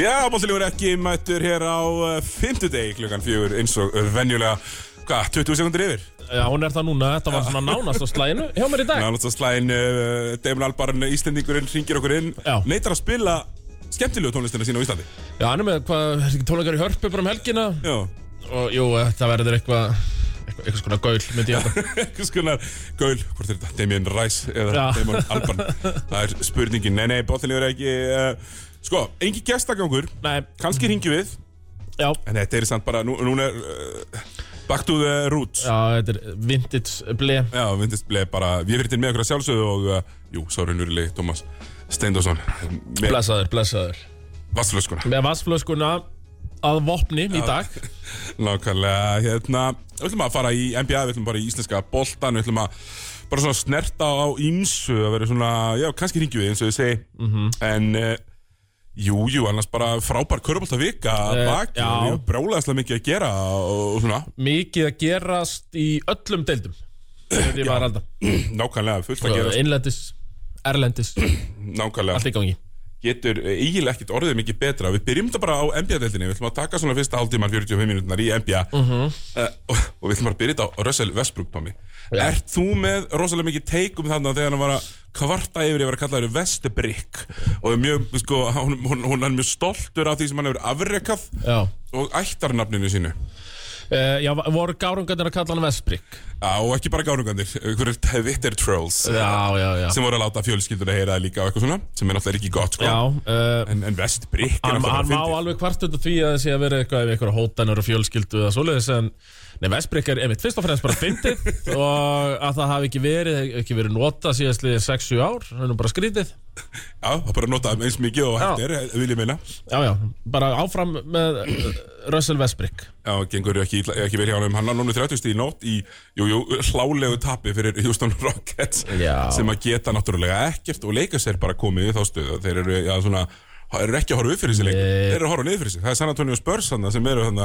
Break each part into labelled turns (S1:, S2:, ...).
S1: Já, bóttilegur ekki mættur hér á uh, fimmtudegi klukkan fjögur eins og uh, venjulega, hvað, 20 sekundir yfir?
S2: Já, hún er það núna, þetta var svona nánast á slæðinu hjá mér í dag.
S1: Nánast að slæðin uh, Damon Albarn, Íslendingurinn, ringir okkur inn
S2: Já.
S1: Neitar að spila skemmtilegu tónlistina sína á Íslandi
S2: Já, hann er með hvað, er ekki tónleikar í hörpu bara um helgina
S1: Já,
S2: og jú, þetta verður eitthvað, eitthvað, eitthvað skona gaul, myndi ég þetta.
S1: einhvers konar Gaul, hvort er þetta, Damien Rice eða
S2: Já.
S1: Damon Albarn Það er spurningin, nei, nei, bóttilegur ekki uh, Sko, engin gestagangur,
S2: Nei,
S1: kannski ringi við
S2: já,
S1: En þetta er samt bara, nú, núna er uh, Back to the roots
S2: já, þetta er vintage ble.
S1: Já, vindist bleið bara, við erum til með okkur að sjálfsögðu og, uh, jú, sára nurileg, Tómas Steindósson með
S2: Blessaður, blessaður.
S1: vassflöskuna.
S2: Með vassflöskuna að vopni í dag.
S1: Nákvæmlega, hérna, við ætlum að fara í NBA, við ætlum bara í íslenska boltan, við ætlum að bara svona snerta á ímsu, að vera svona, já, kannski ringjum við eins og ég segi,
S2: Mhm.
S1: en... Uh, Jú, jú, annars bara frábær körubólta vika að
S2: Eh,
S1: baki,
S2: já.
S1: við erum brjálæðislega mikið að gera og, og svona,
S2: Mikið að gerast í öllum deildum. Þetta ég var alltaf.
S1: nákvæmlega, fullt
S2: Sko,
S1: að gera,
S2: Innlendis, erlendis,
S1: nákvæmlega.
S2: allt í gangi.
S1: getur eh, eiginlega ekkert orðið mikið betra við byrjum þetta bara á NBA-deltinni við ætlum að taka svona fyrsta hálftíman 45 minúturnar í NBA
S2: Mhm.
S1: uh, og, og við ætlum bara að byrja þetta á Russell Westbrook Tommy
S2: Já.
S1: Ert þú með rosalega mikið teik um þarna þegar hann var að kvarta yfir yfir að kalla þér Vestbrick og er mjög, sko, hún, hún, hún er mjög stoltur af því sem hann hefur afrekað
S2: Já,
S1: og ættarnafninu sínu
S2: uh, já voru gárungarnir að kalla hann Vestbrík?
S1: Já, og ekki bara gárungandir, hverju vittir trolls
S2: Já, já, já.
S1: sem voru að láta fjölskylduna heyra það líka og eitthvað svona sem er náttúrulega ekki gott sko.
S2: Já, uh,
S1: en, en Vestbrick er
S2: hann,
S1: náttúrulega
S2: hann má
S1: fyndið.
S2: alveg kvart undan því að það sé að vera eitthvað ef eitthvað hótanur og fjölskyldu eða svoleiðis en Nei, Vestbrík er einmitt fyrst og fremst bara fyndið og að það hafi ekki verið, ekki verið nota síðast liðið 6-7 ár, það er nú bara skrítið
S1: Já, það er bara að nota þeim eins mikið og hægt
S2: Já.
S1: er, eh, vil ég meina.
S2: Já, já, bara áfram með uh, Russell Vestbrík
S1: Já, gengur ekki, illa- ekki verið hjá hann, hann á núna 30 stíl nótt í, jú, jú, hlálegu tapi fyrir Houston Rockets
S2: Já.
S1: sem að geta náttúrulega ekkert og leika sér bara komið í þá stöðu. Þeir eru, já, svona, þeir eru ekki að horfa upp fyrir sig lengur,
S2: Nei.
S1: þeir eru að horfa niður fyrir sig. Það er San Antonio Spurs hann sem eru hann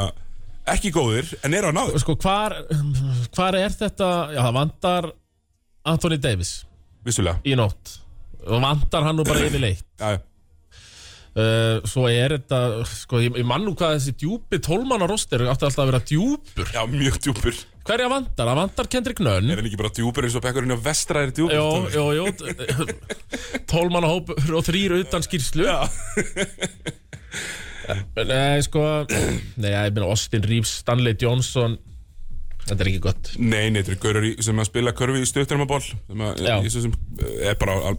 S1: ekki góðir en eru að náður.
S2: Sko, hvar, hvar er þetta, já, það vantar Anthony Davis
S1: Vissulega,
S2: í nótt og vantar hann nú bara yfirleitt
S1: já, já.
S2: uh, Svo er þetta, sko, ég, ég mann nú hvað þessi djúpi tólmanna rostir átti alltaf að vera djúpur
S1: já, mjög djúpur.
S2: Hverja vantar? Það vantar Kendrick Nunn
S1: Er hann ekki bara djúpur eins og bekkurinn á vestra er djúpur?
S2: Jó, jó, jó Tólmanna hópur og þrýr utan skýrslu
S1: Já.
S2: Nei, sko Nei, ég meina Austin Reeves, Stanley Johnson Þetta er ekki gott
S1: Nei, nei, þetta eru gaurar í- sem að spila körfi í stuttarmaból sem að,
S2: Já.
S1: ég svo sem eh, er bara á, á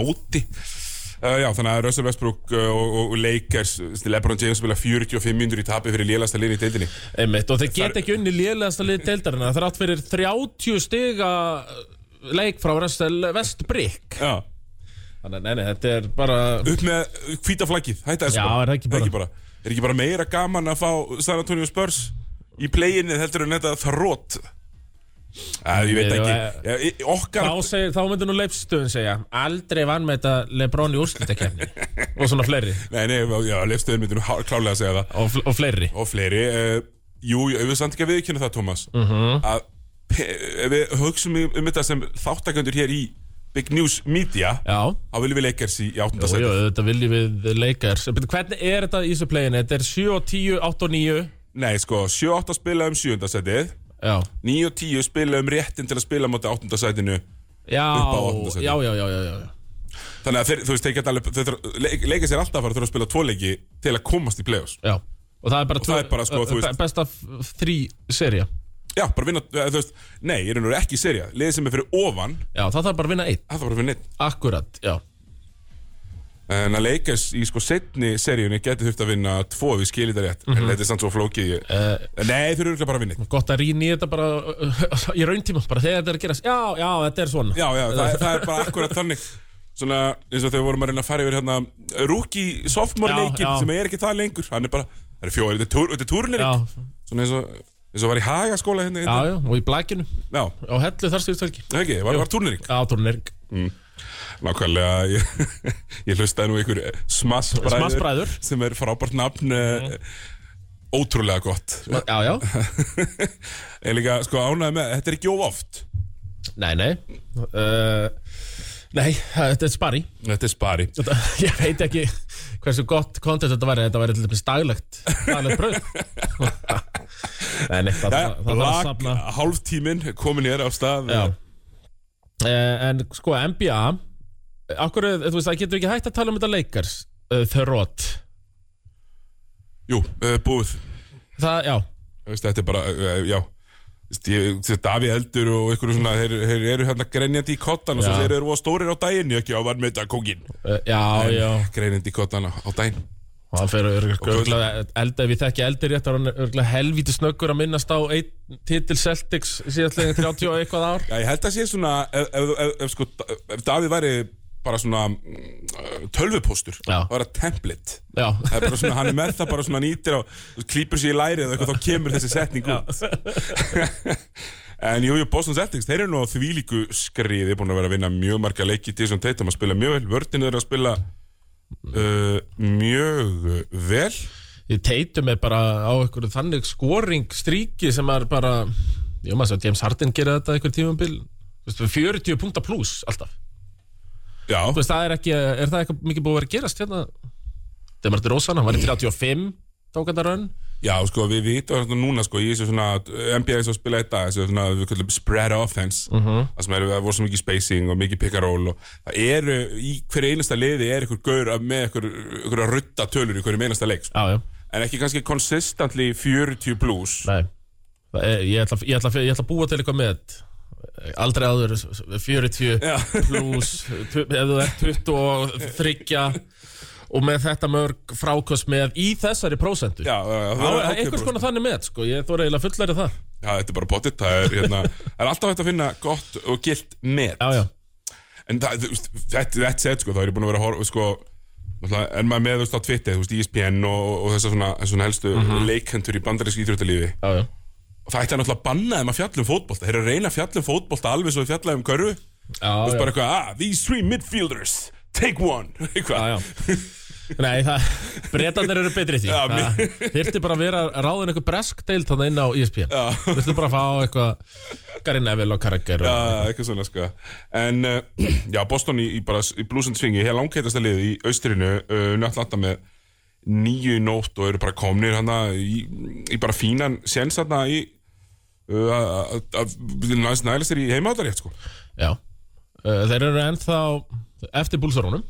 S1: móti uh, Já, þannig að Russell Westbrook uh, og, og Lakers, eh, LeBron James spila 45 minnur í tapi fyrir lélasta liðin í deildinni
S2: Einmitt, og þeir geta ekki unni lélegasta lið deildarina þrátt fyrir 30 stiga uh, leik frá Russell Westbrick
S1: Já,
S2: Þannig, að, nei, nei, þetta er bara
S1: upp með eh, hvíta flaggið, hætta þessu
S2: Já, er það ekki bara-
S1: Er ekki bara meira gaman að fá San Antonio Spurs í play-inni heldur en þetta þrótt Æ, ég veit
S2: Nei,
S1: ekki
S2: og, eh,
S1: Já, í- Okkar
S2: Þá, segir, þá myndir nú leifstöðun segja Aldrei vann með þetta Lebron í úrslutakefni Og svona fleiri
S1: Nei, nei, já, lefstuðin myndir nú há- klárlega að segja það
S2: Og, fl- og fleiri
S1: og fleiri uh, Jú, jú, við samt ekki að viðkynna það, Tómas að pe- ef við hugsum um um þetta sem þáttaköndur hér í Big News Media
S2: Já,
S1: þá viljum við leikars í, í áttunda
S2: Jú, jú,
S1: sæti
S2: þetta viljum við leikars Bíddu, Hvernig er þetta í þessu pleginu? Þetta er 7 og 10, 8 og 9
S1: Nei, sko, 7-8 spila um 7. sætið
S2: Já
S1: 9-10 spila um réttin til að spila móti 8. sætinu
S2: Já,
S1: Upp á áttunda sæti.
S2: já, já, já, já, já.
S1: Þannig að þeir, þú veist, þeir geta alveg þeir, þurfa- leik, leika sér alltaf að fara að þurfa að spila tvo leiki til að komast í play-offs
S2: já. Og það er bara,
S1: það er bara, sko, þú
S2: be-
S1: veist-
S2: Besta f- þrí serja
S1: Já, bara vinna, eh, þú veist, nei, ég er ennur ekki serja Liðið sem er fyrir ofan,
S2: Já, það þarf bara að vinna einn
S1: það þarf bara fyrir neitt
S2: Akkurat, já
S1: En að leikast í sko setni seríunni geti þurft að vinna tvo við skilir það
S2: Mhm.
S1: rétt En þetta er samt svo flókið ég...
S2: Eh.
S1: Nei, þeir eru örugglega bara að vinna eitt.
S2: Gott að rýna í þetta bara uh, uh, Í rauntíma, bara þegar þetta er að gerast Já, já, þetta er svona
S1: Já, já, það, það er bara akkurat þannig Svona eins og þegar við vorum að reyna að fara yfir hérna Rúki sophomore
S2: Já,
S1: leikinn
S2: já.
S1: sem er ekki það lengur Hann er bara, það er fjóri, þetta er túr- þetta er túrnir
S2: já,
S1: Svona eins og, eins og var í hagaskóla hérna
S2: já,
S1: hérna.
S2: já, og í blækinu
S1: Já,
S2: Á hellu þar styrst helgi
S1: það ekki, var, var túrniring
S2: Já, tórnir
S1: Nákvæmlega, ég, ég hlustaði nú ykkur Smassbræður
S2: Smassbræður. Mhm.
S1: Sem er frábært nafn mm. ótrúlega gott
S2: Já, já,
S1: Ég líka sko ánægði með, þetta er ekki of oft
S2: nei, nei uh, Nei, þetta er spari
S1: Þetta er spari
S2: þetta, Ég veit ekki hversu gott kontent þetta væri Þetta væri til dæmis daglegt Daglegt bröð Nei, nei, það, það, það þarf að
S1: Lag,
S2: safna
S1: hálftíminn komin ég er af stað
S2: Já. uh, En sko, NBA Akkur, þú veist, það getur ekki hægt að tala um þetta leikars uh, Þörrót
S1: Jú, uh, búið
S2: Það, já,
S1: Veist, Þetta er bara, uh, já Veist, ég, þessi Daví Eldur og ykkur svona þeir, þeir eru hérna grenjandi í kottan og svo
S2: Já.
S1: þeir eru á stórir á daginn ekki á var með þetta kókin
S2: uh, já, já
S1: grenjandi í kottan á, á daginn
S2: Og hann fer örgulega elda, ef ég þekki eldir rétt, þá er hann örgulega helvíti snöggur að minnast á einn titil Celtics síðastlega 30 og eitthvað ár.
S1: Já, ég held að sé svona ef, ef, ef, ef, sko, ef Davíð væri bara svona mm, tölvupóstur
S2: Já.
S1: það var að template
S2: Já,
S1: Það er bara svona, hann er með það bara svona nýtir og klýpur sér í lærið eða eitthvað þá kemur þessi setning út En jú, jú, Boston Celtics, þeir eru nú á þvílíku skriði búin að vera að vinna mjög marga leiki til þessum teitum að spila mjög vel, vördin er að spila uh, mjög vel
S2: Ég teitum er bara á einhverju þannig skoring stríki sem er bara Jó maður svo, James Harden gerir þetta einhver tímabil Þú veist, 40 punkta pluss alltaf
S1: Já,
S2: Þú veist, það er ekki, er það eitthvað mikið búið að vera að gerast hérna Demar DeRozan, hann var í 35 tók hann að raun
S1: já, sko, við vitum þetta núna, sko, í þessu svona NBA eins og spila þetta, þessu svona við kallum spread offense, uh -huh. það sem er það voru svo mikið spacing og mikið pick and roll og það eru, í hverju einasta liði er einhver gaur að- með einhver, einhver að rutta tölur í hverju einasta leik, sko.
S2: Já, já,
S1: en ekki kannski consistently 40 plus
S2: nei Það er, ég, ætla, ég, ætla, ég ætla að búa til eitthvað með þetta. Aldrei áður 40
S1: Já.
S2: pluss tu- ef þú er 23 og með þetta mörg frákost með í þessari prósentu
S1: Já, já, já,
S2: Já,
S1: það er ákveðið
S2: einhvers
S1: brot.
S2: konar þannig með, sko, ég þóra eiginlega fullærið það
S1: Já, þetta er bara potið, það er, hérna, það er alltaf hægt að finna gott og gilt met
S2: Já, já,
S1: En það, þú veist, þetta, þetta set, sko, þá er ég búin að vera að horfa, sko náttúrulega, En maður með, þú veist, á Twitter, þú veist, E ESPN og, og þessar svona, svona helstu leikendur í bandarísk íþjóttalífi
S2: já, já
S1: Og það ætti að náttúrulega banna þeim að fjalla um fótbolta Þeir eru að reyna að fjalla um fótbolta alveg svo við fjalla um körfu Þú
S2: Já,
S1: veist,
S2: já,
S1: bara eitthvað, ah, these three midfielders, take one Eitthvað,
S2: já, já. Nei, það, breytanir eru betri í því
S1: Já, mér-
S2: Þyrfti bara að vera ráðin eitthvað bresk deild þannig inn á E ESPN Þyrfti bara að fá eitthvað Gary Neville og Karagger og,
S1: Já, eitthvað svona sko En uh, já, Boston í, í, bara, í blúsandsvingi Hér langkeitasta liðið í austrinu uh, Nöttlanda með nýju í nótt og eru bara komnir hana í, í bara fínan séns hana í uh, að- að að næst næla sér í heimaðarétt sko
S2: já. Uh, Þeir eru ennþá eftir búlsarúnum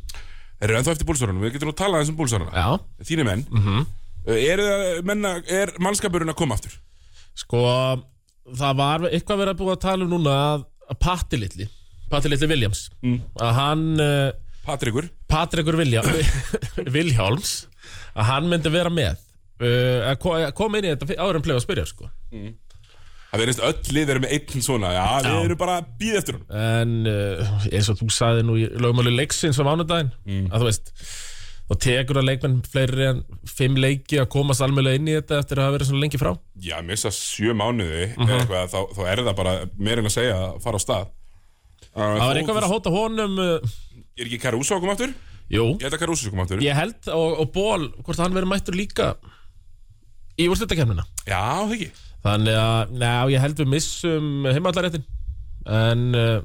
S1: Þeir eru ennþá eftir búlsarunum, við getum nú talað aðeins um búlsaruna
S2: Já,
S1: Þínir menn mm -hmm. er, menna, er mannskapurinn að koma aftur?
S2: sko Það var eitthvað verið að búið að tala um núna að, að Patti Lilli Patti Lilli Williams
S1: Mm.
S2: Að hann uh,
S1: Patrikur
S2: Patrikur Vilja, Vilhjálms að hann myndi vera með uh, að ko- að koma inn í þetta fyr- áður en plegu að spyrja sko.
S1: Það verðist öll lið eru með einn svona Já, við
S2: Já.
S1: erum bara að býða eftir hún
S2: en uh, eins og þú sagði nú í lögmáli leiksins á mánudaginn að þú veist þá tekur að leikmenn fleiri en fimm leiki að komast almjölega inn í þetta eftir að hafa verið svona lengi frá
S1: Já, missa sjö mánuði
S2: Mhm.
S1: eða eitthvað, þá, þá er það bara meir en að segja að fara á stað
S2: það var eitthvað verið að hóta honum uh,
S1: Er ekki Caruso að koma aftur?
S2: jú,
S1: Ég held að Caruso kom aftur
S2: ég held og, og ból hvort hann verið mættur líka í úrslutakefnina
S1: Já, það ekki
S2: Þannig að, ná, ég held við missum heimallaréttin En uh,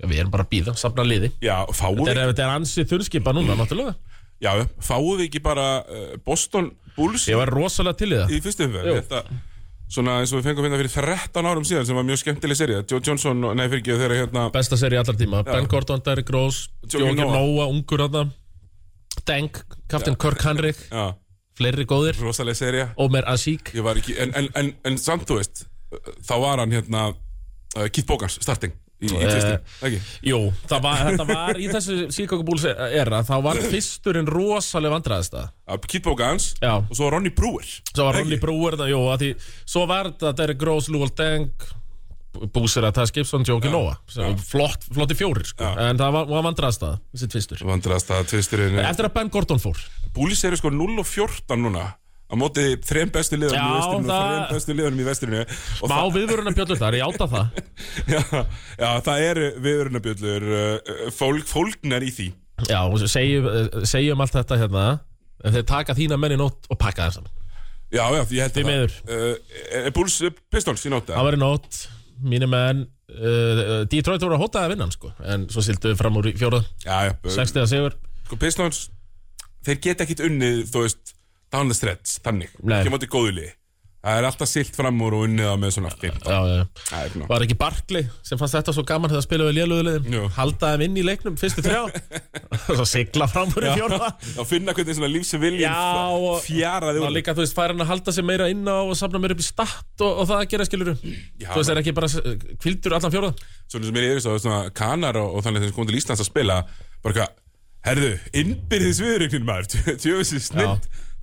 S2: já, við erum bara að býða, safna liði
S1: Já, fáum
S2: Þetta
S1: við
S2: er, þetta er ansið þunnskipa núna, náttúrulega
S1: Já, já, fáum við ekki bara uh, Boston Bulls
S2: Ég var rosalega til í það
S1: í fyrstu umferð Þetta, svona eins og við fengum hérna fyrir 13 árum síðan sem var mjög skemmtileg serið Joe Johnson, og- nei fyrir ekki þegar hérna
S2: Besta seri allar tíma Ben Gordon, Derrick Rose,
S1: Joakim
S2: Jókir
S1: Noah.
S2: Nóa, ungur aðna Deng, Captain Kirk Henrik
S1: Já,
S2: Fleiri góðir,
S1: rosaleg serið
S2: Omer Asík
S1: Ég var ekki, en, en, en, en samt þú veist uh, þá var hann hérna uh, Keith Bogans, starting í, í
S2: Eh,
S1: tvistum, ekki?
S2: Jú, það var, þetta var í þessu Chicago Bulls era Þá var fyrsturinn rosalega vandræðist það
S1: Uh, Keith Bogans
S2: Já,
S1: og svo Ronny Brewer
S2: Svo var Ronny Brewer það, jú, að því Svo var þetta að Derrick Rose, Lúval Deng Búsir að það skipsson, Jóki Nóa Flott, flotti fjórir, sko En það var, var vandræðast það, sitt fyrstur
S1: Vandrast að tvisturinn
S2: Eftir að Ben Gordon fór
S1: Búlis eru sko 0 og 14 núna Á móti þreim bestu liðanum í
S2: Já,
S1: vesturinu og
S2: það-
S1: Þreim bestu liðanum í vesturinu Og
S2: Má viðvörun að bjöllu þar, ég áta það
S1: það- já, já, það eru viðurnabjöllur uh, fólk, Fólknar í því
S2: Já, og segjum, eh, segjum allt þetta hérna En þeir taka þína menn í nótt og pakka þeim saman
S1: Já, já, því ég held
S2: Því
S1: að
S2: miður.
S1: það uh, Er Bulls eh, Pistols í nóta?
S2: Það var í nótt, mínu menn uh, Detroit voru að hótaði að vinna hann sko En svo silduðu fram úr í fjóra
S1: Já, já, eh,
S2: 60 sigur
S1: sko Pistons Þeir geta ekkit unnið, þú veist Down the stretch, þannig
S2: Nei.
S1: Ekki móti góðuli Það er alltaf silt fram úr og unnið það með svona 15
S2: Já, já, já
S1: Það er svona
S2: Var ekki Barkley sem fannst þetta svo gaman þegar spilaði við
S1: Jú.
S2: lélöðulegðin Haldaði inn í leiknum fyrstu þrjá Svo sigla fram úr í fjóra
S1: Að finna hvernig svona lífsviljum
S2: Já, og-
S1: fjaraði
S2: Og
S1: úr
S2: líka, þú veist, fær hann að halda sig meira inn á og safna meira upp í statt og, og það að gera skiluru
S1: Já,
S2: Þú veist, það er ekki bara kvildur allan fjóra
S1: svona sem er yfir svo, svona kanar og, og þannig þeir sem komum til Íslands að spila bara hvað, herðu, innbyrðis viðurögnin maður, tjóðsir snill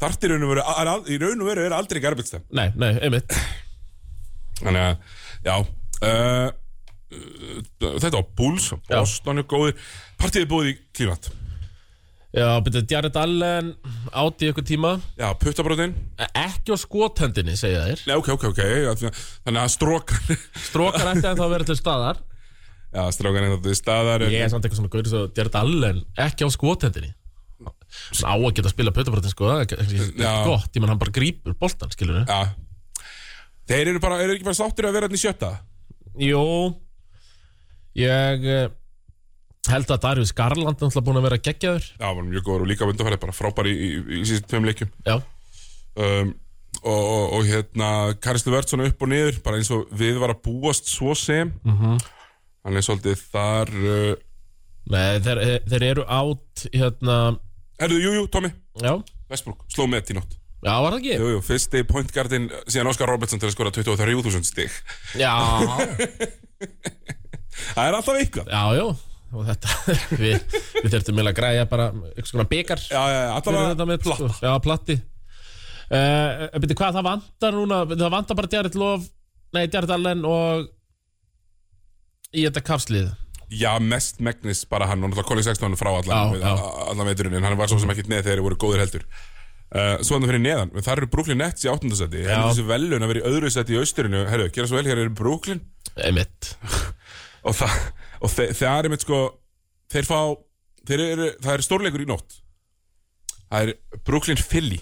S1: þartir raun og veru, er al- í raun og veru er aldrei garbelsta,
S2: Nei, nei, einmitt
S1: þannig að já uh, uh, þetta á Bulls, og Boston er góður partíði búið í Klífland
S2: Já, betur, Jared Allen átt í ykkur tíma
S1: já, puttabrótin,
S2: Ekki á skothendinni, segja þeir
S1: nei ok, ok, ok já, því að- þannig að strókan
S2: Strókar ætti ennþá að vera til staðar
S1: já, strókan er þetta staðar en-
S2: Ég er samt eitthvað svona gaur svo Jared Allen ekki á skothendinni Hann á að geta að spila pötabrotin sko Það er ekki- ekki
S1: Já.
S2: gott, ég menn hann bara grípur boltan skilur við
S1: já þeir eru bara, eru ekki bara sáttir að vera þarna í sjötta
S2: Jó Ég eh, held að Darius Garland er náttúrulega búin að vera geggjaður
S1: já, var mjög góður og líka vöndafærið bara frábæri í, í, í, í síðan tveim leikjum
S2: Já,
S1: um, og, og, og hérna Karistu Vörð svona upp og niður bara eins og við var að búast svo sem mm -hmm.
S2: Mhm.
S1: hann er svolítið þar uh,
S2: Nei, þeir, eh, þeir eru átt hérna
S1: Erðu, jú, jú, Tommy
S2: Já,
S1: Vestbrúk, sló með í nótt
S2: já var það ekki?
S1: Jú, jú, fyrsti pointgardin síðan Óskar Robertson til að skora 23.000 stig
S2: Já,
S1: Það er alltaf eitthvað
S2: Já, já, og þetta við, við þurftum eiginlega að græja bara einhvers konar byggar
S1: Já, já, já, allavega
S2: platt sko. Já, platti uh, Býttu hvað, það vantar núna það vantar bara Djarit Lof nei, Djarit Allen og í þetta kapslið
S1: Já, mest megnis bara hann og náttúrulega Colin Sexton frá allan
S2: Já, já.
S1: allan veiturinn en hann var svo sem ekkert með þegar þeir voru góðir heldur uh, Svo hann fyrir neðan, þar eru Brooklyn Nets í áttundasæti,
S2: Já.
S1: heldur þessi velun að vera í öðru sæti í austurinu, herru, gera svo vel, hér eru Brooklyn
S2: einmitt
S1: og, þa og þe það er mitt sko þeir fá þeir eru, það er stórleikur í nótt það er Brooklyn Philly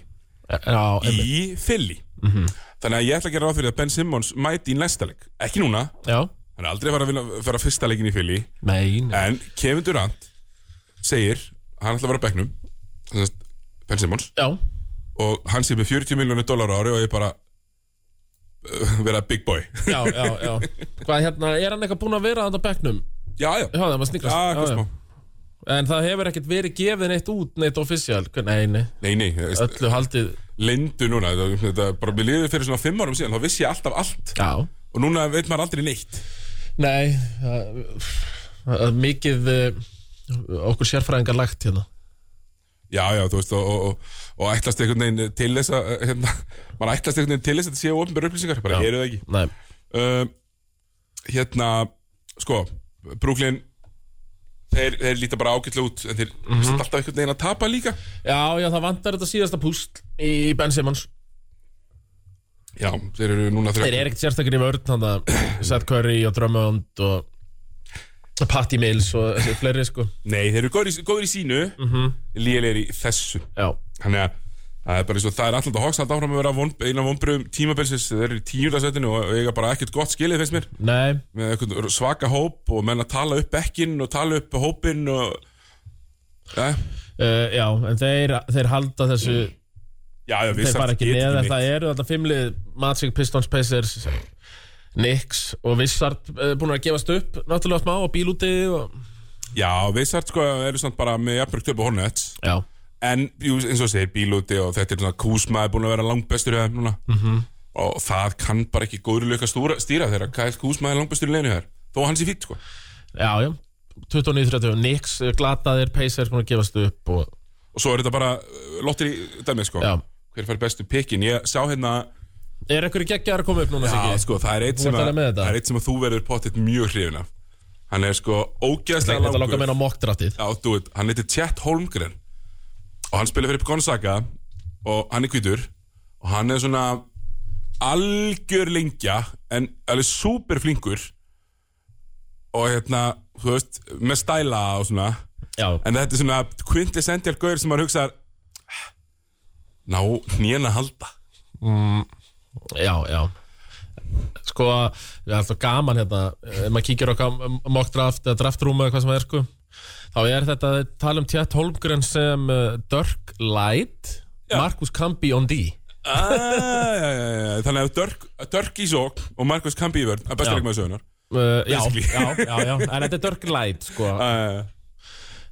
S2: Já, einmitt
S1: í Philly Mhm. þannig að ég ætla að gera ráð fyrir að Ben Simmons mæti í næsta leik, ekki núna
S2: Já,
S1: hann er aldrei að fara að vinna- fara fyrsta leikin í Philly
S2: nei, nei
S1: en Kevin Durant segir hann ætla að vera á bekknum sem sagt, Ben Simmons
S2: Já,
S1: og hann sé með 40 miljónu dólar ári og ég bara uh, vera big boy
S2: já, já, já Hvað hérna, er hann eitthvað búinn að vera á þetta bekknum?
S1: já já,
S2: Já, það var sniglast
S1: já, já, já.
S2: En það hefur ekkert verið gefið neitt út, neitt official Nei, nei,
S1: nei nei, þú veist,
S2: öllu haldið
S1: lindu núna þetta, þetta, bara mér liðið fyrir svona fimm árum síðan þá vissi ég alltaf allt
S2: Já,
S1: og núna veit maður aldrei neitt
S2: Nei, það það er mikið eh, okkur sérfræðingar lagt hérna
S1: já já þú veist og, og, og, og ætlast einhvern veginn til þess að hérna, maður ætlast einhvern veginn til þess að þetta séu ofnbjörn upplýsingar bara
S2: Já.
S1: eru það ekki
S2: Nei,
S1: um, hérna sko Brooklyn þeir, þeir líta bara ágætlega út en þeir mm alltaf einhvern veginn að tapa líka
S2: Já, já, það vantar þetta síðasta púsl í Ben Simmons
S1: já þeir eru núna
S2: Þeir
S1: þrjá
S2: eru ekkert sérstakir í vörð þannig að Seth Curry og Drummond og Patty Mills og þessi fleiri sko
S1: nei þeir eru góður í, góður í sínu mm -hmm. í þessu
S2: Já,
S1: Þannig að það er bara eins og það er alltaf hóks alltaf áfram að vera von, eina vonbröðum tímabilsins þeir eru í tíundarsveitinu og eiga bara ekkert gott skilið finnst mér
S2: nei,
S1: með eitthvað svaka hóp og menn að tala upp bekkinn og tala upp hópinn og ja,
S2: uh, já, en þeir, þeir halda þessu
S1: já, já, við
S2: Þeir fara ekki
S1: getum
S2: neð en
S1: neitt.
S2: það eru alltaf fimmlið Magic, Pistons, Pacers Knicks og Vissart uh, búin að gefast upp náttúrulega smá og bílúti og...
S1: Já, við sært sko eru samt bara með jafnbrökt upp á Hornets
S2: Já,
S1: en jú, eins og segir bílúti og þetta er svona Kuzma er búin að vera langbestur í þeim núna
S2: Mhm.
S1: -hmm. og það kann bara ekki góður lög að stúra- stýra þeirra Kyle Kuzma er langbestur í leginu þeirra þó hans í fýtt sko
S2: Já, já 29-30, Nix, eh, glataðir, Pacers búin að gefast upp og,
S1: og svo er þetta bara uh, lotteri dæmið sko
S2: Já.
S1: hver fær bestu pikkin, ég sá hérna
S2: Er einhverju geggjar að koma upp núna, Siggi?
S1: sko, það er eitt
S2: Þú
S1: sem
S2: ert
S1: að,
S2: alveg með þetta?
S1: það er eitt sem að þú verður pottitt mjög hrifin af hann er sko ógeðslega
S2: Þetta
S1: langur
S2: langar meina á mokkdrattið
S1: Já, þú veit, hann heitir Chet Holmgren og hann spilar fyrir Gonzaga og hann er hvítur og hann er svona algjör lengja en alveg súper flinkur og hérna, þú veist með stæla og svona
S2: Já,
S1: En þetta er svona quintessential gaur sem maður hugsaðar Ná, nýjan að halda
S2: Já, já Sko, það er alltaf gaman hérna Ef maður kíkir okkar mock draft eða draft room eða hvað sem það er sko Þá er þetta að tala um Tjett Holmgren sem uh, Dirk Light Markus Kambi on D
S1: Ah, já, já, já, já. Þannig að Dörk, Dörk í sók og Markus Kampi í vörn Það er
S2: Já.
S1: bestur ekki með sögunar
S2: uh, já,
S1: Basically.
S2: já, já, já, en þetta er Dirk Light sko uh,
S1: uh,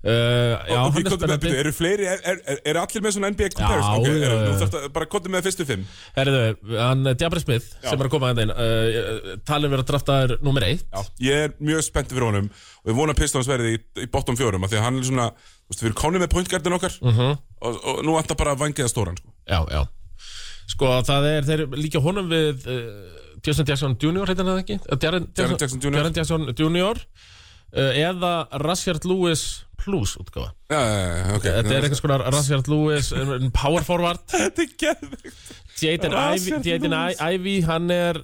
S2: Já,
S1: og,
S2: hann er
S1: komdu með,
S2: spennandi
S1: byrju, Eru fleiri, er, er, er- eru allir með svona NBA comparison?
S2: Já,
S1: Ok,
S2: já,
S1: er-
S2: já.
S1: Þú þarft að bara kottu með fyrstu fimm
S2: Herðu, hann Diabri Smith sem er að koma að þeim uh, Talum við að drafta er nummer eitt
S1: Já, ég er mjög spenntið fyrir honum og ég vona að Pistons verði í, í bottom fjórum af því að hann er svona, þú veist, við erum konið með pointgardin okkar
S2: Mhm.
S1: og, og nú vantar bara að vangiða stóran sko.
S2: Já, já Sko það er, þeir líka honum við uh, Jason Jackson Jr. heitir hann það ekki? Eh, Jaren-
S1: Jaren Jackson Jr..
S2: Jaren Jackson Jr. Uh, eða Rashard Lewis Plus útgáfa
S1: Já, já, já, ok
S2: Þetta er sko- einhvers konar Rashard Lewis eh, en Power forward
S1: Þetta er geðvegt
S2: Jaden Ivey
S1: Rashard
S2: Jaden
S1: Lewis.
S2: I- Ivey, hann er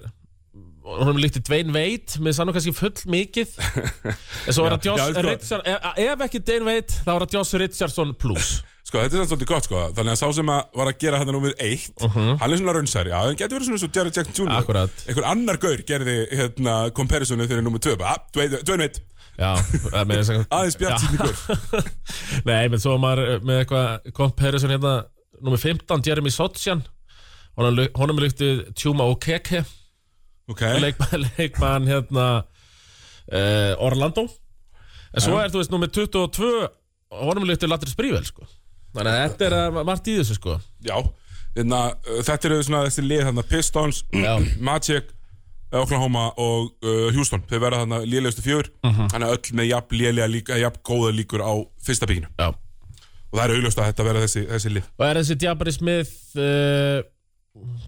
S2: honum líkti Dwayne Wade með sann og kannski full mikið en svo er
S1: já,
S2: það Josh
S1: sko.
S2: Richardson ef, ef ekki Dwayne Wade þá er það Josh Richardson plus
S1: Sko, þetta er samt svolítið gott, sko Þannig að sá sem að var að gera þetta númið eitt Hann er svona raunsæri, já, hann getur verið svona svo Jared Jackson Jr.
S2: Mhm. Akkurat.
S1: Einhver annar gaur gerði, hérna, comparisonu þegar númið tvö bara, ah, Dwayne Dwayne Wade,
S2: Já, það með þess að
S1: aðeins bjart sýnni gaur
S2: Nei, menn svo var maður eh, með eitthvað comparison hérna, nummer 15, Jeremy Sotsian honum, lu- honum lukti Tjúma Okeke
S1: Ok,
S2: Eh? leikmann, leikmann hérna uh, Orlando en svo
S1: Já.
S2: er, þú veist, nummer 22 honum lukti Latris Brível, sko þannig að þetta er að margt í þessu, sko
S1: já Þannig þetta eru svona þessi lið, þannig Pistons,
S2: Já.
S1: Magic Oklahoma og uh, Houston þau verða þarna lélegustu fjör
S2: Mhm.
S1: þannig að öll með jafn lélega líka, jafn góða líkur á fyrsta píkinu
S2: Já.
S1: og það er augljóst að þetta verða þessi, þessi lið
S2: og er þessi Diabri Smith uh,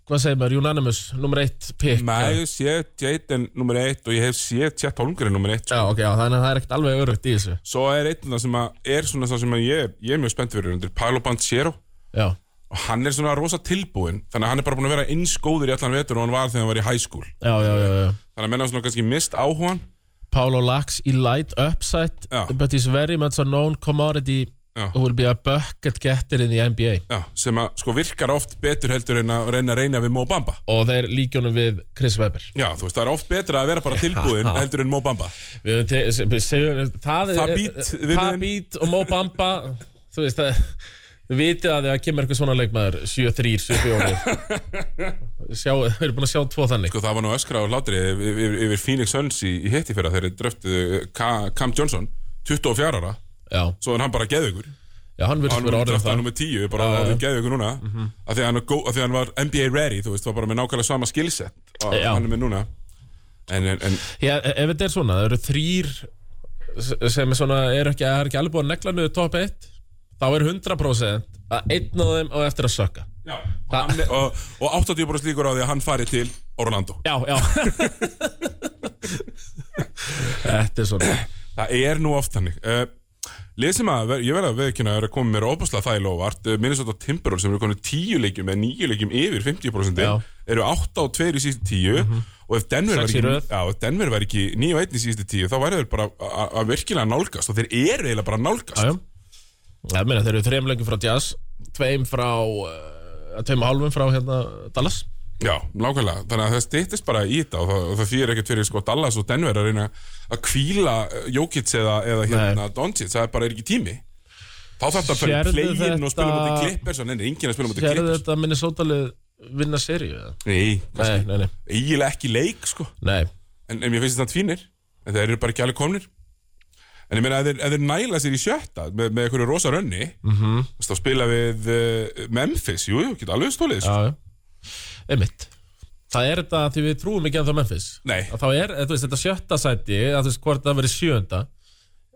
S2: hvað segir maður, Unanimous nummer 1 pick
S1: Nei, ég sé Jaden nummer 1 og ég hef sé Tjett Holmgren nummer 1
S2: Já, ok, já, þannig að það er ekkert alveg örugt í þessu
S1: Svo er einn þarna sem að er svona það sem að ég, ég er mjög spennt fyrir undir Paolo Banchero
S2: Já,
S1: og hann er svona rosa tilbúinn þannig að hann er bara búin að vera eins góður í allan vetur og hann var þegar hann var í high school
S2: já, já, já, já.
S1: þannig að menna svona kannski mist áhugan
S2: Paulo Lax í light upside
S1: Já.
S2: but he's very much a known commodity
S1: Já.
S2: who will be a bucket getter in the NBA
S1: já, sem að sko virkar oft betur heldur en að reyna að reyna við Mo Bamba
S2: og þeir líkjónum við Chris Webber
S1: Já, þú veist, það er oft betra að vera bara tilbúinn heldur en Mo Bamba
S2: Við höfum te- se- se- það er-
S1: Það beat, vinurinn.
S2: það beat og Mo Bamba þú veist það við vitið að það kemur eitthvað svona leikmaður 7-3, 7-4 Sjá- við erum búin að sjá tvo þannig
S1: Sko, það var nú öskra á hlátri yfir, yfir- yfir Phoenix Suns í, í hitti fyrir að þeirri dröftuðu eh, Ka- Cam Johnson 24 ára,
S2: já,
S1: svo er hann bara geðugur
S2: já hann
S1: Hann
S2: virðist
S1: er
S2: vera orðin
S1: dröftuð
S2: það
S1: nummer 10, bara
S2: Já, Mhm. já.
S1: orðin geðugur núna af, því að hann, er gó- af því að hann var NBA ready, þú veist, var bara með nákvæmlega sama skillset og
S2: Já.
S1: hann er með núna En, en, en
S2: Já, e- ef þetta er svona, það eru þrýr s- sem er svona, er ekki, er ekki alveg búin að negla niður top 1 þá er 100% að einn af þeim á eftir að sökka
S1: Já, hann, er- og, og 80% líkur á því að hann fari til Orlando
S2: Já, já Þetta er svona
S1: Það er nú oft hannig uh, Lesum að, ver- ég verða að veðkynna að vera að koma mér óbúslega það í lofvart uh, Minnesota Timberwolves sem eru konið tíu leikjum eða níu leikjum yfir 50%
S2: Já. Mhm.
S1: eru 8 og 2 í síðustu 10 og ef Denver
S2: Sex
S1: væri
S2: í
S1: ekki,
S2: röð.
S1: já, ef Denver væri ekki 9 og 1 í síðustu 10 þá væri þeir bara a- a- að virkilega nálgast og þeir eru eiginlega bara að nálgast
S2: Já, já Það meina, þeir eru þreim lengi frá Jazz tveim frá uh, tveim og hálfum frá hérna Dallas
S1: Já, nákvæmlega, þannig að það stýttist bara í þetta og það, og það þýðir ekkert fyrir sko Dallas og Denver að reyna að kvíla eh, Jokic eða, eða hérna Doncic, það er bara er ekki tími Þá þarf það bara
S2: Sérðu
S1: playin og spila
S2: þetta-
S1: mútið klippers og neina, enginn að spila mútið
S2: Sérðu
S1: klippers
S2: þetta Minnesota-lið vinna seríu? eða?
S1: Nei,
S2: Nei, nei, nei,
S1: eiginlega ekki leik sko
S2: nei
S1: En, en mér finnst þetta fínir En þeir eru bara ekki alveg komnir En ég meina, ef þeir, ef þeir næla sér í sjötta Með, með einhverju rosa rönni mm
S2: Mhm.
S1: -hmm. Þá spila við uh, Memphis Jú, jú, geta alveg stólið þessu.
S2: Já, já Einmitt Það er þetta því við trúum ekki að það Memphis
S1: Nei.
S2: að Þá er, þú veist, þetta sjötta sæti að þú veist, hvort það verið sjöunda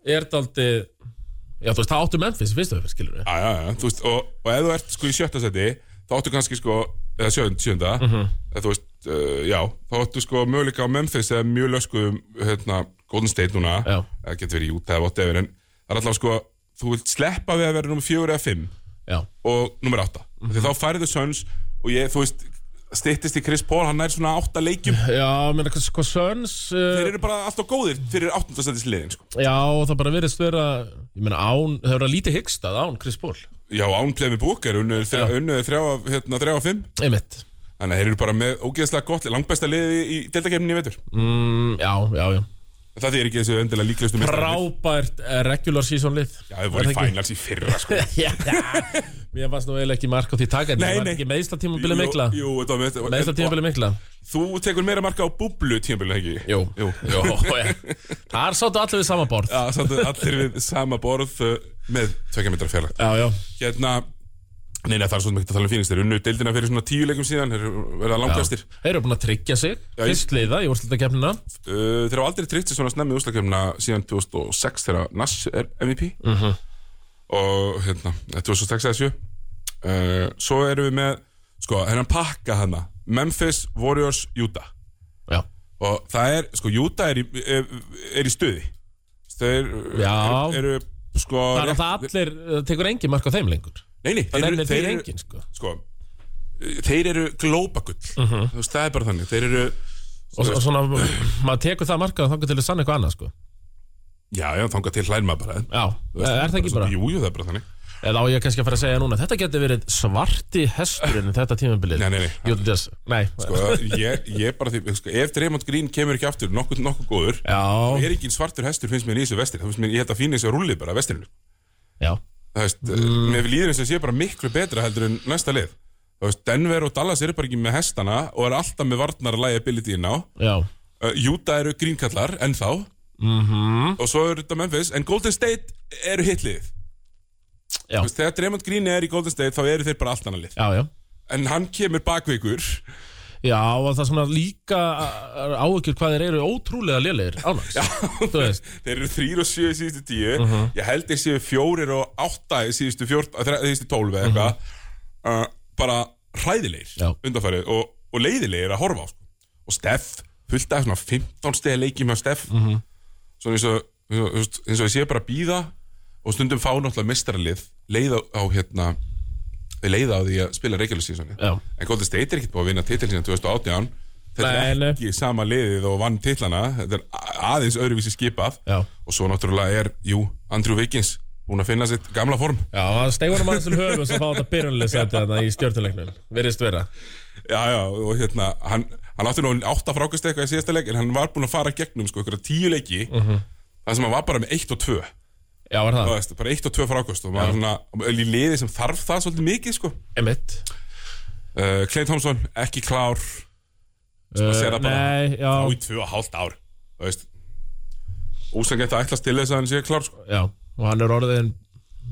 S2: er þetta aldrei Já, þú veist, það áttu Memphis, finnst þau, skilur við
S1: Já, já, já, þú veist, og, og ef þú ert sko í sjötta seti Þá áttu kannski sko, eða sjönd, sjönda
S2: Mhm.
S1: eða, Þú veist, uh, já Þá áttu sko möguleika á Memphis Eða mjög löskuðum, hérna, Golden State núna
S2: Já.
S1: Það getur verið jút eða vott efir En það er allavega sko, þú vilt sleppa við að vera Númer fjögur eða fimm
S2: Já,
S1: og nummer 8 mm
S2: Mhm.
S1: -hmm. þá færðu Suns og ég, þú veist styttist í Chris Paul, hann er svona 8 leikjum
S2: já, menn, hvað sko, Söns
S1: þeir
S2: uh,
S1: eru bara alltaf góðir fyrir 8. sendis liðin sko.
S2: Já, og það bara verið störa Ég meina, án, það verið lítið hyggstað án Chris Paul
S1: já, án plemi búkar, unnuður þrjá,
S2: Já.
S1: unnuðu þrjá, af, hérna, þrjá og fimm
S2: Einmitt
S1: Þannig að þeir eru bara með ógeðslega gott langbesta liði í deltakefninni í vetur
S2: mm, Já, já, já
S1: Það er ekki þessu endilega líklegustu meistararnir.
S2: Frábært eh, regular season lið
S1: Já, þau voru í finals í fyrra sko
S2: Já, mér fannst nú eiginlega ekki mark á því taka en
S1: Nei,
S2: það var
S1: nei.
S2: ekki meðsla tímabilið mikla
S1: Jú, jú, þetta var með-
S2: Meðsla tímabilið mikla
S1: Þú tekur meira marka á búblu tímabilið, ekki?
S2: Jú,
S1: Jú.
S2: Jú, já. Þar sáttu allir við sama borð
S1: Já, samt allir við sama borð uh, með tvekja metra fjarlag
S2: Já, já,
S1: Hérna, neina það er svona mikið að tala um fínings Þeir unnu deildina fyrir svona tíu leikum síðan Þeir eru- verða langbæstir
S2: þeir eru búin að tryggja sig
S1: Já, ég-
S2: Fyrst liða í úrslutakefnina
S1: uh, Þeir hafa aldrei tryggt sér svona snemmi úslakefna síðan 2006 þegar Nash er MVP -huh.
S2: Mhm.
S1: og hérna eh, 2006 eða 7 uh, Svo erum við með sko, hennan pakka hana Memphis, Warriors, Utah
S2: Já,
S1: og það er, sko, Utah er í, er, er í stuði Þeir eh,
S2: Já.
S1: eru, eru sko
S2: það er að það allir það tekur engin mark á þeim lengur
S1: Nei, nei, þeir
S2: Það
S1: eru,
S2: nefnir
S1: þeir
S2: þeir
S1: eru
S2: engin, sko
S1: sko, eh, þeir eru glópagull
S2: Mhm.
S1: þú veist, það er bara þannig þeir eru,
S2: Og svo- og svona, maður tekur það mark á þangar til að sanna eitthvað annað, sko
S1: já, já, þangað til hlær maður bara
S2: Já, eh, er það ekki bara?
S1: Jú, jú, það er bara þannig
S2: Eða á ég kannski að fara að segja núna Þetta getur verið svarti hesturinn Þetta tímabilið
S1: Nei, nei, nei.
S2: Júlíus, nei
S1: sko, ég, ég bara því, sko, ef Draymond Green kemur ekki aftur nokkuð, nokkuð góður
S2: Já,
S1: er ekki svartur hestur finnst mér í þessu vestir það finnst mér, ég held að fína þessu rúlið bara vestirinu
S2: já
S1: það veist, mm. mér líður eins og sé bara miklu betra heldur en næsta lið það veist, Denver og Dallas eru bara ekki með hestana og eru alltaf með varnar liability inn á
S2: Já,
S1: uh, Utah eru grínkallar ennþá -hmm. og svo eru þetta Memphis en Golden State eru hitlið
S2: já,
S1: þegar Draymond Green er í Golden State þá eru þeir bara allt annað lið
S2: já, já
S1: en hann kemur bakveikur
S2: Já, og það er svona líka eh, áhyggjur hvað þeir eru ótrúlega lélegir álags. Þú veist, Uh-huh.
S1: þeir eru þrýr og sjö í síðustu tíu ég held þeir séu fjórir og átta í síðustu, fjort, þre, síðustu tólf eða eitthvað uh, bara
S2: Uh-huh. Já.
S1: hræðilegir undanfærið og, og leiðilegir að horfa á sko. og Steff, fullt af svona 15 stegi leikið með Steff
S2: Uh-huh.
S1: svona eins og, eins og, eins og- eins og ég sé bara að býða og stundum fá náttúrulega mestaralið leiða á hérna við leiða á því að spila regular seasoni
S2: Já.
S1: en Golden State er ekkert búið að vinna titil síðan 2018 þetta
S2: Nei,
S1: er
S2: nei.
S1: ekki sama liðið og vann titlana þetta er a- aðeins öðruvísi skipað
S2: já,
S1: og svo náttúrulega er, jú, Andrew Wiggins búin að finna sitt gamla form
S2: já, það stegur hann aðeins til höfum sem fá þetta byrjunlega setja þarna í stjórnuleiknum, virðist vera.
S1: já, já, og hérna, hann, hann átti nú átta frákast eitthvað í síðasta leik en hann var búin að fara gegnum sko ykkur tíu leiki uh
S2: Mhm.
S1: það sem hann var bara með eitt og tvö
S2: Já, var
S1: Þú
S2: það,
S1: veist, bara eitt og tvö frákast og maður svona, í liði sem þarf það svolítið mikið sko
S2: emitt.
S1: uh, Clay Thompson, ekki klár
S2: Uh,
S1: sér það bara.
S2: nei, já,
S1: á í tvö og hálft ár þú veist úsangætt að ætlast til þess að hann sé klár sko
S2: já, og hann er orðin,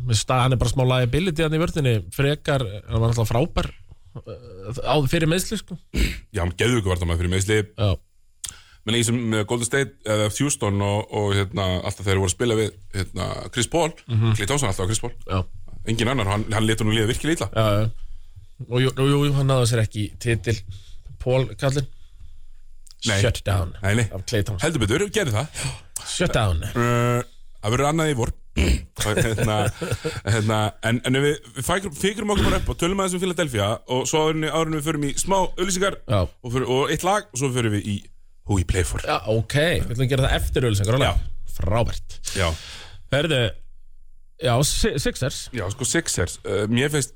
S2: með stað, hann er bara smá liability hann í vörðinni, frekar, hann var alltaf frábær uh, áður fyrir meðsli, sko.
S1: Já, hann geður ykkur vartamæður fyrir meðsli
S2: Já,
S1: menn í sem Golden State eða Houston og, og hérna, alltaf þeir voru að spila við hérna, Chris Paul, mm -hmm. Clay Thompson alltaf á Chris Paul
S2: já,
S1: engin annar, hann, hann letur nú liða virkilega illa
S2: já, já. Og jú, jú, jú, hann náði sér ekki titil, Paul kallinn. Ah,
S1: Nei.
S2: Shut down
S1: Nei, nei.
S2: af Clay Thompson
S1: heldur betur, gerði það
S2: Shut down
S1: Uh, það verður annað í vor Og hérna, hérna, en, en ef við, við fækrum, fikrum okkur bara upp og tölum aðeins um Philadelphia og svo árunni, árunni við förum í smá auðlýsingar
S2: Já.
S1: og, fyrir, og eitt lag og svo förum við í Who We Play For
S2: Já, ok, við ætlum að gera það eftir ölsengar
S1: Já.
S2: Frábært
S1: Já,
S2: Herðu, já, Si- Sixers
S1: Já sko Sixers, uh, mér finnst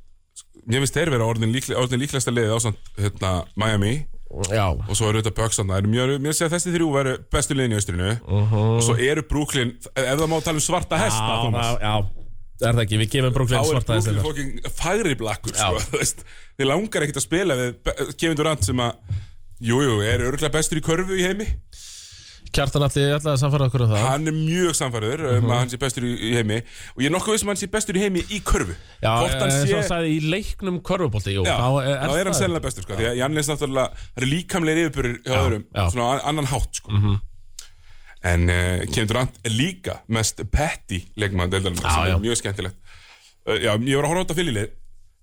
S1: mér finnst þeir vera orðin, líkle, orðin líklegasta liðið ásand hérna, Miami
S2: Já,
S1: og svo eru þetta Böksanna mér, mér sé að þessi þrjú veru bestu liðin í austrinu og svo eru Brooklyn ef það má tala um svarta hesta Thomas,
S2: Uh-huh. já, já Það er það ekki, við gefum
S1: þá
S2: Brooklyn
S1: er
S2: svarta
S1: Brooklyn
S2: þessi
S1: fokking fagri blakkur sko, þú veist. þið langar ekkert að spila við Kevin Durant sem að jújú, jú, er örgulega bestur í körfu í heimi
S2: Kjartan allir, ég ætlaði að samfara okkur um það
S1: hann er mjög samfæður
S2: Uh-huh.
S1: um að hann sé bestur í, í heimi og ég er nokkuð veist að hann sé bestur í heimi í körfu
S2: Já,
S1: hvort
S2: eins
S1: hann
S2: og
S1: sé
S2: hann sagði í leiknum körfubólti Jú,
S1: Já,
S2: þá er,
S1: þá er hann
S2: það-
S1: sennilega bestur sko, því að Jannis náttúrulega það eru líkamlegir yfirbyrður hjá öðrum,
S2: já. Mhm.
S1: svona an- annan hátt sko. en uh, Kevin Durant er líka mest petty leikmann deildarinn, sem
S2: já.
S1: er mjög skemmtilegt uh, já, ég var að horfa á þetta fyrirlið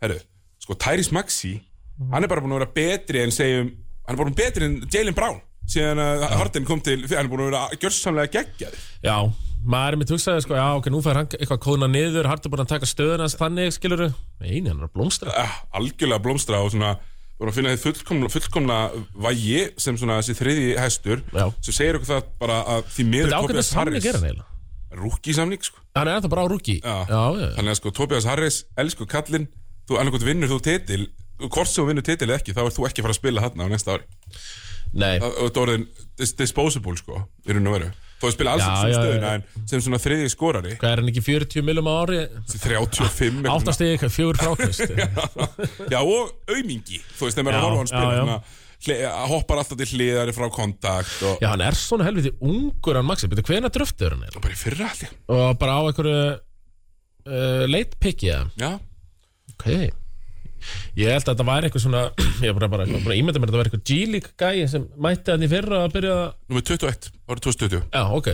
S1: herru, sko Tyrese Maxey
S2: Mhm.
S1: hann er bara búin að vera betri en segjum hann er bara búin betri en Jalen Brown síðan að Harden kom til, hann er búin að vera gjörsamlega geggjaði
S2: Já, maður er mitt hugsaði sko Já, ok, nú fær hann eitthvað kóðna niður Hardur búin að taka stöðun hans þannig, skilurðu Einu, hann er að blómstra
S1: uh, algjörlega blómstra og svona voru að finna þið fullkomna, fullkomna vægi sem svona þessi þriði hestur
S2: Já.
S1: sem segir okkur það bara að því miður
S2: Þetta ágætið samning er hann eiginlega
S1: rúki samning sko.
S2: Hann er ennþá bara á rúki
S1: Já.
S2: já, já,
S1: þannig að sko Tobias Harris, elsku kallinn þú annarkot vinnur þú titil hvort sem hún vinnur titil eða ekki þá ert þú ekki að fara að spila hann á næsta ári
S2: Nei,
S1: Það þú ert orðin dis disposable sko í raun og veru Þú ert að spila alls
S2: Já,
S1: ekki sem
S2: já,
S1: stöðuna
S2: já.
S1: en sem svona þriði skorari
S2: hvað er hann ekki 40 milum á ári?
S1: 35 eitthvað.
S2: Áttastegi, eitthvað, fjögur frákvist
S1: Já og aumingi Þú veist þeim er að
S2: Já,
S1: horfa á hann spila
S2: já, já.
S1: svona, hle, Hoppar alltaf til hliðari frá kontakt og
S2: Já, hann er svona helviti ungur hann Maxi, betur hvena dröftur hann er
S1: bara í fyrra allir
S2: og bara á einhverju uh, late picki eða?
S1: Já,
S2: ok ég held að þetta væri eitthvað svona ég er bara, bara, bara, bara ímynda mér að þetta væri eitthvað G-League gæi sem mætti hann í fyrra að byrja að
S1: nummer 21 árið 2020
S2: já, ok,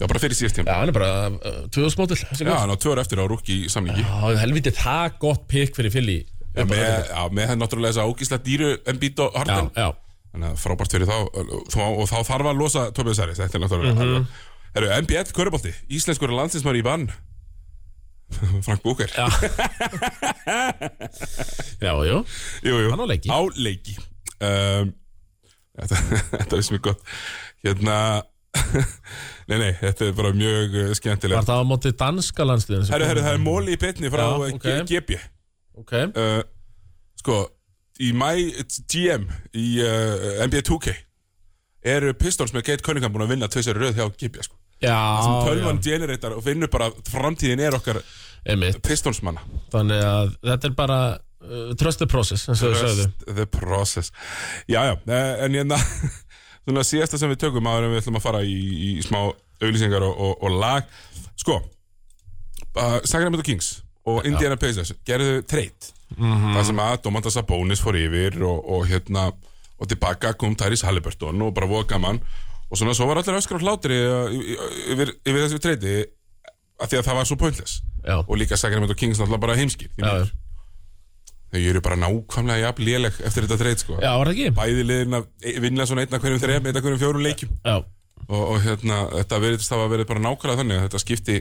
S1: Já, bara fyrir síðast tíma
S2: já, hann er bara uh, tvöðsmótil
S1: Já,
S2: já,
S1: hann á tvö ára eftir á rúki í samlingi
S2: helviti það gott pikk fyrir Fili
S1: Já, með, já, með það náttúrulega þess að ógísla dýru Embiid og
S2: já,
S1: Harden
S2: já,
S1: Þannig að frábært fyrir þá þó, og þá þarf að losa Tobias Harris Þetta er náttúrulega mm
S2: Mhm.
S1: -hmm. Herru, NBL Körubolti, íslenskur landsinsmar í vann Frank Búker
S2: já já, jú
S1: Jú, jú,
S2: Hann á leiki.
S1: Á leiki um, Þetta, þetta er mjög gott Hérna Nei, nei, þetta er bara mjög uh, skemmtilega
S2: var það á móti danska landsliðin
S1: Herru, herru, það er móli í betni frá eh,
S2: Já,
S1: já,
S2: ok.
S1: GB
S2: ok,
S1: uh, Sko, í mæ GM í uh, NBA 2K eru Pistons með Kate Cunningham búin að vinna tveisar í röð hjá GB sko.
S2: já,
S1: sem
S2: já
S1: tölvan generator og finnur bara að framtíðin er okkar
S2: einmitt
S1: pistonsmanna
S2: Þannig að þetta er bara uh, trust the process, eins og þau sögðu
S1: Trust the process Jæja, eh, en hérna svona síðasta sem við tökum áður en við ætlum að fara í, í smá auglýsingar og, og, og lag Sko uh, Sacramento Kings og Indiana Pacers gerðu treyt
S2: Mhm.
S1: það sem að Domanda Sabonis fór yfir og, og hérna og tilbaka kom Tyrese Halliburton og bara voga gaman og svona svo var allir öskar og hlátri eh, y- y- yfir, yfir þessu treyti af því að það var svo pointless
S2: Já,
S1: og líka Sacramento Kings náttúrulega bara heimskir því
S2: já,
S1: miður. Þau eru bara nákvæmlega jafn léleg eftir þetta treyt sko.
S2: já, var það ekki?
S1: Bæði liðin að e- vinna svona einna hverjum þreim, einna hverjum fjórum leikjum
S2: Já,
S1: og, og hérna, þetta verðist hafa verið bara nákvæmlega þannig að þetta skipti,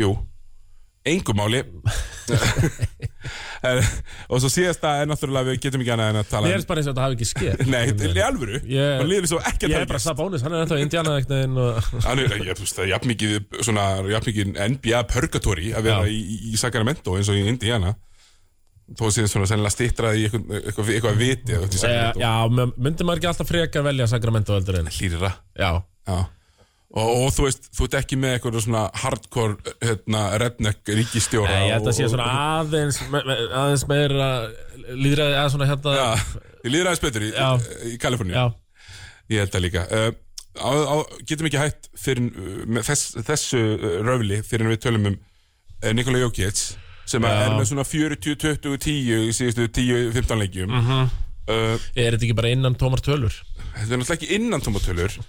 S1: jú engum máli En- og svo síðasta er náttúrulega við getum ekki annað en að tala um-
S2: ég er bara eins og þetta hafi ekki skeð
S1: Nei, til í alvöru
S2: Ég-
S1: og liður svo ekki
S2: Ég
S1: að
S2: er bara Sabonis, hann er ennþá í Indiana eignin og...
S1: Hann er, ég, þú veist, það er jafn mikið, svona, jafn mikið NBA purgatory að vera
S2: Já.
S1: í, í- í Sacramento eins og í Indiana þó að síðan svona sennilega stittra í eitthvað, eitthvað, eitthvað viti eða þú veist, í
S2: Eh,
S1: Sacramento
S2: Já, men- myndi maður ekki alltaf frekar velja Sacramento heldur en
S1: hlýra
S2: Já,
S1: Já Og, og þú veist, þú ert ekki með eitthvað svona hardcore, hérna, redneck ríkistjóra
S2: Nei, ég
S1: og-
S2: held að sé svona aðeins me- me- aðeins meira líðræði aðeins svona hérna
S1: Já, Ég líður aðeins betur í,
S2: Já.
S1: í Kaliforníu
S2: já,
S1: Ég held það líka uh, á, á, Getum ekki hætt fyrir, með þess, þessu uh, röfli fyrir en við tölum um uh, Nikola Jokic sem
S2: Já.
S1: er með svona 40, 20, 10 í síðustu 10-15 leikjum
S2: Mhm.
S1: uh,
S2: Er þetta ekki bara innan tómar tölur?
S1: Þetta er náttúrulega ekki innan tómatölur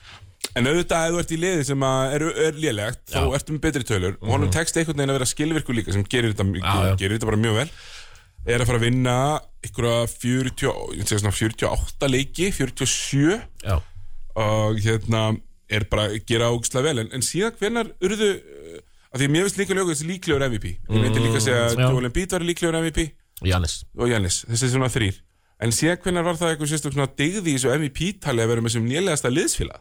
S1: En auðvitað ef þú ert í liði sem að er, er lélegt þá
S2: Já. Mhm.
S1: ertu með betri tölur og honum tekst einhvern veginn að vera skilvirkur líka sem gerir þetta,
S2: Já, já.
S1: Gerir þetta bara mjög vel er að fara að vinna einhverja 40, ég segi svona 48 leiki 47
S2: Já,
S1: og hérna er bara að gera ógislega vel en, en síðan hvernar urðu uh, að því að mér finnst líka ljókast líklegur MVP ég myndi líka að segja að
S2: Mm. já.
S1: Joel Embiid var líklegur MVP
S2: Jannis
S1: og Jannis, þessi er svona þrýr en síðan hvernig var það eitthvað sérstök svona digði í þessu MVP-tali að vera með sem nýlegasta liðsfélag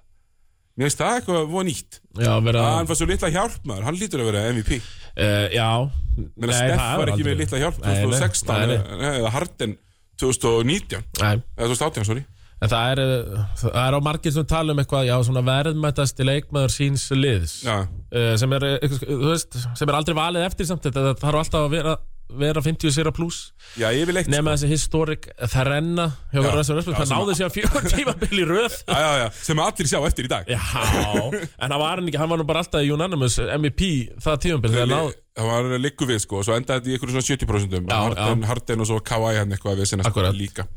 S1: mér finnst það eitthvað von nýtt
S2: Já, vera
S1: að hann var svo litla hjálp maður, hann lítur að vera MVP
S2: eh, Já
S1: menn að
S2: Nei,
S1: Steff
S2: það er
S1: var ekki
S2: aldrei-
S1: með litla hjálp
S2: Nei, nei,
S1: 2016
S2: nei, nei.
S1: eða- nei, eða Harden 2019
S2: Nei,
S1: eða 2018, sorry
S2: En það er, uh, það er á margir sem tala um eitthvað, já, svona verðmættasti leikmaður síns liðs
S1: Já,
S2: uh, sem, er, eh, þú veist, sem er aldrei valið eftir samt þetta það þarf alltaf að vera, vera 50 sér að pluss
S1: já yfirleitt
S2: nema þessi historik þrenna hjá
S1: Já,
S2: Russell
S1: já,
S2: Westbrook, það
S1: sem-
S2: náði sér að fjóra tímabil í röð
S1: já, já, já, sem allir sjá eftir í dag
S2: Já, en það var hann ekki, hann var nú bara alltaf í unanimous MVP það tímabil þegar náði,
S1: það var liggu við sko og svo endaði þetta í einhverjum svona 70%
S2: Já,
S1: Harden, Harden og svo Kawhi hann eitthvað við sinnast
S2: Akkurat.
S1: líka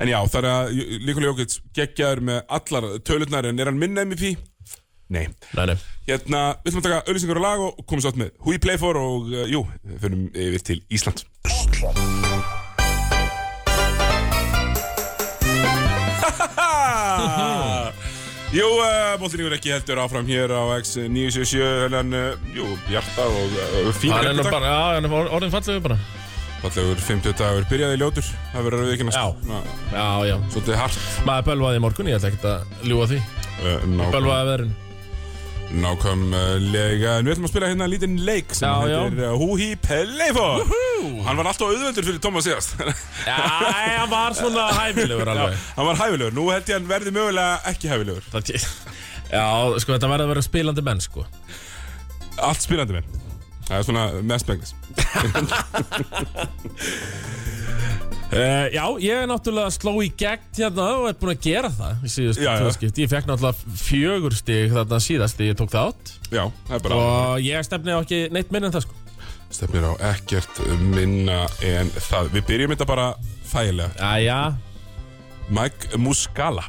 S1: en já þar að Líkula Jókits geggjaður með allar tölurnar en er hann minna MVP? Nei
S2: nei, nei,
S1: hérna við ætlum að taka öllisingur og lag og komum svo átt með Who You Play For og uh, jú við fyrir yfir til Ísland Hahaha Jú, uh, bóltinningur ekki heldur áfram hér á X977, hennan, uh, jú, Bjarta og uh, fína
S2: hann er nú
S1: dag.
S2: bara, já, hann er or- orðin fallegu bara
S1: Fallegur 50 dagur, byrjaði í ljótur Það verður að viðkynast
S2: Já.
S1: Ná,
S2: Já, já,
S1: Svolítið hart
S2: maður bölvaði í morgun, ég ætla ekkert að ljúa því
S1: uh, ná,
S2: Bölvaði veðrun,
S1: Nákvæmlega, en við ætlum að spila hérna lítinn leik sem
S2: Já, já.
S1: heitir uh, Húhi Pelleyfon Hann var alltaf auðveldur fyrir Thomas síðast
S2: Já, hann var svona hæfilegur alveg
S1: Hann var hæfilegur, nú held ég hann verði mögulega ekki hæfilegur
S2: Það, já, sko þetta verður að vera spilandi menn sko
S1: Allt spilandi minn Það er svona mest megnis
S2: uh, Já, ég er náttúrulega að sló í gegn hérna og er búin að gera það í síðustu
S1: Já, já.
S2: tvöskipt Ég fekk náttúrulega fjögur stig þarna síðast þegar ég tók það átt
S1: Já, það er bara
S2: og ég stefni á ekki neitt minn en það sko
S1: Stefnir á ekkert minna en það Við byrjum þetta bara þægilega
S2: Jæja,
S1: Mike Muscala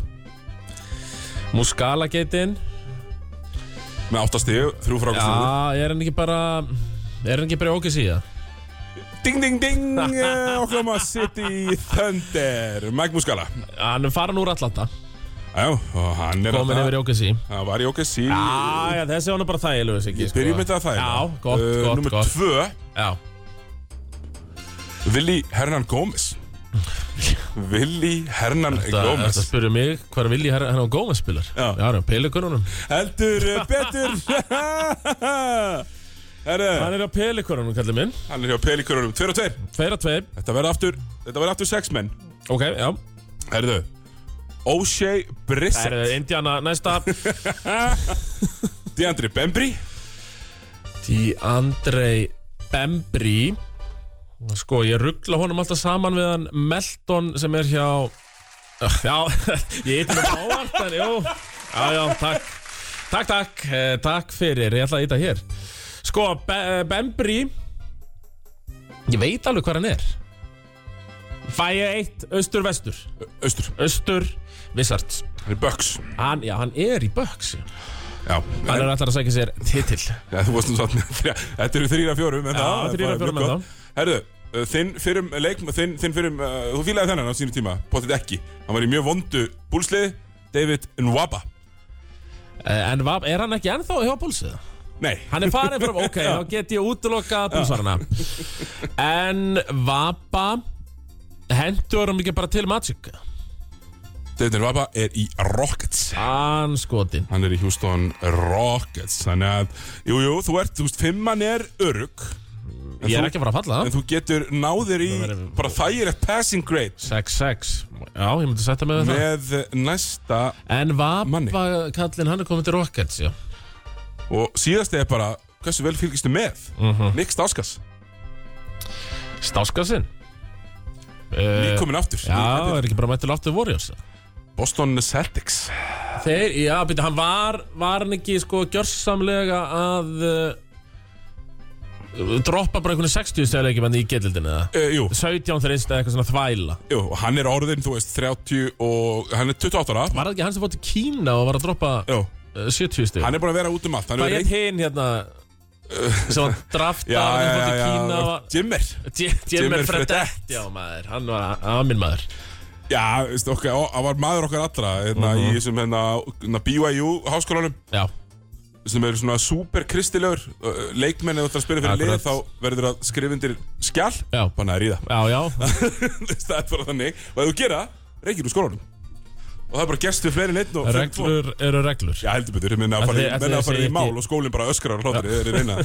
S2: Muscala geitin
S1: með 8 stíu, 3 frá okkur
S2: Já, er hann ekki bara er hann ekki bara okkar síða
S1: Ding, ding, ding eh, Oklahoma City Thunder Mike Muscala
S2: Hann er farin úr allata,
S1: Já, og hann er
S2: komin yfir í okkar síða
S1: Það var í OKC
S2: Já, já, þessi hann er bara þægilegur Siggi,
S1: Ég byrjum þetta að þægla
S2: sko. Já, gott, gott,
S1: Númer
S2: gott.
S1: tvö
S2: Já,
S1: Willi Hernan Gómez Willi Hernan
S2: það er að
S1: Gómez
S2: spyrja mig hvar vil ég hérna á Gómez spilar
S1: Já.
S2: Já, hann er á pelikununum
S1: Heldur eh, betur Herre,
S2: Hann er á pelikununum, kallir minn
S1: hann er hjá Pelikurunum 2 og 2
S2: Tveir og tveir
S1: Þetta verður aftur Þetta verður aftur 6 menn
S2: Ok, já
S1: Herðu O'Shea
S2: Það
S1: Brissett
S2: er Indiana næsta
S1: Deandre Bembry
S2: Því Andrei Bembri Sko, ég ruggla honum alltaf saman við hann Melton sem er hjá Ugh, Já, ég eitthvað ávart en jú Já, já, takk Takk, takk, eh, takk fyrir Ég ætla að eitthvað hér Sko, Be Bembri Ég veit alveg hvað hann er Fæ ég eitt austur-vestur
S1: Östur
S2: Austur, Vissarts
S1: Hann er Bucks
S2: hann, Já, hann er í Bucks já.
S1: Já
S2: Hann er alltaf að sækja sér titill
S1: Ja, þú varst nú satt með þrjá, þetta eru þrýra fjórum en
S2: Já,
S1: það er
S2: þrír af
S1: bara
S2: fjórum
S1: mjög
S2: en
S1: gott. Herðu, uh, þinn fyrrum leik, þinn, þinn fyrrum, uh, þú fílaði þennan á sínu tíma, potið ekki. Hann var í mjög vondu búlsliði, David Nwaba.
S2: Eh, En va- er hann ekki ennþá hjá Búlsið?
S1: Nei,
S2: Hann er farin fram, ok, þá get ég útlokað Búlsarana En Vapa Hendur hann ekki bara til Magic
S1: David Nwaba er í Rockets.
S2: Hann skotin
S1: Hann er í Houston Rockets, þannig að, jú, jú, þú ert, þú veist, fimmann er örug,
S2: Ég
S1: þú-
S2: er ekki að fara að falla
S1: en
S2: það
S1: þú getur náðir í
S2: verður-
S1: bara þægilegt passing grade
S2: 6-6 Já, ég myndi setja mig við það
S1: með næsta
S2: En
S1: Manni.
S2: Vapa kallinn, hann er komið til Rockets, já
S1: og síðast er bara, hversu vel fylgistu með? Uh
S2: Mhm.
S1: -huh. Nick Stauskas,
S2: Stáskasinn uh,
S1: nýkominn aftur.
S2: Já, er ekki bara mættil aftur Warriors
S1: Boston Celtics.
S2: Þeir, já, byrja, hann var, var hann ekki sko gjörsamlega að uh, droppa bara einhvern 60 stæðleikjum en í getildinu eða
S1: Uh, jú,
S2: 17 þeir eða eitthvað svona þvæla
S1: jú, og hann er orðin, þú veist, 30 og hann er 28 ára
S2: Var það ekki hann sem fótt til Kína og var að droppa
S1: Jú,
S2: uh, 70 stæð
S1: hann er búin að vera út um allt Hann
S2: Hvað
S1: er
S2: er hinn hérna sem var draftað
S1: Já,
S2: hann
S1: já,
S2: fótt til
S1: já,
S2: Kína
S1: já,
S2: og
S1: Jimmer Jimmer
S2: Jimmer Fredett Já maður, hann var amin maður
S1: Já, veist, okkar, ó, hann var maður okkar allra hérna,
S2: Mhm.
S1: í þessum hérna, hérna, BYU háskólanum
S2: Já,
S1: sem eru svona super kristilegur leikmenn eða þú ætlar að spila fyrir
S2: Akkurat.
S1: lið þá verður að skrifa undir skjall
S2: Já.
S1: banna að ríða
S2: já, já
S1: það er bara þannig og ef þú gera, reykir úr skólanum og það er bara gerst við fleiri neitt og
S2: Reglur eru reglur
S1: Já, heldur betur, menna að
S2: Ætli-
S1: fara,
S2: ætli
S1: menna að
S2: þeir
S1: fara
S2: segi
S1: í
S2: ekki-
S1: mál og skólinn bara öskrar og hláttir, þeir eru reyna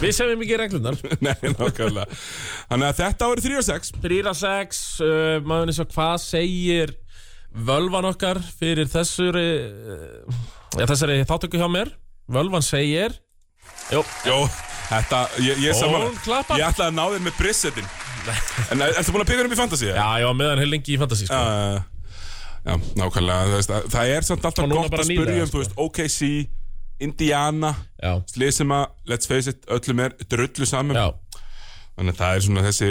S2: Við semjum ekki reglunar
S1: Nei, nákvæmlega Þannig að þetta var 3 og 6
S2: 3 að 6 uh, maður eins og hvað segir völvan okkar fyrir þessari uh, ja, þessari þáttöku hjá mér völvan segir Jó,
S1: Jó, þetta, ég, ég saman
S2: Ó, klappar.
S1: Ég ætlaði að ná þér með brissetin En er- ertu búin að byggja hann upp í fantasy?
S2: já, já, meðan hefur lengi í fantasy sko.
S1: Uh, já, nákvæmlega það, það, það er samt
S2: Og
S1: alltaf
S2: núna
S1: gott
S2: bara
S1: að
S2: nýlega,
S1: spyrja um,
S2: sko.
S1: þú veist, OKC Indiana,
S2: já,
S1: slið sem að Let's face it, öllum er drullu saman
S2: já,
S1: Þannig að það er svona þessi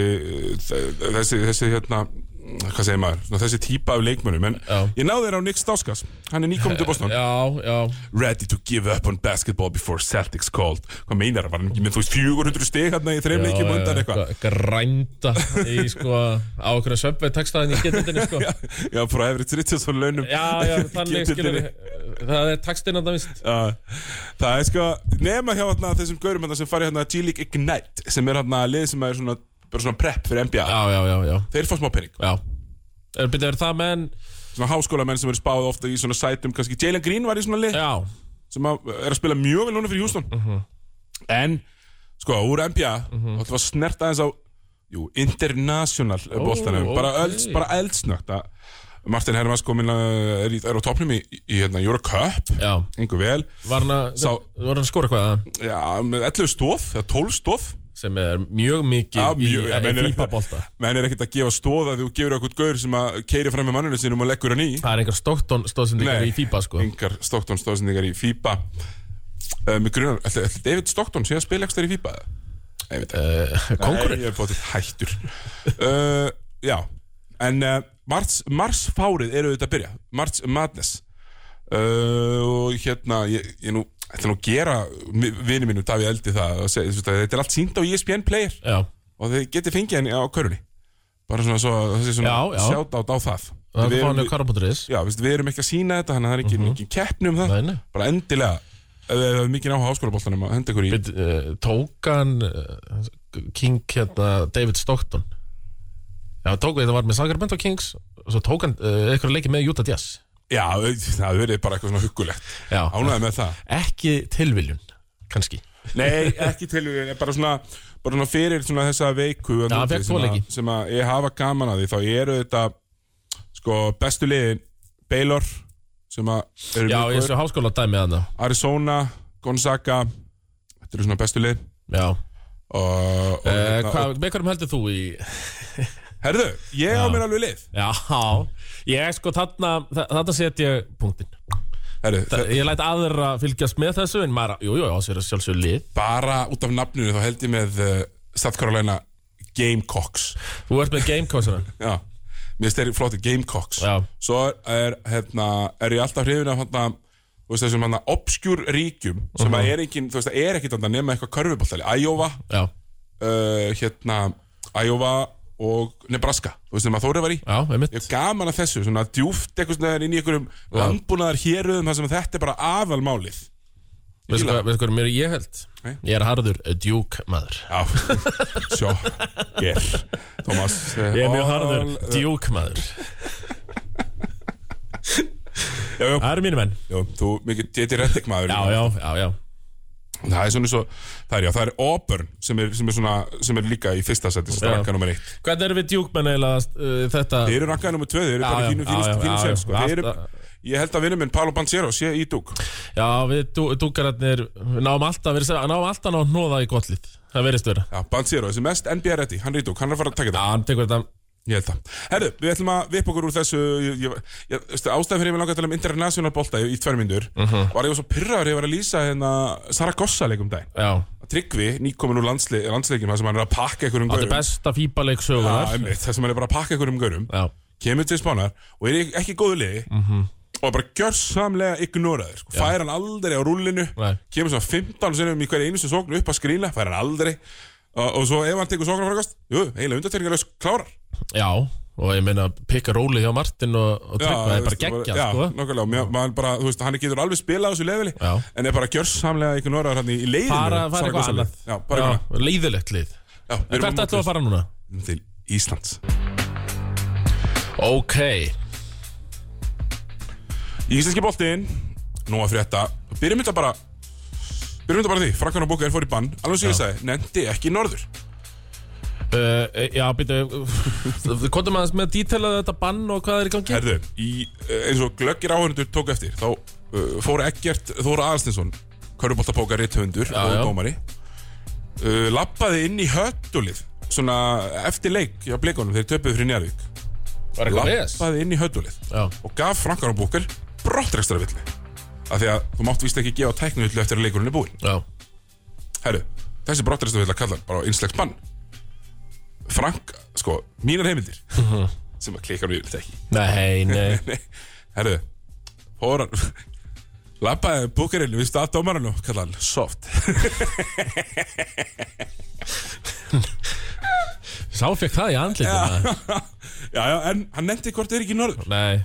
S1: uh, Þessi, þessi hérna Hvað segir maður? Svona þessi típa af leikmönnum En
S2: Já.
S1: ég náði þér á Nick Stauskas Hann er nýkominn til Boston
S2: já, já
S1: ready to give up on basketball before Celtics called hvað meinar það, var hann ekki með þú veist 400 stig hérna í þreim leikjum
S2: Já,
S1: undan
S2: já,
S1: eitthvað
S2: grænda í sko á okkur söpvei textaðin í getildinni sko
S1: já, frá Everett Richardson launum
S2: já, já, þannig skilur
S1: Getildinni.
S2: það er textin að það vist
S1: Já. það er sko nema hjá hérna, þessum gaurum hérna, sem fari hérna G-League Ignite sem er hérna lið sem er svona, bara svona prep fyrir NBA
S2: já, já, já, já,
S1: þeir fá smá pening
S2: já. Er, byrja, er það menn
S1: svona háskólamenn sem eru spáð ofta í svona sætum kannski Jalen Green var í svona lið
S2: já,
S1: sem að, er að spila mjög vel núna fyrir Houston
S2: Mhm.
S1: en sko úr NBA mm -hmm. ætlum við að snerta aðeins á jú, international oh, boltanum bara,
S2: ok.
S1: elds, bara eldsnögt að Martin Hermans komin að er, í- er á topnum í, í hérna, Eurocup
S2: Já,
S1: einhver vel,
S2: var hann að,
S1: Sá-
S2: var hann að skora eitthvað eða?
S1: já, með 11 stof eða 12 stof
S2: sem er mjög mikið
S1: Já, mjög-
S2: í,
S1: já, menn
S2: í
S1: er-
S2: fípabolta
S1: menn er ekkert að gefa stóð að þú gefur eitthvað gaur sem að keiri fram með mannunum sínum og leggur hann í
S2: Það er einhver stóktón stóðsendingar
S1: Nei.
S2: í fípa sko
S1: engar Stockton stóðsendingar í FIBA uh, mig grunar, ætli, ætli David Stockton sé að spila ekstra í FIBA eða? Nei, ég veit ekki.
S2: uh, Kongurinn
S1: Nei, ég er bótið hættur uh, já, en uh, mars, marsfárið eru auðvitað að byrja Mars Madness uh, og hérna ég, ég nú ætla nú að gera mi- vini mínum Davíð Eldi það og seg, þú veist að þetta er allt sínt á E ESPN player
S2: Já,
S1: og þið getið fengið henni á körunni bara svona, svo, þessi svona
S2: Já, já.
S1: sjátt á það
S2: það er
S1: Við
S2: að fá
S1: erum-
S2: hann í karabóturis
S1: já, veist, við erum ekki að sína þetta þannig að það er ekki mm -hmm. keppni um það
S2: Mhm. Nei, nei.
S1: bara endilega ef þið hefur mikið áhuga á háskólaboltanum að henda ykkur í
S2: Bit, uh, Tókan uh, King hérna David Stockton Já, tók þetta var með Sacramento Kings og svo tók hann uh, eitthvað leikið með Utah Jazz
S1: já, það verið bara eitthvað svona huggulegt
S2: Já,
S1: ánægði með það
S2: ekki tilviljun kannski
S1: nei, ekki til en bara svona, bara svona fyrir svona þessa veiku að
S2: Já,
S1: núti
S2: fékk
S1: sem,
S2: tvo
S1: að,
S2: leiki.
S1: sem að ég hafa gaman að því þá eru þetta sko bestu liðin Baylor sem að eru
S2: Já,
S1: mjög
S2: ég
S1: góðir,
S2: sé háskóla dæmið hann
S1: Arizona, Gonzaga þetta eru svona bestu lið
S2: Já,
S1: og, og,
S2: uh,
S1: hérna,
S2: hvað, með hverjum heldur þú í
S1: og herðu, ég á mér alveg lið
S2: Já, ég sko þarna þa- þarna set ég punktin
S1: herðu,
S2: Þa- Ég læt aðra fylgjast með þessu en maður, jú, jú, það er sjálfsögur lið
S1: bara út af nafninu þá held ég með uh, South Carolina Gamecocks
S2: Þú ert með Gamecocks
S1: já, mér styrir flotti Gamecocks
S2: Já,
S1: svo er, hérna, er ég alltaf hrifin af hérna, þú veist, þessum hérna obskjúr ríkjum sem að er engin, þú veist, það er ekkit þarna nema eitthvað körfuboltali, Iowa
S2: já,
S1: uh, hérna, Iowa og Nebraska, þú veist, sem að Þóri var í
S2: já, einmitt
S1: ég hef gaman að þessu, svona djúft eitthvað svona inn í einhverjum landbúnaðar héruðum þar sem þetta er bara aðalmálið
S2: Veistu
S1: fíla
S2: hvað, veistu hvað mér ég held?
S1: Nei.
S2: Ég er harður eh, djúk maður
S1: Já, sjó, ger Thomas eh,
S2: Ég er mjög
S1: all-
S2: harður djúk maður
S1: Já, já,
S2: Það eru mínu menn
S1: já, þú mikið Titi Rettig maður
S2: Já, já, já, já
S1: Það er svona svo, það er já, það er Auburn sem er, sem er svona, sem er líka í fyrsta seti sem
S2: Já.
S1: rakkar nummer eitt
S2: Hvernig erum við djúk menn eiginlega uh, þetta
S1: Þeir eru rakkar nummer tvö, þeir eru
S2: Já,
S1: bara
S2: já,
S1: þínu,
S2: já, já,
S1: þínu, þínu
S2: já,
S1: sér
S2: já.
S1: sko. Þeir eru,
S2: Alltaf-
S1: ég held að vinnu minn Pálo Banzero sé í dúk
S2: Já, við dú, dúkararnir við náum alltaf, við náum alltaf að ná hnoða í gottlið Það verðist vera
S1: Já, Banzero, þessi mest NBA ready, hann er í dúk, hann er að fara að taka
S2: Já,
S1: þetta
S2: hann tekur þetta
S1: Ég held það Herðu, við ætlum að vipa okkur úr þessu ég, ég, ég, veistu, Ástæðan fyrir ég vil langa að tala um international bolta í, í tvær myndur
S2: Mhm.
S1: Var ég var svo pyrraður, ég var að lýsa hérna Saragossa leikum dag
S2: Já,
S1: Tryggvi, nýkomin úr landsle landsleikjum þar sem hann er að pakka einhverjum
S2: þetta er
S1: gaurum
S2: besta fíbaleik
S1: Já,
S2: sögunar
S1: einmitt, þar sem hann er bara að pakka einhverjum gaurum
S2: Já,
S1: kemur til spánar og er ekki í góðu liði
S2: Mhm.
S1: -hmm. og bara gjörsamlega ignoraður sko. fær hann aldrei á rúllinu
S2: Nei.
S1: kemur svo 15 sinnum í hverju einustu sóknu upp að skrína fær hann aldrei og, og svo ef hann tekur sóknu frákast jú, eiginlega undartekningar klárar
S2: já Og ég meina, pikka róli hjá Martin og, og tryggva, það er bara geggjað,
S1: já,
S2: sko
S1: nokkulega, mér, maður bara, þú veist, hann getur alveg spilað á þessu leveli
S2: Já.
S1: en er bara gjörsamlega ignoraður hann í, í leiðinu
S2: Fara, fara eitthvað
S1: Saragossa-lið.
S2: annað
S1: já, bara eitthvað
S2: Já, Leiðilegt lið
S1: Já, við
S2: En
S1: erum
S2: hvert ætlum við að fara núna?
S1: móti- til Íslands
S2: Ok, uh,
S1: Íslenski boltinn Nú að frétta Byrjum þetta bara Byrjum þetta bara á því Frankan og Booker fór í bann Alveg sem ég sagði Nendi ekki norður
S2: uh, já, byrju Kondum aðeins með dítelaði þetta bann og hvað er í gangi?
S1: Herðu í, eh, Eins og glöggir áhörundur tók eftir Þá uh, fór Eggert Þóra Aðalstinsson Köruboltapóka rithundur
S2: Já,
S1: Og
S2: já.
S1: dómari uh, Lappaði inn í höttulið Svona eftir leik Já, bleikunum Þeir töpuðu fyrir Njarvík
S2: Var eitthvað ves?
S1: Lappaði inn í höttulið
S2: Já,
S1: Og gaf Frankan og Booker Brottrekstra villi Af því að þú mátt víst ekki gefa tæknihullu eftir að leikurinn er búinn
S2: já,
S1: Herru, þessi brottaristu vilja kalla hann bara á einslegs bann Frank, sko, mínar heimildir sem að klika hann yfir ekki
S2: nei, nei
S1: Herru, hóra Lappaði búkerinn við stað dómarann og kalla hann soft
S2: Sá fekk það í andlítið
S1: Já, já, en hann nefndi hvort er ekki norður
S2: Nei,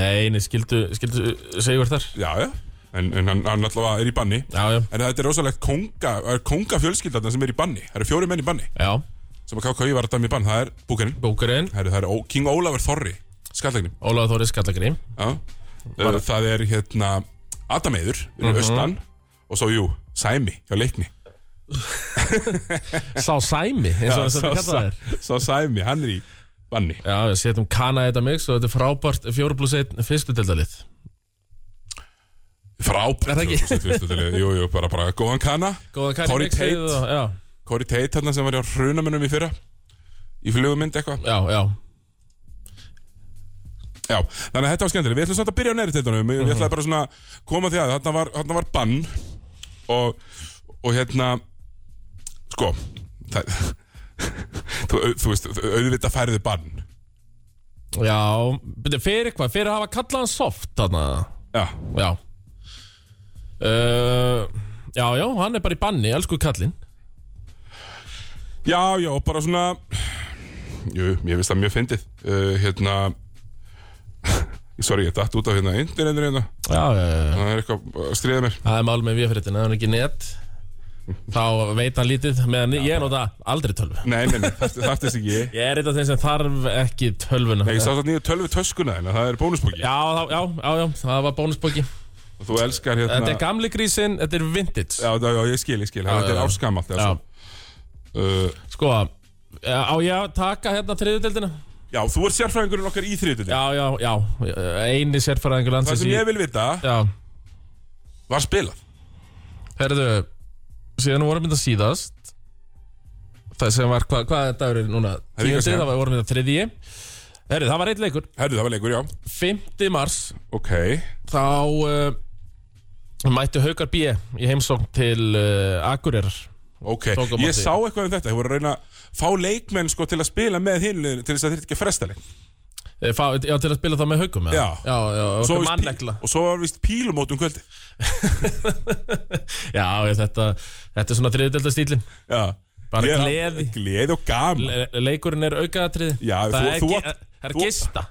S2: nei, nei, skildu, skildu Sigur þar
S1: Já, já, en, en hann, hann allavega er í banni
S2: Já, já,
S1: En þetta er rosalegt konga, er konga fjölskyldarna sem er í banni Það eru fjóri menn í banni
S2: já,
S1: sem að KKI var að dæmi í bann, það er búkerinn
S2: bókurinn
S1: Herru, það er Ó- King Ólafur Þorri, skallegnin
S2: Ólaður Þóri Skallagrím
S1: Já, það er Eh, hérna Adam Eyður fyrir
S2: Mhm.
S1: austan og svo jú, Sæmi hjá leikni
S2: Sá Sæmi, eins og
S1: Sá-
S2: þess að þetta kalla
S1: sá-
S2: þær
S1: sá Sæmi, hann er í banni
S2: Já, við setjum kana í þetta mix og þetta er frábært 4 plus 1 fyrstu deildalið Er
S1: frábært
S2: það ekki?
S1: 2021 til- jú, jú, bara, bara góðan kana
S2: Góða kæri
S1: Corey
S2: mixið
S1: Tate.
S2: og, Já,
S1: Corey Tate hann sem var hjá hrunamönnum í fyrra í flugumynd eitthvað
S2: já, já
S1: já, þannig að þetta var skemmtileg við ætlum samt að byrja á neðri teitunum við
S2: Mhm.
S1: ætlum bara svona koma því að þarna var, þarna var bann og, og hérna sko það, þú, þú veist, auðvitað færðu bann
S2: Já, byrja, fyrir hvað? Fyrir að hafa kallað hann soft þarna
S1: já,
S2: Já uh, Já, já, hann er bara í banni, elsku kallinn
S1: já, já, og bara svona jú, ég veist það mjög fyndið uh, hérna sorry, ég datt út af hérna internetinu hérna,
S2: Já, já, já, já
S1: það er eitthvað að stríða mér
S2: Það er mál með viðfyrirtin, ef hann er ekki net Þá veit hann lítið meðan ég nota aldrei tölvu
S1: nei, nei, nei, það er þess ekki ég
S2: Ég er eitthvað þeim sem þarf ekki tölvuna
S1: Nei, ég sá þetta nýja tölvi töskuna þína, það er bónusbóki
S2: Já, þá- já, já, já, það var bónusbóki
S1: Þú elskar hérna
S2: Þetta er gamli grísin, þetta er vintage
S1: já, já, já, ég skil, ég skil, þetta er
S2: já.
S1: áskamalt
S2: Já,
S1: já. Uh,
S2: sko Á ég að taka hérna þriðudeldina?
S1: já, þú er sérfræðingurinn okkar í þriðutinni
S2: Já, já, já, eini sérfæraðingur
S1: Það
S2: landsins
S1: sem
S2: í-
S1: ég vil vita,
S2: Já,
S1: var spilað
S2: herðu Síðan við vorum þetta síðast Það sem var, hvað hva er dagurinn núna?
S1: er líka
S2: Tíundi,
S1: síðan.
S2: það var, vorum þetta þriðji Herðu, það var eitt leikur
S1: Herðu, það var leikur, já
S2: 5. mars
S1: Ok,
S2: Þá uh, mættu Haukar B í heimsókn til uh, Akureyrar
S1: ok
S2: Tókum á
S1: Ég
S2: því.
S1: sá eitthvað um þetta, ég voru að reyna að fá leikmenn sko til að spila með hinn liðinu til þess að þetta ekki fresta leik
S2: Eh, fá- Já, til að spila það með haugum
S1: Já.
S2: já, já
S1: Svo var víst
S2: okkur
S1: pí-
S2: mannlegla
S1: Og svo var vist pílumót um kvöldi
S2: Já, ég, þetta, þetta er svona þriðudelda stílin
S1: Já
S2: Bara
S1: Ég-
S2: gleði.
S1: Gleði og gaman
S2: Leikurinn er aukaðatrið
S1: Já,
S2: það
S1: þú-
S2: er,
S1: þú
S2: gi-
S1: átt-
S2: það er
S1: þú-
S2: gista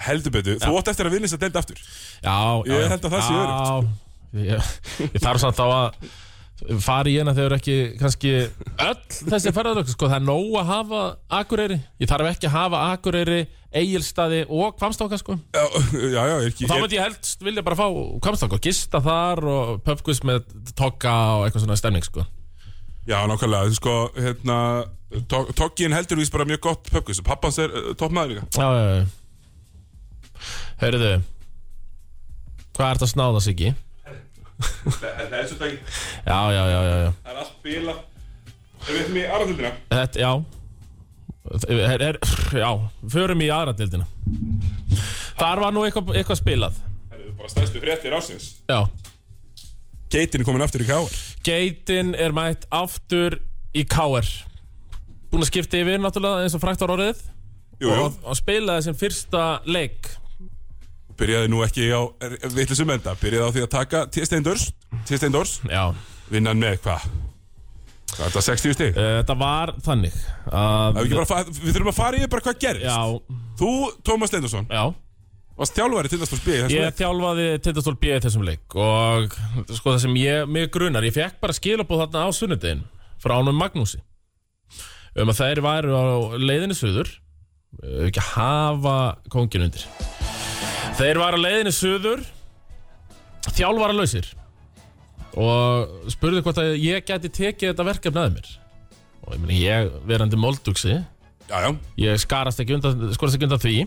S1: Heldur betur, þú átt eftir að vinna þess að delda aftur
S2: Já, já,
S1: Ég
S2: já.
S1: held að það sé sko.
S2: Já, ég, ég þarf samt þá að fara í hérna þegar ekki kannski öll þessi ferðarlöku sko, það er nóg að hafa Akureyri, ég þarf ekki að hafa Akureyri Egilstaði og Kvamstóka sko og
S1: Já, já, já, er ekki
S2: þá
S1: er-
S2: myndi ég helst vilja bara fá Kvamstóka og gista þar og pubquiz með tokka og eitthvað svona stemning sko
S1: Já, nákvæmlega, þú sko, hérna Tog- Toggin heldur vís bara mjög gott pöpkus Pappans er uh, toppmaður líka
S2: Já, já, já Hörðu Hvað ert að snáða sig í?
S1: Það er svo daginn,
S2: Já, já, já, já, já
S1: það er allt bila Við veitum í aðrandildina
S2: Þetta, já er, er, Já, förum í aðra dildina Þar var nú eitthvað, eitthvað spilað
S1: Það eru bara stærstu fréttir ásins
S2: Já
S1: Geitin er komin aftur í káar
S2: Geitin er mætt aftur í KR Búin að skipta yfir náttúrulega eins og frækt var orðið
S1: Jú, jú,
S2: og, og spilaði sem fyrsta leik
S1: byrjaði nú ekki á vitlisum um enda Byrjaði á því að taka T-Steindors T-Steindors,
S2: Já
S1: vinnan með hvað? Hvað er þetta, 60 stig?
S2: Eh, Þetta var þannig að
S1: Ef ekki bara fa- Við þurfum að fara í bara hvað gerist
S2: Já,
S1: Þú, Tómas Steindorsson,
S2: já
S1: varst þjálfari til þess að spila
S2: Ég þjálfaði Tindastól B í þessum leik og sko það sem ég, mig grunar, ég fekk bara skilabóð þarna á sunnudegin frá ánum Magnúsi um að þær væru á leiðinni suður eh, ekki að hafa kongin undir þeir væru á leiðinni suður þjálfara lausir og spurði hvort að ég gæti tekið þetta verkefni að mér og ég meni ég verandi moldugsi
S1: Já, já,
S2: Ég skarast ekki undan, skorast ekki undan því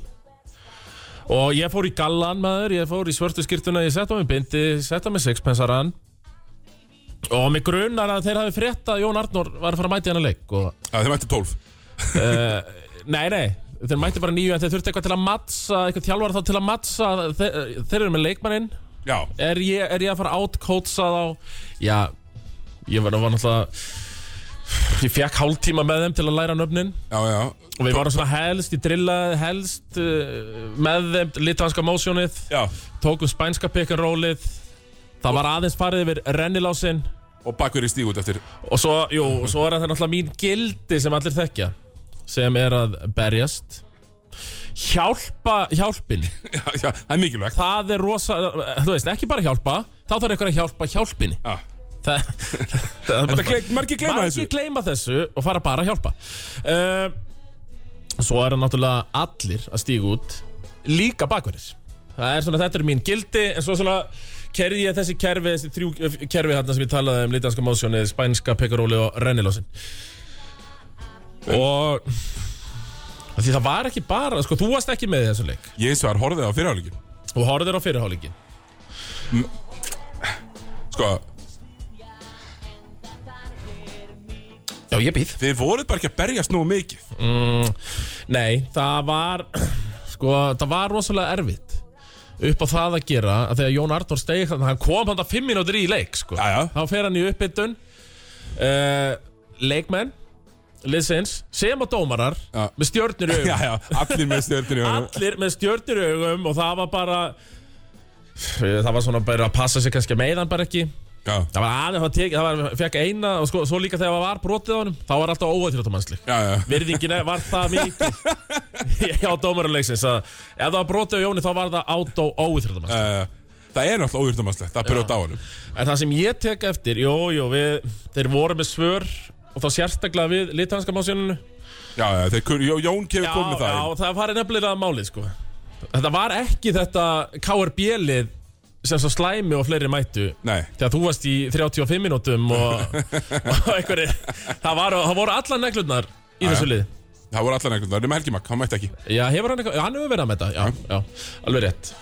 S2: Og ég fór í gallan maður Ég fór í svörtu skýrtuna Ég setta á mig bindi, setta á mig sixpensaran Og mig grunar að þeir hafi frétt að Jón Arnór var að fara að mæti hennar leik og,
S1: Já, þeim ætti 12
S2: Nei, nei, þeir mætti bara nýju En þeir þurfti eitthvað til að mattsa Eitthvað þjálfara þá til að mattsa þeir, þeir eru með leikmanninn
S1: Já,
S2: er ég, er ég að fara átkótsa þá Já, ég var, var náttúrulega Ég fekk hálftíma með þeim til að læra nöfnin
S1: já, já,
S2: Og við varum svona helst, ég drillaði helst uh, með þeim litvanska mósjónið,
S1: já.
S2: tókum spænska pick'n'rollið, það var aðeins farið yfir rennilásinn
S1: og bakverði stíg út eftir
S2: og svo, jú, og svo er það náttúrulega mín gildi sem allir þekkja, sem er að berjast. Hjálpa hjálpin,
S1: já, já, það er mikilvægt
S2: það er rosa, þú veist, ekki bara hjálpa, þá þarf eitthvað að hjálpa hjálpinni.
S1: já.
S2: Það, það er
S1: Þetta gle- margir gleyma þessu
S2: Margir gleyma þessu og fara bara að hjálpa uh, Svo eru náttúrulega allir að stíga út Líka bakverðir Það er svona, þetta er mín gildi En svo svona kerði ég þessi kerfi, þessi þrjú eh, kerfi hérna sem ég talaði um litanska mósjónið, spænska, pekaróli og rennilosin og af því það var ekki bara, sko, þú varst ekki með í þessum leik
S1: Ég eins og var horfið á fyrirháleikin
S2: og horfðir á fyrirháleikin
S1: Sko,
S2: Já, ég býð
S1: þið voruð bara ekki að berjast nógu mikið
S2: Mm, Nei, það var sko, það var rosalega erfitt upp á það að gera að þegar Jón Arnór steig þannig hann kom hann fimm mínútur í leik sko.
S1: Jæja.
S2: þá fer hann í uppbytun uh, leikmenn liðsins, sem og dómarar
S1: Já.
S2: með stjörnir í augum
S1: Já, já, allir með stjörnir í honum
S2: allir með stjörnir í augum og það var bara það var svona bara að passa sig kannski að meiðan bara ekki
S1: Já,
S2: það var aðeins að teka, það var, fekk eina og sko, svo líka þegar það var brotið á honum þá var alltaf óvættráttumannslik
S1: já, já
S2: virðingin var það mikið á dómaruleiksins að ef það var brotið á Jóni þá var það átó óýþröðum
S1: Eh, Það er náttúrulega óýrtamannslegt að brjóta á honum
S2: en það sem ég tek eftir, jú, jú, við, þeir voru með svör og þá sérstaklega við litanska másjóninu
S1: Já, já, þeir, kun- Jó- Jón kefur komið það
S2: já, það var nefnilega málið sko þetta var ekki þetta KRB-lið sem svo slæmi og fleiri mættu
S1: inn. Nei,
S2: þegar þú varst í 35 minútum og, og einhverju það, var, það voru allar neglurnar
S1: já.
S2: í þessu lið
S1: það voru allan einhvern veginn, nema Helgi Magg, hann mætti ekki
S2: Já, hefur hann eitthvað, já, hann hefur verið með þetta, já, já, alveg rétt.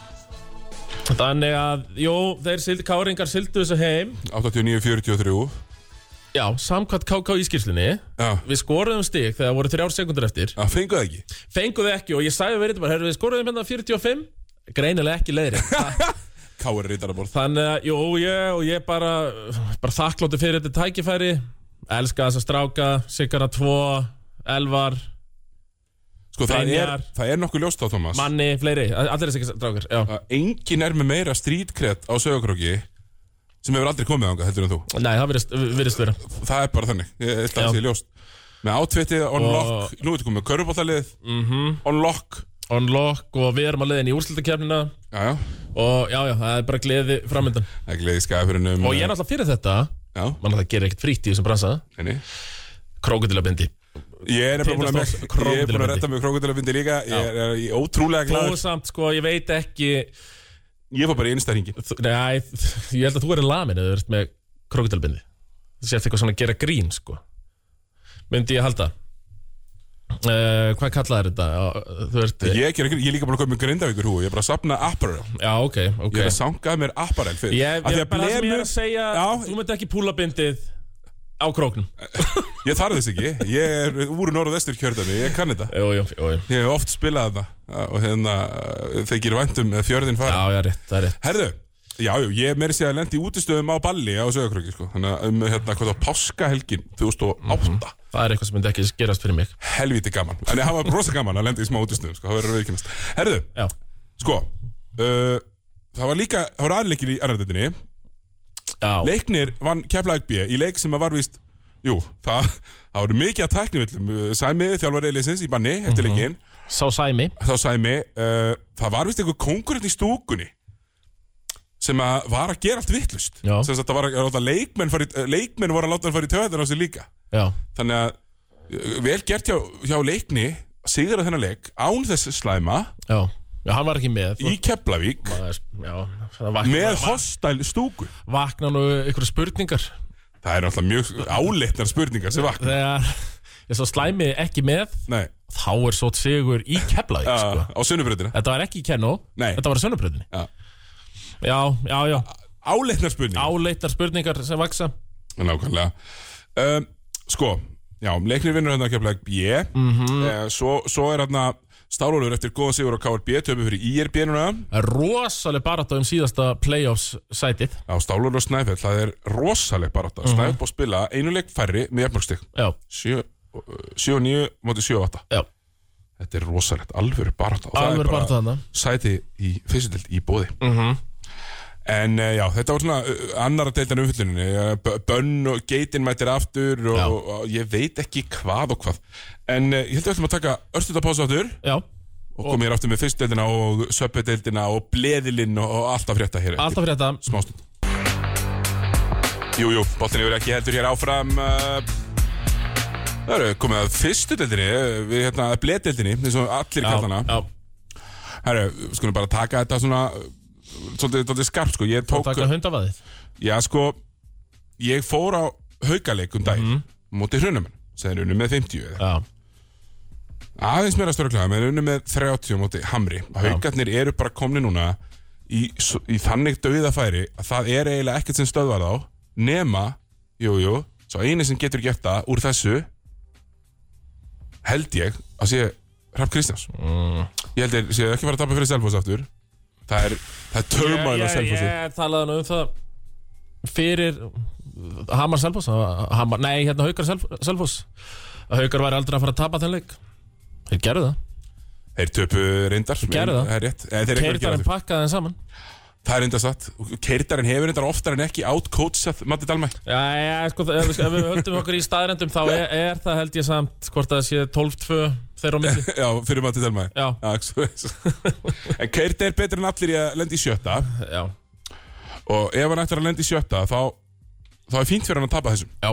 S2: Þannig að, jú, þeir sild, káringar sildu þessu heim,
S1: 89-43
S2: já, samkvæmt KK í skýrslinni,
S1: Já,
S2: við skoruðum stig þegar voru þrjár sekundur eftir,
S1: það fenguð það ekki
S2: fenguðu ekki og ég sagði við reyndum bara, herru, við skoruðum hérna 45, greinilega ekki leiðri.
S1: Káir reytaraborð
S2: Þannig að, jú, ég, og ég bara, bara þakklóti fyrir þetta tækifæri, elska þessa stráka, Sigara 2, Elvar,
S1: Sko það er,
S2: Brynjar.
S1: það er nokkuð ljóst á Thomas
S2: Manni, fleiri, allir þessi strákar, já.
S1: að enginn er með meira strítkret á sögurkróki sem hefur aldrei komið ánga, heldur en þú
S2: Nei, það virðist- virðist vera.
S1: Það er bara þannig, ég held að það
S2: Já.
S1: sé ljóst Með átvitið, on lock, nú ertu komið með körubóttalið -hmm.
S2: Mhm.
S1: On lock,
S2: on lock og við erum að leiðin í úrslutakefnina
S1: já, já
S2: og já, já, það er bara gleði framöndan
S1: Það er gleði skæðafyrinum
S2: og ég er náttúrulega fyrir þetta mann
S1: Já,
S2: að það gerir ekkert frítt í þessum bransa
S1: henni
S2: krókudilabindi
S1: Ég er nefnilega búin að
S2: Tindastóls
S1: með- ég er búin að
S2: krókódílabindi.
S1: retta mig krókudilabindi líka Ég er ég er ótrúlega
S2: og
S1: glæður
S2: samt, sko, ég veit ekki
S1: Ég fór bara í innstæringi
S2: þ- nei, þ- ég held að þú erir lamin eða þú ert með krókudilabindi það sést eitthvað svona að gera grín, sko myndi ég halda uh, hvað kallaði þetta Já, þú ert,
S1: Ég er, ekki- ég er líka búin að koma með grindavíkur húi Ég er bara að sapna apparel
S2: já, ok, ok
S1: Ég er að sangaði mér apparel fyrir
S2: ég,
S1: Af
S2: ég,
S1: því
S2: ég, bara það sem ég er
S1: blemur-
S2: að segja
S1: Já.
S2: þú myndi ekki púla bindið á króknum
S1: Ég þarf þess ekki, ég er úr norð og vestur kjördami, ég kann þetta
S2: jú, jú, jú, jú.
S1: Ég hef oft spilað þetta og hérna uh, þykir væntum með fjörðin fara
S2: já, já, rétt, það er rétt
S1: Herðu, já, já, ég meiri sér að lendi í útistöðum á balli á Söðakröki, sko Þannig að um, hérna, hvað það, páskahelgin 2008
S2: Það er eitthvað sem myndi ekki gerast fyrir mig
S1: Helvíti gaman, en það var rosa gaman að lendi í smá útistöðum, sko, það verður að viðkynast Herðu,
S2: Já,
S1: sko, uh, það var líka, það var aðleikir í erðardöndinni
S2: já.
S1: Leiknir vann Keflæk B í leik sem að var víst Jú, það, það voru mikið að tæknivillum Sæmi, þjálfari Elisins í banni eftir leikinn
S2: sá Sæmi
S1: Þá Sæmi, uh, það var víst einhver konkurrent í stúkunni sem að var að gera allt vittlust sem
S2: Já.
S1: sagt að var að, að láta leikmenn fara í, eh, leikmenn voru að láta hann fara í töðan á sig líka
S2: Já,
S1: þannig að eh, vel gert hjá, hjá leikni að sigra þennan leik án þess slæma
S2: já, já hann var ekki með
S1: í Keflavík
S2: Það er- Já, það vakna,
S1: með hostæl stúku
S2: vakna nú ykkur spurningar
S1: það er náttúrulega mjög áleitnar spurningar sem vakna
S2: Þegar ég sá Sæmi ekki með
S1: Nei,
S2: Þá er svo sigur í Keflavík
S1: uh,
S2: sko.
S1: á sunnubröðina
S2: Þetta var ekki í Kenó
S1: Nei.
S2: Þetta var í Sönnubröðinni
S1: Já.
S2: já, já, já,
S1: áleitnar spurningar
S2: áleitar spurningar sem vaksa
S1: Nákvæmlega um, Sko, já, leiknir vinnur hérna kemlega B eh, svo, svo er hérna Stárólfur eftir góðan sigur á KRB töfum fyrir IRB núna
S2: Rosaleg barátta um síðasta playoffs sætið
S1: á Stárólfur og Snæfell, það er rosaleg bara þetta, Snæfell búið að spila einuleik færri með jafnmörgstig,
S2: Já,
S1: 7-9 móti 7-8,
S2: já,
S1: þetta er rosalegt alvöru bara þetta,
S2: alveg barátta þarna
S1: sæti í fyrstutild í bóði
S2: Mhm.
S1: En uh, já, þetta var svona uh, annara deildan umfylluninni, eh, b- bönn og geitin mættir aftur og,
S2: Já.
S1: og, og ég veit ekki hvað og hvað. En uh, ég held að við ætlum að taka örstutapása aftur
S2: Já,
S1: og komið hér aftur með fyrstu deildina og söpbu deildina og bleðilinn og, og allt að frétta hér. eftir
S2: alltaf fyrir þetta
S1: Smástund. Jú, jú, boltin yfir ekki heldur hér áfram. Uh, það eru komið að fyrstu deildinni, eh, við hérna bleðdeildinni, eins og allir
S2: Já,
S1: kallana.
S2: já,
S1: Herru, við skulum bara taka þetta svona uh, svolítið, svolítið skarpt sko Ég tók,
S2: taka hundavaðið
S1: já sko Ég fór á haukaleik um daginn Móti hrunumenn, sem er unni með 50 eða.
S2: Já,
S1: Aðeins meira störklaða, menn unni með 30 á móti hamri Haukarnir eru bara komni núna í, s- í þannig dauðafæri að það er eiginlega ekkert sem stöðvar þá Nema, jú, jú Svo eini sem getur gert það úr þessu Held ég að sé Rapp Kristjáns Ég held ég sé ekki fara að tapa fyrir Selfoss aftur Það er, það er törmæl á Selfossi
S2: Ég talaði nú um það fyrir Hamar Selfoss Hamar, Nei, hérna Haukar Self- Selfoss að Haukar væri aldrei að fara að tapa þenn leik Þeir gerðu það,
S1: Þeir töpu reyndar
S2: gerðu það.
S1: Það er rétt Eða, þeir eru ekki að gera
S2: keirtarinn
S1: aftur.
S2: pakkaði þeim saman
S1: Það er reyndar satt Keirtarinn hefur reyndar oftar en ekki outcoachað Matti Dalmæ
S2: Já, já, sko, ef, við- ef við höldum okkur í staðrendum þá er, er það held ég samt hvort það sé 12-2 þeirra á milli
S1: Já, fyrir Matti Dalmæ
S2: Já,
S1: En Keirta er betur en allir í að lenda í sjötta
S2: já,
S1: Og ef hann ættir að lenda í sjötta Þá, þá er fínt fyrir hann að tapa þessum
S2: já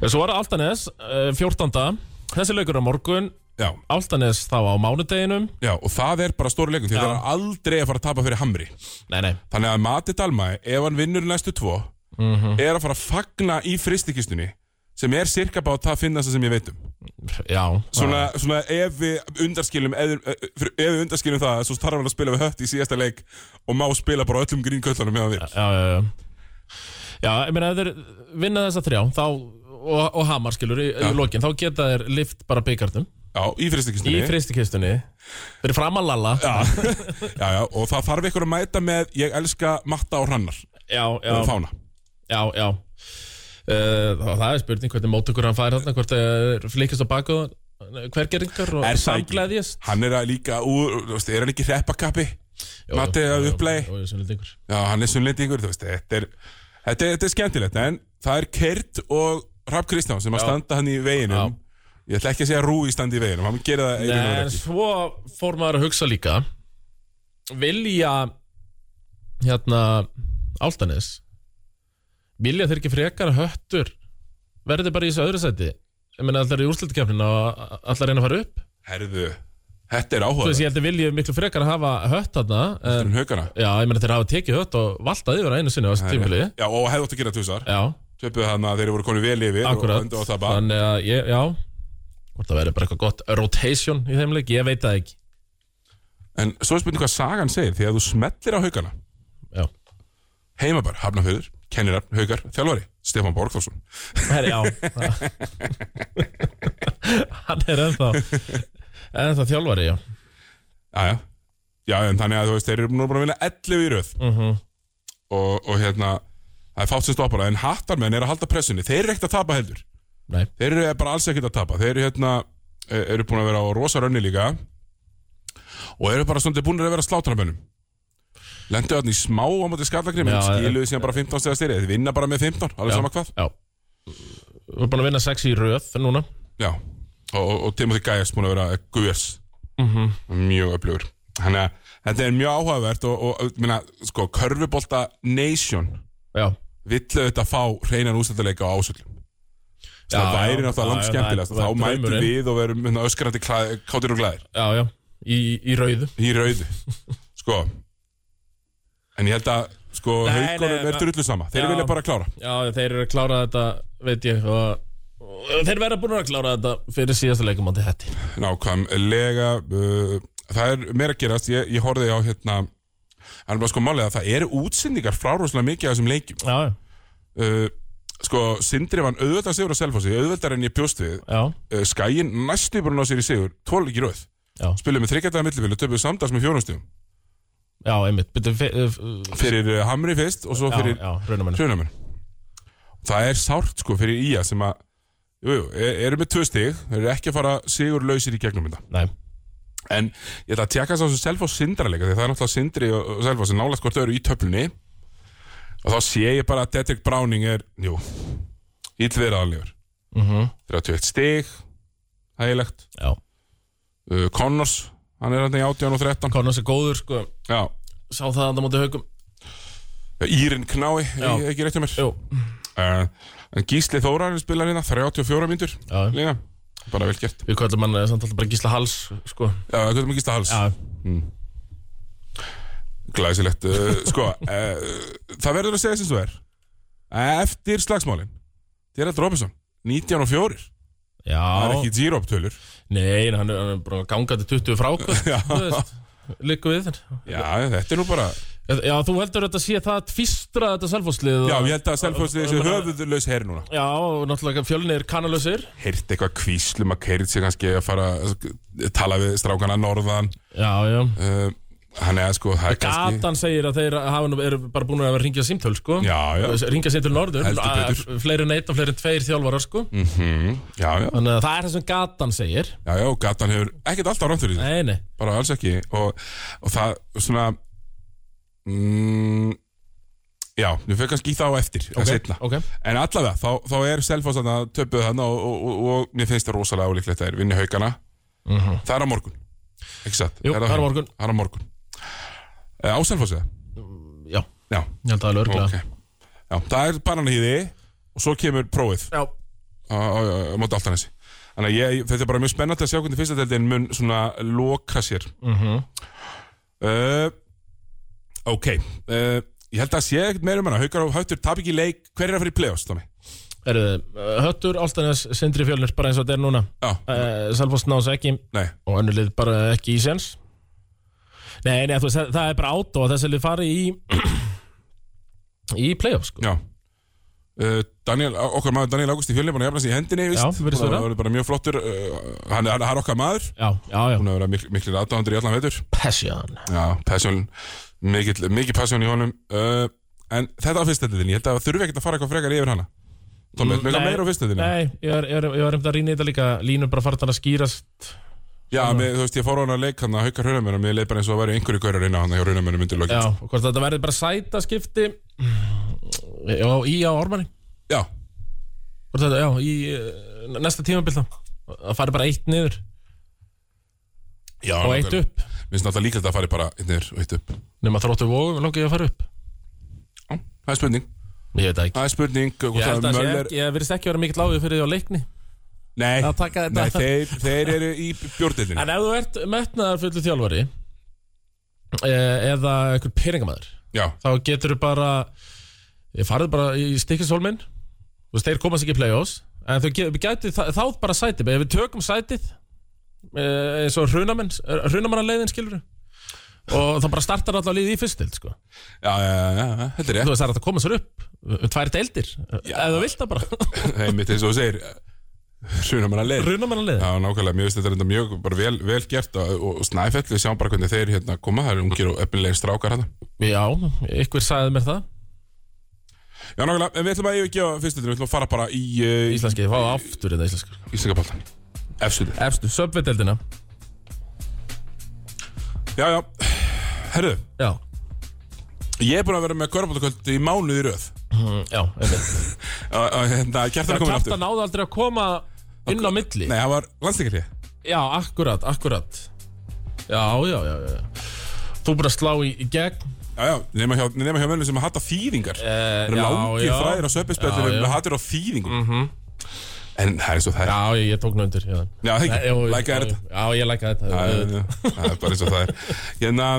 S2: Já, Svo var það Altanes, eh, 14. Þessi leikur á morgun
S1: Já,
S2: Altanes þá á mánudeginum
S1: já og það er bara stóri leikum Því
S2: Já.
S1: það er aldrei að fara að tapa fyrir Hamri
S2: Nei, nei,
S1: Þannig að Mati Dalmæ, ef hann vinnur næstu tvo
S2: Mhm.
S1: Er að fara að fagna í fristikistunni Sem er sirka bát það finnast sem ég veit um
S2: já
S1: Svona, svona ef við undarskilum ef, ef við undarskilum það svo starfum hann að spila við hött í síðasta leik og má spila bara á öllum grínköllunum meðan við
S2: já, já, já. já, ég meina ef þeir vinna þessa þrjá þá, og, og hamar skilur í, í lokin, þá geta þeir lift bara byggartum
S1: Já, í
S2: í
S1: fristikistunni
S2: fristikistunni fyrir fram að lalla já,
S1: já, já, og það þarf ykkur að mæta með ég elska matta og hrannar
S2: já, já,
S1: og fána
S2: já, já. Uh, það er spurning hvernig mótökur hann fær þarna, hvort þeir flikist á baku hver geringar og
S1: Er það ekki?
S2: samgleðjast
S1: Hann er að líka úr, þú veist, er hann ekki hreppakappi? Matti að upplagi?
S2: Jó, ég sunnildi ykkur
S1: Já, hann er sunnlendingur, þú veist, þetta er, þetta er, þetta er skemmtilegt En það er Kert og Rapp Kristján sem að standa hann í veginum Ég ætla ekki að segja rúi standi í veginum, hann gerir það í raun og veru
S2: En
S1: ekki.
S2: svo fór maður að hugsa líka Vilja Hérna Áltanes Vilja þeir ekki frekar að höttur Verði bara í þessu öðru sæti Ég meina allar í úrslutakefnin og allar reyna að fara upp
S1: Herðu, þetta er
S2: Þú
S1: áhuga
S2: veist ég held að vilja miklu frekar að hafa hött þarna en,
S1: um haugana
S2: Já, ég meina þeir hafa tekið hött og valtað yfir að einu sinni á þessu tímfili
S1: Já, og hefði átt að gera tvisar
S2: Já,
S1: Töpuðu þannig að þeir voru konið vel yfir og
S2: akkurat
S1: endur á það bara
S2: Þannig að ég, já Hvort það verður bara eitthvað gott rotation í þeim leik Ég veit það ekki
S1: En svo er spurning hvað sagan segir Því að þú smellir á haugana
S2: Já,
S1: Heimabær, Hafnafjörður, Kennirar, Haugar, Þjálfari Stefán Borgþórsson
S2: Herri, já Hann er ennþá ennþá þjálfari, já
S1: Jæja, já, en þannig að þú veist Þeir eru nú bara að vinna 11 í röð
S2: Mhm.
S1: og, og hérna, það er fátt sem stoppar það, En hattarmenn er að halda pressunni Þeir eru ekkert að tapa heldur
S2: Nei,
S1: Þeir eru bara alls ekkert að tapa Þeir eru hérna, eh, eru búin að vera á rosa rönni líka Og eru bara stundið búin að vera slátarabönnum Lendu þarna í smá á móti skallagrim En
S2: Já,
S1: skiluðu síðan bara 15 stegar styrið Þeir vinna bara með 15, alveg
S2: já,
S1: sama hvað
S2: já Við erum búin að vinna sex í röð núna
S1: Já, og, og, og Timothy Gaius búin að vera Guðjars
S2: Mhm.
S1: Mjög öflugur Þannig að þetta er mjög áhugavert og, og minna, sko, körfubolta nation
S2: Já,
S1: villu þetta fá hreinan ústættuleika á ásöldum
S2: Já,
S1: Það væri
S2: já,
S1: náttúrulega
S2: já,
S1: langt
S2: já,
S1: skemmtilegast
S2: það er-
S1: Þá
S2: það er
S1: mætum
S2: draumurinn.
S1: við og verum hérna, öskrandi kla- kátir og glæðir
S2: já, já Í, í rauðu
S1: Í rauðu Sko En ég held að sko,
S2: Nei,
S1: haugunum
S2: nei,
S1: er drullu sama Þeir
S2: Já.
S1: vilja bara klára
S2: Já, þeir eru að klára þetta, veit ég og, og Þeir verða búin að klára þetta fyrir síðasta leikum á þetta
S1: Nákvæmlega uh, Það er meira að gerast Ég, ég horfði á hérna Það er bara sko málið að það eru útsendingar frá rosalega mikið af þessum leikjum
S2: Já, já,
S1: uh, Sko, Sindri vann auðvitað sigur á Selfossi Auðvitað en ég bjóst við
S2: já,
S1: uh, Skæin næstu bara ná sér í sigur Tvoleiki röð
S2: Já.
S1: Spilum með þryggjataða millibili og töpuðu samdags með fjónumstíðum
S2: já, einmitt Byrju, fe- eh, f-
S1: Fyrir uh, Hamri fyrst og svo
S2: Já,
S1: fyrir
S2: já, raunamenn
S1: Hrunamenn Það er sárt sko fyrir Ía sem að Jú, jú, e- eru með tvö stig Þeir eru ekki að fara sigur lausir í gegnum þetta
S2: Nei,
S1: En ég ætla að tjekka þess að þessu Selfoss sindraleika Því það er náttúrulega Sindri og og Selfoss sem nálægt hvort þau eru í töflunni Og þá sé ég bara að Dedrick Browning er Jú, illviðraðanlegur
S2: mhm,
S1: 31 stig Hægilegt
S2: já
S1: uh, Connors, hann er hann í 18 og 13
S2: Connors er góður, sko
S1: Já,
S2: Sá það að það móti haugum
S1: Írin Knái,
S2: Já.
S1: ég- ekki rétt um mér
S2: Jú,
S1: uh, En Gísli Þórarinn spilar hérna 34 mínútur
S2: já,
S1: Líka, bara vel gert
S2: við kvöldum hann eh, samt alltaf bara gísla hals, sko
S1: Já, hvað er maður gísla hals?
S2: Já,
S1: Glæsilegt, uh, sko uh, Það verður að segja sem þú er Eftir slagsmálin Gerald Robinson, 19 og 4 Það er
S2: Já,
S1: ekki zero-tölur
S2: nei, en hann er, hann er bara gangandi 20 frákvæð Liggu við
S1: Já, þetta er nú bara
S2: Já, þú heldur þetta sé það tvistra þetta selfhóðslið
S1: Já, ég held að selfhóðsliði þessi höfuðlaus herr núna
S2: Já, og náttúrulega fjölnir kanalösir
S1: Heyrt eitthvað kvíslum að keirit sig kannski að fara að tala við strákana norðan
S2: Já, já
S1: uh, Hann er sko, það er kannski
S2: Gatan segir að þeir hafa nú, eru bara búin að vera að ringja símtöl, sko
S1: Já, já,
S2: Ringja símtöl norður
S1: Heldur
S2: að-
S1: betur.
S2: Fleiri en eitt og fleiri en tveir þjálfarar, sko
S1: mhm, já, já,
S2: Þannig að það er það sem gatan segir
S1: já, já, og gatan hefur ekkert alltaf rátt fyrir því
S2: Nei, nei
S1: bara alls ekki og, og það svona mm, já, við fyrir kannski í þá eftir
S2: Ok,
S1: okay. setna,
S2: ok.
S1: en allavega þá, þá er Selfoss þarna töpuð þarna og, og, og, og mér finnst það rosalega ólíklegt að það er vinni haugana það er á morgun, ekki satt?
S2: Mhm. Jú, það er á morgun.
S1: það er á morgun Eh, á Selfossi það?
S2: Já, ég
S1: Já,
S2: held að það er
S1: ok
S2: örglega
S1: já, það er bananhýði og svo kemur prófið
S2: Já,
S1: á- á- á móti Altanesi Þannig að ég, þetta er bara mjög spennandi að sjá hvernig fyrsta deildin mun svona loka sér mm
S2: Mhm.
S1: Ok uh, Ég held að sé ekkert meira um hana Haukar og Hautur tap ekki í leik, hver er að fara í play-offs Tommy?
S2: eru þið Höttur, Áltanes, Sindri Fjölnir, bara eins og þetta er núna
S1: Já,
S2: uh, Salfoss náðs ekki
S1: nei,
S2: og önnur lið bara ekki í sens Nei, nei, þú veist, það, það er bara átó að þessi lið fari í í playoff, sko
S1: já uh, Daniel, okkar maður Daniel Ágúst í fjölni búin að jafna sig í hendinni, víst
S2: Já,
S1: Búinn
S2: virðist
S1: að
S2: vera.
S1: vera bara mjög flottur uh, hann, er- hann er okkar maður
S2: Já, já, já,
S1: Búin að vera mikl, miklir aðdáðandur í allan veitur
S2: passion
S1: Já, passion, mikil, mikil passion í honum uh, En þetta á fyrstöldinni, ég held að það þurfi ekkert að fara eitthvað frekar yfir hana Tommi,
S2: Mm,
S1: mm, eitthvað
S2: nei,
S1: meira á fyrstöldinni
S2: Nei, ég var, ég var, ég var um þetta að rýna í þetta líka Línu bara fartan að skýrast
S1: Já, með, þú veist, ég fór á hana að leik hann að haukar raunamönnum Mér leið bara eins og að væri einhverju gaurar inn á hann hjá raunamönnum undir
S2: Já,
S1: lokin
S2: og hvort þetta verði bara sæta skipti Já, í á ormanni
S1: Já,
S2: Hvort þetta, já, í eh, næsta tímabil þá Það fari bara eitt niður
S1: já
S2: og eitt
S1: nákvæmlega.
S2: upp
S1: Mér finnst náttúrulega líka að það fari bara einn niður og eitt upp
S2: Nefn að þróttu vógum langið að fara upp
S1: Já, Það er spurning,
S2: Ég veit það ekki
S1: það er spurning hvort
S2: Ég held
S1: það
S2: að
S1: Möller-
S2: sé ekki, ég virðist ekki vera mikill lágið fyrir því á leikni
S1: Nei,
S2: að taka þetta.
S1: nei þeir, þeir eru í bjórdildinni
S2: En ef þú ert metnaðar fullu þjálfari eh, eða einhver peningamæður
S1: Já,
S2: þá getur þú bara ég farið bara í stikkisólminn þú veist, þeir komast ekki í play-offs en þau ge- gætu þá, þá bara sætið ef við tökum sætið eh, eins og hrunamenn hrunamannaleiðin skilur og þá bara startar alltaf liðið í fyrstild sko.
S1: já, já, já, já, þetta er
S2: þú
S1: rétt
S2: veist, það er hægt að koma sér upp eh, tvær deildir,
S1: Já.
S2: ef þú vilt það bara
S1: Heimitt eins og þú segir Raunamönna leir
S2: hrunamannaleiðin
S1: Já, nákvæmlega, mér finnst þetta reyndar mjög bara vel, vel gert og, og snæfell, við sjáum bara hvernig þeir hérna koma, það eru ungir og efnilegir strákar hérna.
S2: já, ykkur sagði mér það
S1: Já, nákvæmlega, en við ætlum að yfirgefa fyrstöldinu, við ætlum að fara bara í uh,
S2: íslenski, fá aftur þetta íslenski
S1: Íslingapaltan. Efstöldinu.
S2: efstu, söpveiteldina
S1: Já, já, herðu,
S2: já,
S1: ég er búin að vera með kvörbátakvöld í mánuð í röð
S2: Mm, já, einmitt.
S1: Að- að, hérna, Kjartan er komin aftur
S2: Kjartan náði aldrei að koma inn á milli
S1: Nei, það var landsleikarlið
S2: Já, akkurat, akkurat Já, já, já, já. Þú búin að slá í, í gegn
S1: Já, já, nema hjá, nema hjá mönnum sem að hata þýðingar Það
S2: eh,
S1: eru langir
S2: já.
S1: þræðir á söpinspjallinu
S2: Já, já.
S1: með hattur á þýðingum En það er eins og það er
S2: Já, ég, ég tók nöndur Já,
S1: Já, það
S2: Nei, jú,
S1: ekki, læka
S2: jú,
S1: er þetta
S2: Já, ég læka þetta
S1: Já,
S2: Eh, auðvitað.
S1: já, já. Það er bara eins og það er Hérna,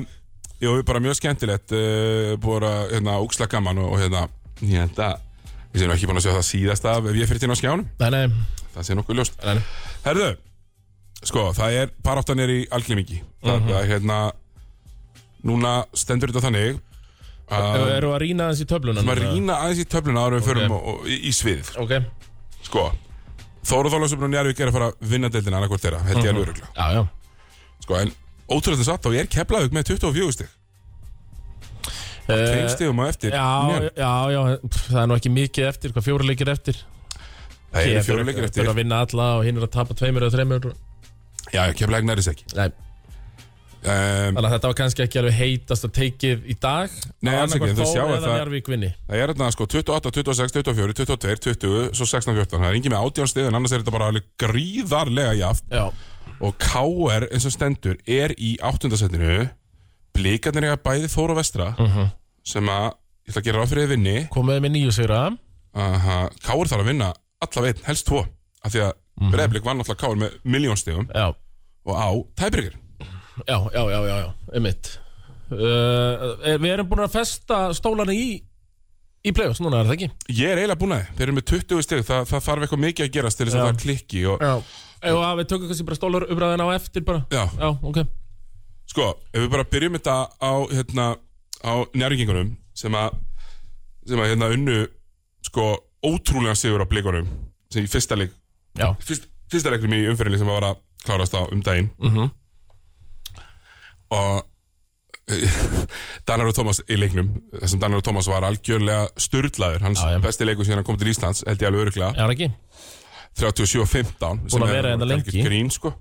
S1: jú, bara mjög skemmtilegt uh, Búið að, hérna, óksla gaman og, og hérna, hérna Við séum ekki búin að sjá það síðasta af Ef ég fyrir tína á skjánum,
S2: Nei, nei,
S1: það sé nokkuð ljóst
S2: nei, nei.
S1: Herðu, sko, það er baráttan er í alglemingi Það er
S2: Mhm.
S1: hérna Núna stendur þetta þannig
S2: Ef
S1: að
S2: við Erum við að rýna aðeins í töfluna?
S1: maður rýna aðeins í töfluna áður en við förum
S2: Ok.
S1: og, og, í, í sviðið
S2: Ok,
S1: Sko, Þóru Þólasöfn og Njárvík er að fara að vinna deildina annarkvort þeirra, held
S2: Mhm.
S1: ég alveg öruglega
S2: já, já
S1: Sko, en ótrúlega satt þá er Keflavík með 24 stig Tveim
S2: Eh,
S1: stigum á eftir
S2: Já,
S1: Njárvík.
S2: já, já, pff, það er nú ekki mikið eftir, hvað fjóra leikir eftir
S1: Það eru
S2: Ég
S1: fjóru
S2: þarf-
S1: leikir
S2: þarf
S1: eftir
S2: að vinna alla og hinn er að tapa tveimur eða þreimur
S1: Já, Keflavík nærist ekki
S2: Nei,
S1: um,
S2: þannig að þetta var kannski ekki alveg heitast að teikið í dag
S1: Nei, alls ekki, en þau sjá að
S2: það Eða
S1: það-
S2: Njarvík vinni
S1: Það er þarna sko 28, 26, 24, 22, 20 Svo 16, 14 Það er engin með 18 stig en annars er þetta bara alveg gríðarlega jaft
S2: Já,
S1: Og KR eins og stendur er í áttundasettinu Blikarnir eiga bæði Þór og Vestra sem að ég ætla að gera ráð fyrir að vinni
S2: komuðu með nýju sigra
S1: Aha, KR þarf að vinna allaveg einn, helst tvo af því að mm -hmm. Breiðblik vann alltaf KR með miljónstegum
S2: Já,
S1: og á tæbyrgir
S2: já, já, já, já, já, einmitt uh, er- Við erum búin að festa stólana í Í play-offs, núna er það ekki
S1: Ég er eiginlega búin að þeir eru með 20 stig það, það þarf eitthvað mikið að gerast til þess að
S2: Já.
S1: það klikki og,
S2: Já Og að við tökum kannski bara stólar umræðina á eftir bara
S1: já.
S2: Já, ok
S1: Sko, ef við bara byrjum þetta á hérna, á njárvíkingunum sem að sem að hérna unnu sko ótrúlega sigur á blikunum sem í fyrsta leik
S2: Já
S1: fyrst, fyrsta leiknum í umfyrinni sem að var að klárast á um daginn
S2: Mhm.
S1: og Danar og Thomas í leiknum þessum Danar og Thomas var algjörlega sturlaður hans
S2: Já, já.
S1: besti leikur síðan hann kom til Íslands held ég alveg öruglega
S2: Er það ekki?
S1: 37-15 sem
S2: að
S1: er
S2: vera hérna
S1: ekkert
S2: lengi.
S1: grín sko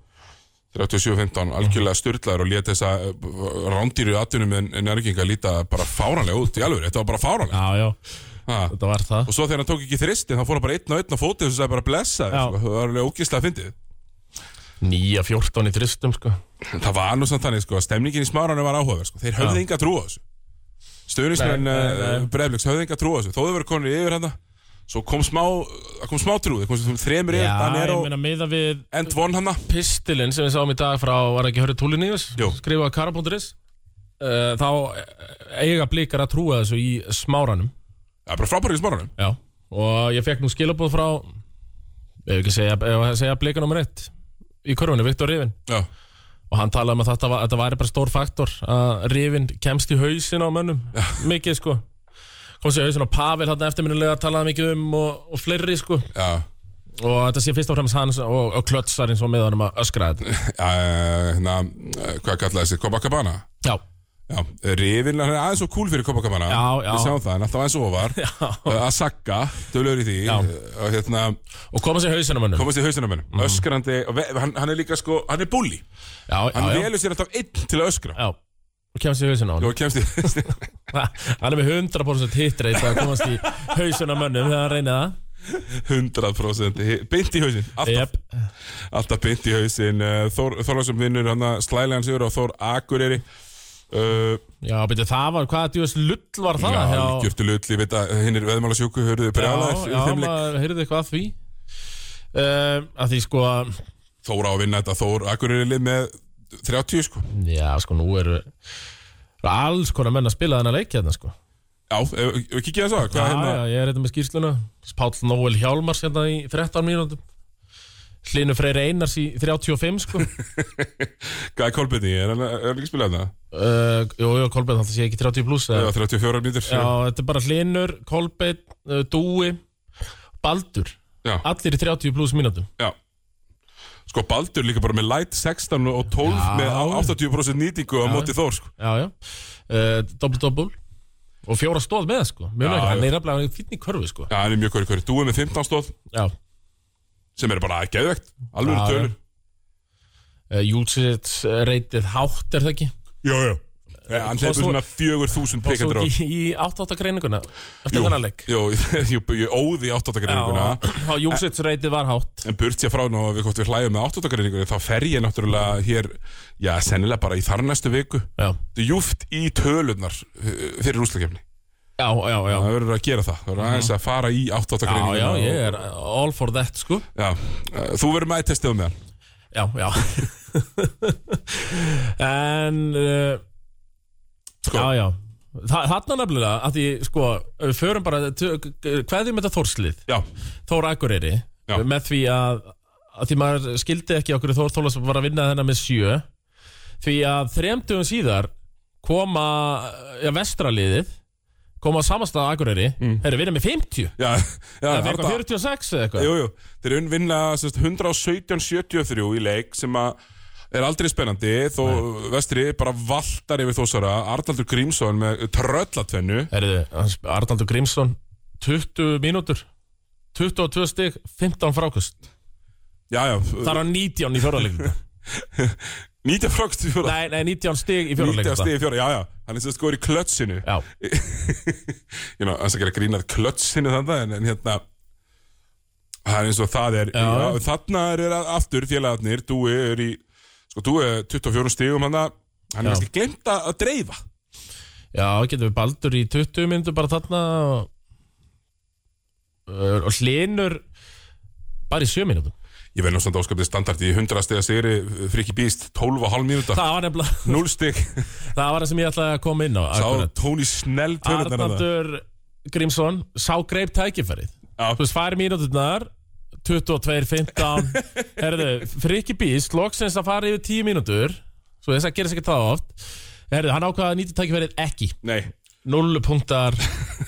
S1: 37-15, algjörlega styrlaður og lét þessa uh, rándýru atvinnum en nærginga líta bara fáranlega út í alveg, þetta var bara fáranlega
S2: Já, já,
S1: ha.
S2: þetta var það
S1: og svo þegar hann tók ekki þristin þá fór hann bara einn og einn á fóti og svo sagði bara blessa
S2: Já.
S1: þér, sko. það var alveg ógislega fyndið
S2: 9-14 í tristum, sko
S1: En það var nú samt þannig sko, að stemningin í smáranum var áhugaverð sko. þeir höfðu enga trú á þessu stöðnismenn
S2: Nei, nei,
S1: uh,
S2: nei.
S1: brefliks höfðu enga trú á þessu, þó þau voru konir yfir hann svo kom smá, það kom smá trú þeir kom sem þremur yfir, hann er á
S2: ég meina miða við
S1: end one hérna. hann
S2: pistilinn sem við sáum í dag frá var ekki hörðu túliníus
S1: Jú.
S2: skrifa karabónduris uh, þá eiga blíkar að trúa þessu í smáranum
S1: það er bara frábærið í smáranum
S2: já. og ég fekk nú skilabóð frá ef ekki segja, ef að segja blíkar nummer eitt í körfunni, Viktor Rífin
S1: Já.
S2: og hann talaði um að þetta, var, þetta væri bara stór faktor að Rífin kemst í hausin á mönnum mikið sko komst í hausin á Pavel hann eftirminnilega talaði mikið um og, og fleiri sko
S1: Já,
S2: og þetta sé fyrst og fremst hans og, og klötsarinn svo með honum að öskra þetta
S1: já, hérna, eh, hvað kallaði þessi, Copacabana?
S2: já,
S1: Já, rifin, hann er aðeins og kúl fyrir Copacabana.
S2: Já, já.
S1: Við sjáum það, en alltaf aðeins ofar. Já. Að sagga, dölur í því.
S2: Já.
S1: Og hérna,
S2: og koma sér hausin á mönnum
S1: komast í hausinu minn.
S2: Mm.
S1: Öskrandi, og ve- hann, hann er líka sko, hann er bulli.
S2: já,
S1: Hann
S2: já, já,
S1: velur sér alltaf einn til að öskra.
S2: já, og kemst í hausin á
S1: Já.
S2: honum
S1: Og kemst í,
S2: hann er með 100% hitreit að komast í hausin á mönnum þegar hann reynir það
S1: 100% hi- beint í hausin. Alltaf,
S2: yep. Eh.
S1: alltaf beint í hausin. Eh, Þór, Þorlásum vinnur hann að slælega hans yfir og Þór Akureyri. Uh,
S2: já, byrju, það var, hvaða djúðis lull var það
S1: já,
S2: hjá-
S1: gjörtu lutli, veit að hinn er veðmála sjúku, hörðu brjálæðir
S2: já,
S1: í
S2: já
S1: þeim leik.
S2: maður heyrði eitthvað að því uh, að því sko
S1: Þór á að vinna þetta Þór Akureyri er lið með 30 sko
S2: já, sko, nú eru alls konar menn að spila þennan leik hérna sko
S1: Já, ef- ef við kikið þess að
S2: Já,
S1: hvað hérna
S2: já, ég er hérna með skýrsluna Páll Nóel Hjálmars hérna í 13 mínútum Hlynur Freyr Einars í 35 sko uh,
S1: Hvað er Kolbjörni, er hann er hann ekki að spila hérna?
S2: Eh, Jú, jú, Kolbeinn, þetta sé ekki 30 pluss
S1: Já,
S2: eða?
S1: 34 mínútur
S2: Já, þetta er bara Hlynur, Kolbeinn, uh, Dúi Baldur
S1: já,
S2: Allir í 30 pluss mínútum
S1: já Sko Baldur líka bara með light 16 og 12
S2: Já.
S1: með á- 80% nýtingu á móti Þór sko
S2: Já, já uh, Dobbul, dobbul Og fjóra stóð með sko Mjög
S1: Já,
S2: nægur,
S1: já.
S2: hann er nefnilega fínn í körfu sko
S1: Já, hann er mjög hverju hverju Dúi með 15 stóð
S2: Já
S1: sem er bara geðvegt Alveg
S2: Já,
S1: tölur
S2: uh, Júlsits reytið hátt er það ekki
S1: Já, já Eh, Hann
S2: Og
S1: hefur
S2: svo-
S1: svona 4000
S2: Og svo
S1: pekandrá
S2: ekki í 88 greininguna Eftir
S1: Jú,
S2: þennan leik
S1: jú, jú, ég óði áttatakarreifinguna
S2: Já, Júsits reytið var hátt
S1: En burt sér frá nú að við hvort við hlæjum með áttatakarreiningu þá fer ég náttúrulega hér já, sennilega bara í þar næstu viku
S2: Já,
S1: djúft í tölurnar uh, fyrir úslakefni.
S2: já, já, já
S1: Það verður að gera það. Það verður aðeins að fara í
S2: Já,
S1: áttatakarreiningu.
S2: já, ég er all for that, sko
S1: Já, uh, þú verður með að testið með hann.
S2: Já, já En uh,
S1: Sko.
S2: Já, já Þa, Þarna nefnilega, að því, sko ef Við förum bara, hvað er með þetta þórslið?
S1: Já,
S2: Þóra Akureyri
S1: Já.
S2: Með því að, að því maður skildi ekki okkur Þór Þólas var að vinna þennan með sjö Því að þremtugum síðar koma, já, vestraliðið koma á samastað Akureyri mm. Herru, við erum með
S1: já,
S2: 50
S1: já.
S2: Það er
S1: Arna-
S2: eitthvað 46 eða eitthvað
S1: Jú, jú. Þeir eru unnvinna 117-73 í leik sem að er aldrei spennandi þó vestri bara valtar yfir þósara Arnaldur Grímsson með tröllatvennu
S2: Herðu, hans- Arnaldur Grímsson 20 mínútur 22 stig, 15 frákust
S1: Já, já,
S2: Það er hann 19 í fjórðarleikunda
S1: 19 frákst í fjóra
S2: Nei, nei, 19 stig í
S1: 19
S2: fjórðarleikunda
S1: stig í fjóra, já, já Hann er sem skoður í klötsinu
S2: Já,
S1: ég ná, hans að gera grínað klötsinu þannig en, en hérna það er eins og það er já. Já, þarna er aftur félagarnir Dúi er í, sko Dúi er 24 stigum hann að, hann
S2: Já.
S1: er kannski glemt að að dreifa
S2: já, getum við baldur í 20 mínútur bara þarna og, og hlinur bara í 7 mínútum
S1: Ég verði nú samt áskapið standart í 100 stiga sigri Friki Bíst, 12,5 mínúta
S2: Það var nefnilega,
S1: 0 stig
S2: það var það sem ég ætlaði að koma inn á
S1: Sá
S2: akkurat.
S1: Tóni Snell tölurnar þarna.
S2: Arnaldur Grímsson sá greip tækifærið
S1: Já.
S2: Þú veist, fari mínúturnar 22.15 Herðu, Friki Bíst loksins að fara yfir 10 mínútur Svo þess að gera sér ekki það oft Herðu, hann ákvaða að nýta tækifærið ekki
S1: Nei,
S2: 0 punktar,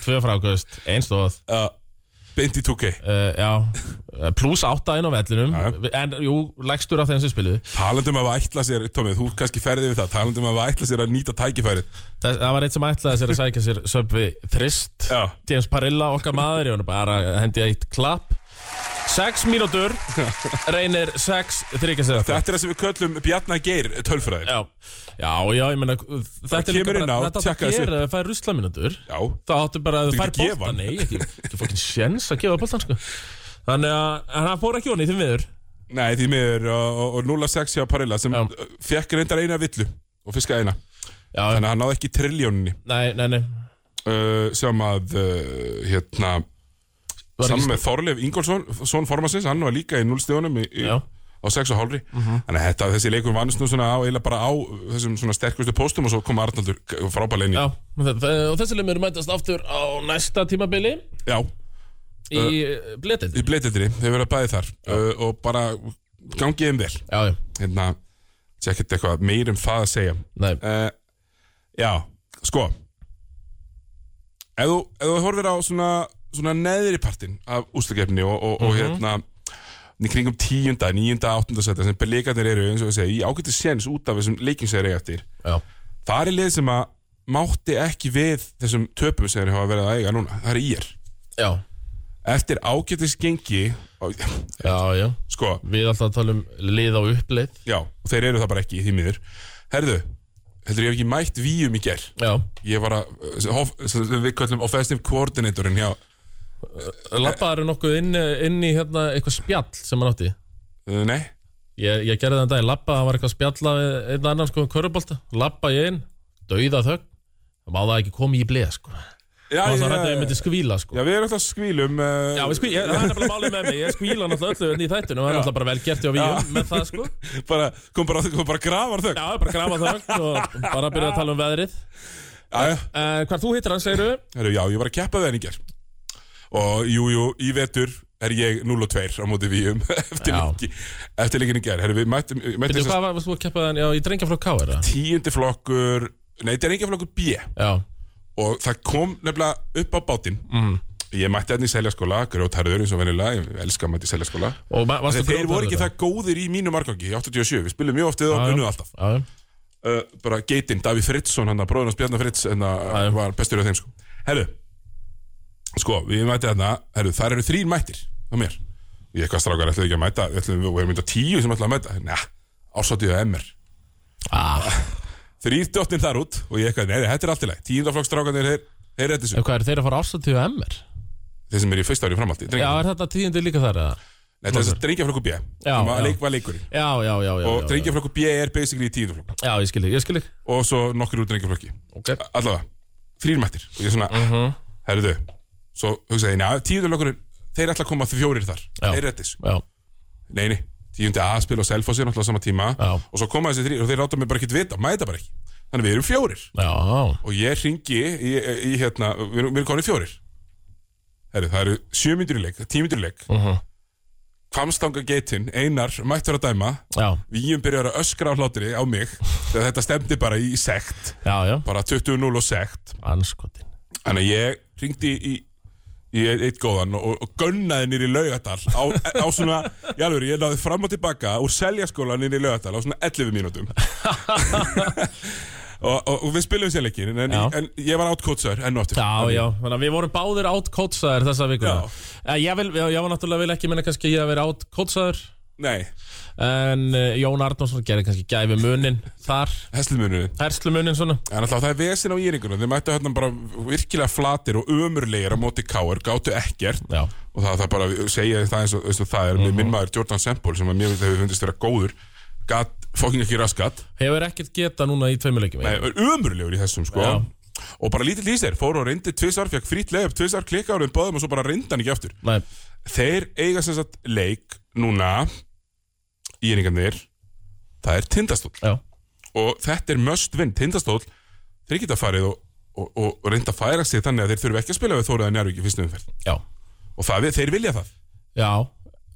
S2: 2 frákvöst, 1 stóð
S1: uh, beint í 2K
S2: uh, Já, pluss 8 inn á vellinum
S1: Já,
S2: En, jú, lægstur af þeim sem spiluðu
S1: Talandum um að ætla sér, Tómi, þú kannski ferði við það Talandum um að ætla sér að nýta tækifæri
S2: Það, það var eitt sem ætlaði sér að sækja sér Söpvi Þrist
S1: Já.
S2: James Parilla, okkar maður, ég var nú bara að hendi eitt klapp Sex mínútur Reynir sex þryggjast
S1: Þetta er það sem við köllum Bjarnar Geir tölfræði Já,
S2: Já, já, já, ég meina uh, Þetta er
S1: kemur
S2: líka
S1: inn á,
S2: bara, þetta átt
S1: tjekka
S2: að
S1: þessu.
S2: gera ef það fær rusla mínútur þá áttu bara að
S1: Þú
S2: þú fær
S1: ekki gefa
S2: boltan
S1: hann.
S2: Nei, ekki, ekki fokkin sjens að gefa boltan sko. Þannig að en hann fór ekki honni í þeim viður
S1: nei, því miður uh, og, og, og 0-6 hjá Parilla sem
S2: Já.
S1: Já. fekk reyndar eina villu og fiska eina
S2: Já,
S1: Þannig að hann náði ekki trilljóninni
S2: nei, nei, nei
S1: uh, sem að uh, hérna,
S2: Var ekki-
S1: saman með Þorleif Ingolson Són Formansins, hann var líka í 0 stíðunum í, í,
S2: Já. Mhm.
S1: á 6 og hálfri Þannig að þetta, þessi leikur vannst nú svona á, eiginlega bara á þessum svona sterkustu póstum og svo kom Arnaldur frábælein í
S2: Já, og þessi lemur mætast aftur á næsta tímabili
S1: Já,
S2: í uh, bletið
S1: í bleitindri, þeir verða bæði þar uh, og bara gangið þeim vel
S2: Já, já,
S1: hérna, sé ekkert eitthvað meir um það að segja
S2: nei
S1: uh, já, sko ef þú, ef þú horfir á svona, svona neðri partin af úslagefni og, og, og hérna í kringum tíunda, níunda, áttunda setja sem leikarnir eru, eins og ég segi, í ágættu séns út af þessum leikin sem þeir eiga eftir
S2: Já,
S1: það er lið sem að mátti ekki við þessum töpum sem þeir hafa verið að eiga núna, það er ír
S2: já,
S1: eftir ágættis gengi og-
S2: já, já
S1: sko,
S2: Við alltaf að tala um lið á uppleið
S1: Já, og þeir eru það bara ekki í því miður Herðu, heldur ég hef ekki mætt víum í ger
S2: Já,
S1: Ég var að, uh, hof, sem við kallum offensive coordinatorinn hjá uh,
S2: labbaður nokkuð inn, inn í hérna eitthvað spjall sem hann átti
S1: eh, Nei,
S2: Ég, ég gerði þann dag, labba, það var eitthvað spjalla við einn annan sko um körfubolta Labba ég inn, dauða þögn Það má það ekki koma í bleið sko Það
S1: já,
S2: var
S1: já,
S2: svo rætt að ég myndi
S1: já,
S2: skvíla sko
S1: já við erum alltaf skvílum uh,
S2: Já, við skvíla, ég, það er nefnilega málið með mig, ég skvíla náttúrulega öllu hérna í þættinu og það er náttúrulega bara vel gert hjá víum með það sko
S1: bara, Kom bara, kom bara grafar þau
S2: Já, bara grafa þögn og bara byrja að tala um veðrið
S1: já, já.
S2: uh, Hvar þú hittir hann, segirðu?
S1: Herru, já, ég var að keppa þeim í ger Og jú, jú, í vetur er ég 0 og 2 á móti víum eftir,
S2: Já.
S1: leiki, eftir leikin í ger Herru, við mættum, mættum
S2: Býttu,
S1: þess að
S2: hvað var- varst þú að keppa þann? Já, ég drengja frá K, er það?
S1: tíundi flokkur Nei, þetta er engin flokkur B
S2: Já,
S1: og það kom nefnilega upp á bátinn mm. ég mætti hérna í seljaskóla grjótarður eins og venjulega, ég elska að mætti í seljaskóla
S2: og ma- varstu
S1: þeir, þeir voru ekki
S2: grjótharður
S1: það góðir í mínum margangi í 87, við spilum mjög oft við
S2: Já, já.
S1: og unnum alltaf
S2: Já, já.
S1: uh, bara geitinn, Daví Fritzson, hann að bróðin hans Bjarnar Fritz en
S2: Já, já.
S1: það var bestur af þeim sko herru, sko, við mætti hérna herru, þar eru þrín mættir á mér ég eitthvað strákar ætlaði ekki að mæta við ætlum, við erum mynda tíu sem ætlaði að mæta Nei, ársátið að MR
S2: Ah,
S1: þrýr djóttin þar út og ég eitthvað, nei, þetta er allt í læg tíundaflokkstrákarnir, þeir, þeir reddi
S2: en
S1: þessu
S2: hvað er þeir að fara ástatíu MR?
S1: þeir sem eru í fyrsta ári framhaldi
S2: Já,
S1: drengarnir.
S2: er þetta tíðindi líka þar eða?
S1: Nei, þetta er drengjaflokku B sem að
S2: já.
S1: leik var leikurinn
S2: Já, já, já, já
S1: og
S2: já, já.
S1: drengjaflokku B er basically í tíðuflokku
S2: já, ég skil þig, ég skil þig
S1: og svo nokkur úr drengjaflokki
S2: Ok
S1: allavega, þrír mættir og ég er svona,
S2: Mhm.
S1: herruðu svo hugsaði ég, neða, tíðuflokkurinn þeir ætla að koma því fjórir þar,
S2: Já.
S1: þeir rettis
S2: Já,
S1: nei, nei, tíundi A spil og Selfossi náttúrulega á sama tíma
S2: Já.
S1: og svo koma þessi þrír og þeir láta mig bara ekki vita, mæta bara ekki þannig við erum fjórir
S2: já,
S1: og ég ringi í, í hérna, við erum, við erum konir fjórir Herru, það eru sjö myndur í leik, tímyndur í leik
S2: Mhm.
S1: Hvammstanga geitin, Einar, mættur að dæma
S2: já,
S1: Víum byrjar að öskra á hlátri á mig þegar þetta stemdi bara í sekt
S2: já, já
S1: bara 20-0 og sekt
S2: Anskotin
S1: þannig að ég ringdi í, í eitt, eitt góðan og, og gunnaði nýr í laugadal á, á svona, já alveg, ég náði fram og tilbaka úr seljaskóla nýr í laugadal á svona 11 mínútum og, og, og við spilum sér leikin en,
S2: Já.
S1: en ég var átkótsaður enn og aftur
S2: Já, já, þannig að við vorum báðir átkótsaðir þessa vikuna
S1: Já.
S2: Eh, Ég, vil, já, ég var náttúrulega vil ekki minna kannski að ég að vera átkótsaðir
S1: Nei,
S2: En uh, Jón Arnónsson gerði kannski gæfi munin þar
S1: hestlumunu
S2: Herslu munin svona
S1: En alltaf það er vesin á íringunum Þeir mættu hérna bara virkilega flatir og ömurlegir á móti káar, gátu ekkert
S2: Já,
S1: og það, það bara að segja það eins og, eins og það er mm minn maður Jordan Semple sem að mér finnst hefur fundist vera góður gatt fokking ekki raskat
S2: hefur ekkert geta núna í tveimilegjum
S1: Nei, er ömurlegur í þessum sko
S2: Já.
S1: og bara lítill í sér, fór og reyndi tvisar fekk frýtt leið upp tvisar, klikkaður um báðum og svo bara reyndi hann ekki aftur
S2: Nei,
S1: þeir eiga sem sagt leik núna íringarnir það er tindastóll
S2: Já,
S1: og þetta er must win tindastóll þeir geta farið og, og, og, og reynda að færa sig þannig að þeir þurfi ekki að spila við Þóraða Njárvík í fyrstu umferð
S2: já,
S1: og það við, þeir vilja það
S2: já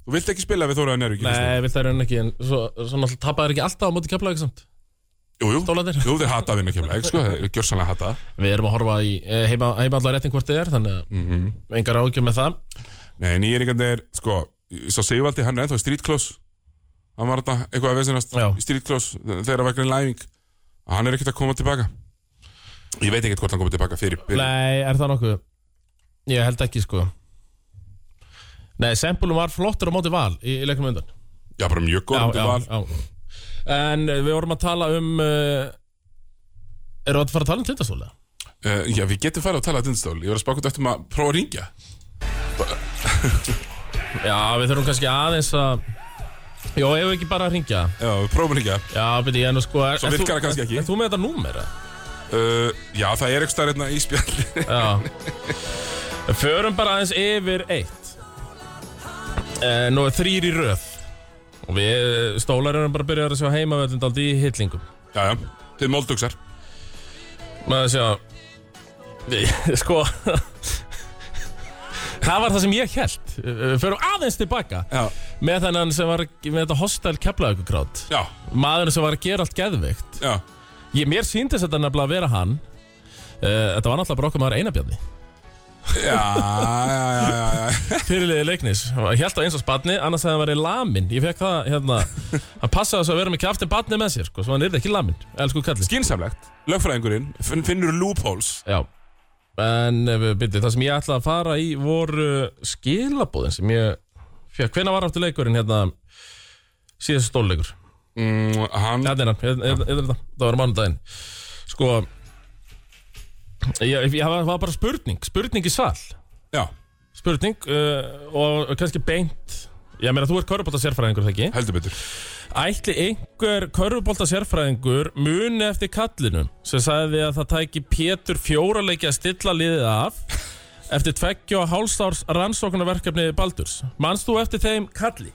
S1: þú vilt ekki spila við Þóraða Njárvík í fyrstu
S2: Nei, vil það raun ekki En svo, svo náttúrulega tapar þeir ekki alltaf á móti keflavík samt
S1: umferð jú, jú,
S2: Stólarnir.
S1: jú, þeir hata að vinna kemla sko, þeir gjörsanlega hata það.
S2: Við erum að horfa í eh, heima, heima allar réttin hvort þið er Þannig að engar ágjum með það
S1: Nei, nýjeringarnir, sko Sá Sigvaldi, hann er ennþá í streetclose Hann var þetta eitthvað að vesinast
S2: Já.
S1: í streetclose Þegar það var grein læfing Hann er ekkert að koma tilbaka Ég veit ekkert hvort hann komið tilbaka fyrir, fyrir.
S2: Nei, er það nokkuð? Ég held ekki sko Nei, Sembúlum var flottur á móti val í, í leikum undan
S1: Já, bara mjög góð um til val
S2: já. En eh, við vorum að tala um uh, Erum við að fara að tala um tindastóla?
S1: uh, Já, við getum farið að tala að dindstól Ég var að spákvæmt eftir maður að prófa að ringja
S2: Já, við þurfum kannski aðeins að Jó, ef við ekki bara að ringja
S1: Já, við prófum að ringja
S2: Já, beti ég nú sko er,
S1: Svo
S2: ert þú-
S1: virkar það kannski ekki.
S2: Ert þú með þetta númer? eða?
S1: uh, Já, það er ekki starf hérna í spjalli
S2: Já Förum bara aðeins yfir eitt eh, Nú er þrýr í röð Og við eh, stólar erum bara að byrja að sjá heimavöldin Daldi í hillingum
S1: Já, já, þið moldugsar
S2: Maður sjá Ég- Sko Það var það sem ég held Við Förum aðeins tilbaka
S1: Já,
S2: Með þennan sem var Með þetta hostel keflaðugugrát
S1: já,
S2: Maðurinn sem var að gera allt geðveikt
S1: já
S2: ég, Mér síndist þetta nefnilega að vera hann Uh, þetta var náttúrulega bara okkar maður einabjarni
S1: Já, já, já, já, já.
S2: Fyrirliði leiknis Hjælt á eins og spanni, annars hefði hann verið lamin Ég fekk það, hérna Hann passaði svo að vera með kraftin batni með sér sko, Svo hann yrði ekki lamin, elsku kallinn
S1: Skynsamlegt, lögfræðingurinn finn- finnur loopholes
S2: Já En byrju, það sem ég ætlaði að fara í voru skilabóðin sem ég fekk. Hvenær var aftur leikurinn hérna síðast stóluleikur?
S1: mm, Hann
S2: Þetta er hann, hérna, hérna, hérna, hérna, það var mánudaginn. Sko, ég, ég það var bara spurning, spurning í sal.
S1: Já,
S2: Spurning uh, og kannski beint. Ég meina, þú ert körubólta sérfræðingur, það ekki?
S1: heldur betur
S2: Ætli einhver körfubólta sérfræðingur muni eftir kallinum sem sagði að það tæki Pétur fjóraleiki að stilla liðið af eftir tveggja og hálfstárs rannsóknarverkefni Baldurs. Manst þú eftir þeim kalli?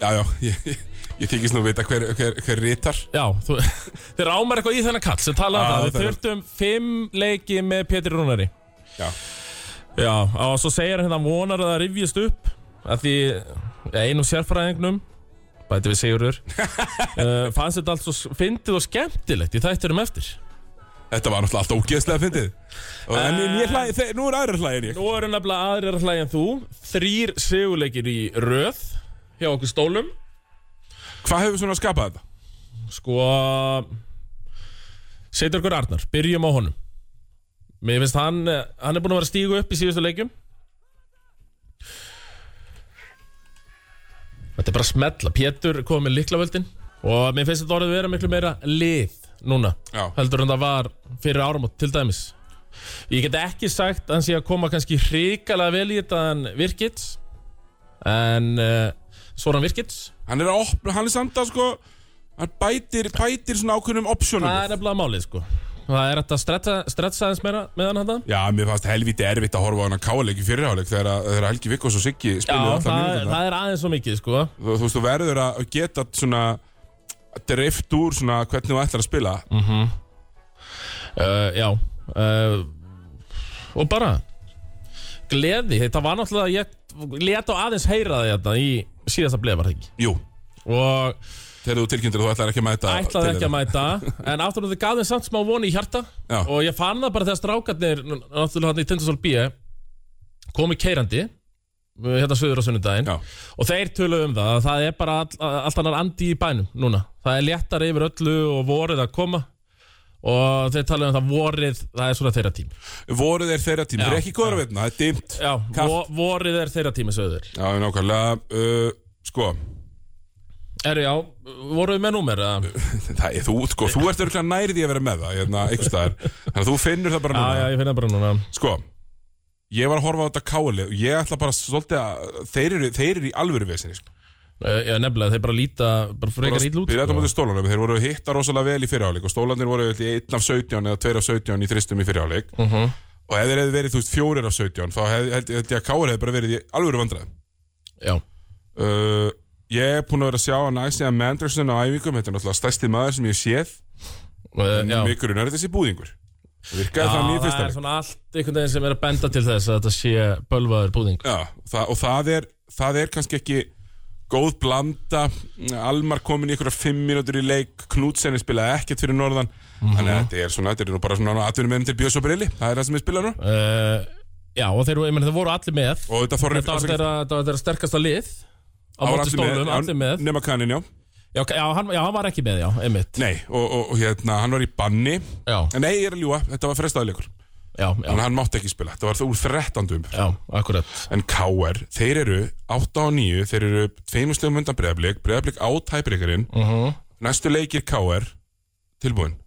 S1: Já, já, ég, ég, ég þykist nú vita hver, hver, hver ritar
S2: Já, þú, þeir ámar eitthvað í þennan kall sem talaði
S1: Já,
S2: um það. Við
S1: þetta er-
S2: þurftum fimm leiki með Pétur Rúnari.
S1: Já,
S2: Já, og svo segir hérna hann vonar að það rifjist upp að því einum sérfræðingnum bæti við Sigurður uh, fannst þetta allt svo fyndið og skemmtilegt í þætturum eftir.
S1: þetta var náttúrulega alltaf ógeðslega fyndið Og- En ég, ég hlæ, þe- nú er aðrir hlæðin ég
S2: Nú eru nefnilega aðrir að hlæja en þú Þrýr seguleikir í röð Hjá okkur stólum
S1: Hvað hefur svona skapað þetta?
S2: Sko Seitur okkur Arnar, byrjum á honum Mér finnst hann eh, Hann er búin að vera að stígu upp í síðustu leikjum Þetta er bara að smetla Pétur kom með liklavöldin Og mér finnst þetta orðið vera miklu meira lið Núna,
S1: Já.
S2: heldur en það var Fyrir áramót til dæmis Ég get ekki sagt að hann sé að koma kannski hrikalega vel í þetta en virkits En uh, Svo er hann virkits
S1: Hann er að opna, hann er samt að sko Hann bætir, bætir svona ákveðnum
S2: Það
S1: optionum
S2: er nefnilega málið sko Það er hægt að stretsa, stretsa aðeins meira með hann þetta
S1: Já, mér fannst helviti erfitt að horfa á hann að káleik í fyrirháleik þegar, að- þegar Helgi Vikkos og Siggi spiluðu
S2: Já,
S1: allar
S2: það, er-
S1: mínúturnar.
S2: það er aðeins svo mikið sko
S1: Þú þú veist, þú verður að geta svona drift úr svona hvernig þú ætlar að spila
S2: Mm. uh, Já uh, Og bara Gleði, þetta var náttúrulega Ég let á aðeins heyra það þetta í síðasta bleið var það ekki
S1: Jú,
S2: Og
S1: þegar þú tilkynntir að þú ætlar ekki að mæta
S2: ætlaði
S1: til
S2: ekki að mæta En aftur þetta gaf þeim samt smá voni í hjarta
S1: Já.
S2: Og ég fann það bara þegar strákarnir Náttúrulega hann í Tindasól B Komi keirandi Hérna söður á sunnudaginn
S1: Já,
S2: Og þeir töluðu um það að það er bara all, allt annar andi í bænum núna. Það er léttar yfir öllu og vorið að koma og þeir tala um það vorið, það er svona þeirra tím.
S1: voru þeir þeirra tími,
S2: Já,
S1: þeir eru ekki góður að veitna, það er dimt
S2: Já,
S1: Kalt.
S2: vo, vorið er þeirra tími sögður.
S1: Já, nákvæmlega, uh, sko,
S2: Eru já, voruð með númer? eða?
S1: það er þú, sko, þú ert örgulega nærið því að vera með það, hérna, einhvers staðar, þannig að þú finnur það bara
S2: Já,
S1: núna.
S2: já, ég finna bara núna.
S1: Sko, ég var að horfa á þetta káli og ég ætla bara svolítið að, þeir eru, þeir eru í alvöru vesinni, sko.
S2: Eh, Já, nefnilega, þeir bara líta, bara frekar ítl út.
S1: Byrja þetta
S2: sko.
S1: mútið stólunum, þeir voru hitta rosalega vel í fyrirháleik og stólandir voru í 1 af 17 eða 2 af 17 í þristum í fyrirháleik
S2: Mhm.
S1: og ef þeir hefði verið, þú veist, 4
S2: Eh,
S1: af 17, þá held held ég að káli hefði bara verið í alvöru vandræðum.
S2: Já,
S1: uh, Ég er búinn að vera að sjá að næsja Manderson á æfingum, þetta er náttúrulega stærsti maður sem ég hef séð um
S2: Uh, já.
S1: Mjög grunnar þetta sé búðingur Það Virkaði
S2: Já,
S1: þannig í
S2: það
S1: fyrsta
S2: er
S1: leik
S2: svona allt einhvern veginn sem er að benda til þess að þetta sé bölvaður búðing
S1: Já, það, og það er, það er kannski ekki góð blanda Almar komin í einhverja fimm mínútur í leik Knudsen er spilaði ekkert fyrir norðan Þannig
S2: Mhm.
S1: að þetta er svona, þetta er nú bara svona atvinnum meðan til Björns og Brilli, það er það sem ég spila nú
S2: uh, Já, og þeir, ég meni, þeir voru allir með
S1: Og þetta þorri
S2: Þetta var þeirra, þetta var þeirra sterkasta lið á móti stólum, allir með
S1: Nefna kannin, já
S2: já, já, hann, já, hann var ekki með, já, einmitt
S1: Nei, og, og, og hérna, hann var í banni
S2: Já,
S1: Nei, ég er að ljúa, þetta var frestaðleikur
S2: já,
S1: En
S2: já,
S1: hann mátti ekki spila, þetta var úr 13. umferð
S2: já, akkurat
S1: En KR, þeir eru 8 og 9, þeir eru tveimuslegum undan breyðablík, breyðablík á tæbreykarinn,
S2: uh
S1: næstu leikir KR, tilbúin.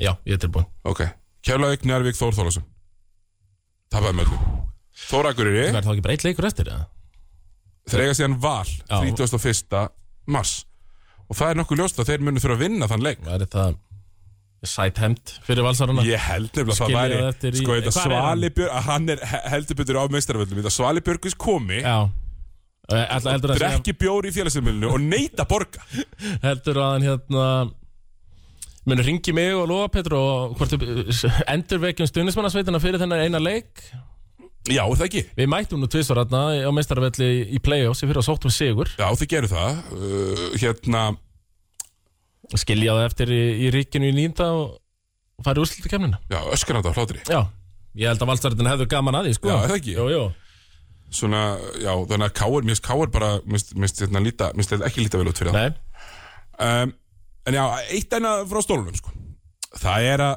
S2: Já, ég er tilbúin
S1: Ok. Keflavík, Njárvík, Þór Þórlásson. Tapaði með öllum. Þórakuriri,
S2: Verður þá ekki bara eitt leikur eftir eða?
S1: þeir eiga síðan val 31. mars. Og það er nokkuð ljóst að þeir munu þurfa að vinna þann leik.
S2: Verður það sæthemd fyrir valsarana?
S1: Ég held nefnilega að það
S2: Skilja það eftir
S1: væri,
S2: í-
S1: sko, þetta
S2: Hvar er hann?
S1: Svalibjörg, að hann er he- heldur betur á meistaraföllum, þetta Svalibjörgis komi,
S2: Já Eh, Ætla, heldur, að segja,
S1: drekki bjóri í félagsumilinu og neita borga.
S2: heldur að hann hérna Munu ringi mig og lofa Petru og hvort þau eh, endurvekjum stuðnismannasveitina fyrir þennan eina leik
S1: Já, er það ekki?
S2: Við mættum nú tvisvar hérna á meistaravelli í play-offs í fyrir að sóttum sigur
S1: Já, þið gerir það. Uh, hérna,
S2: skilja það eftir í, í ríkinu í nýnda og og fara í úrslutakefnina
S1: já, öskranda á hlátri.
S2: Já, ég held að valsarðin hefðu gaman að því sko.
S1: Já, er það ekki?
S2: Jú, jú.
S1: Svona, já, þannig að káir, mér finnst káir bara, mér finnst- mér finnst hérna líta, mér finnst ekki líta vel út fyrir það.
S2: Nei,
S1: Um, en já, eitt enna frá stólunum, sko. Það er að,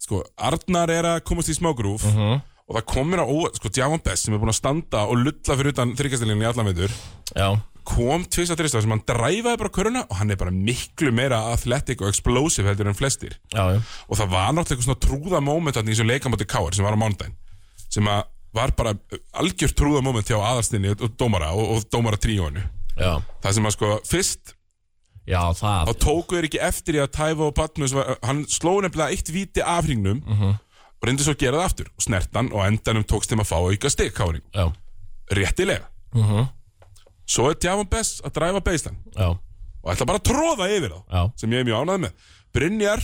S1: sko, Arnar er að komast í smá grúf
S2: Mhm.
S1: og það komir á, óvart, sko, Djávan Bess sem er búin að standa og lulla fyrir utan þryggjastilinni í allan veitur,
S2: já,
S1: kom tvist að þrista sem hann dræfaði bara köruna og hann er bara miklu meira athletic og explosive heldur en flestir.
S2: já, já
S1: og það var náttúrulega eitthvað svona trúða moment þarna í þessum leikamóti Káar sem var á mándaginn sem að var bara uh, algjör trúða moment hjá aðalstinni og og dómara og, og dómara tríónu
S2: Já,
S1: það sem að sko fyrst
S2: já það
S1: þá tóku þeir ekki eftir í að Tæfa og Patmus var, uh, hann sló nefnilega eitt víti af hringnum og reyndi svo að gera það aftur og snertan og á endanum tókst þeim að fá auka stig Káring
S2: Já, Mhm.
S1: réttilega svo er Djafan Bess að dræfa beislan
S2: já,
S1: og ætla bara að tróða yfir þá
S2: já,
S1: sem ég er mjög ánægð með Brynjar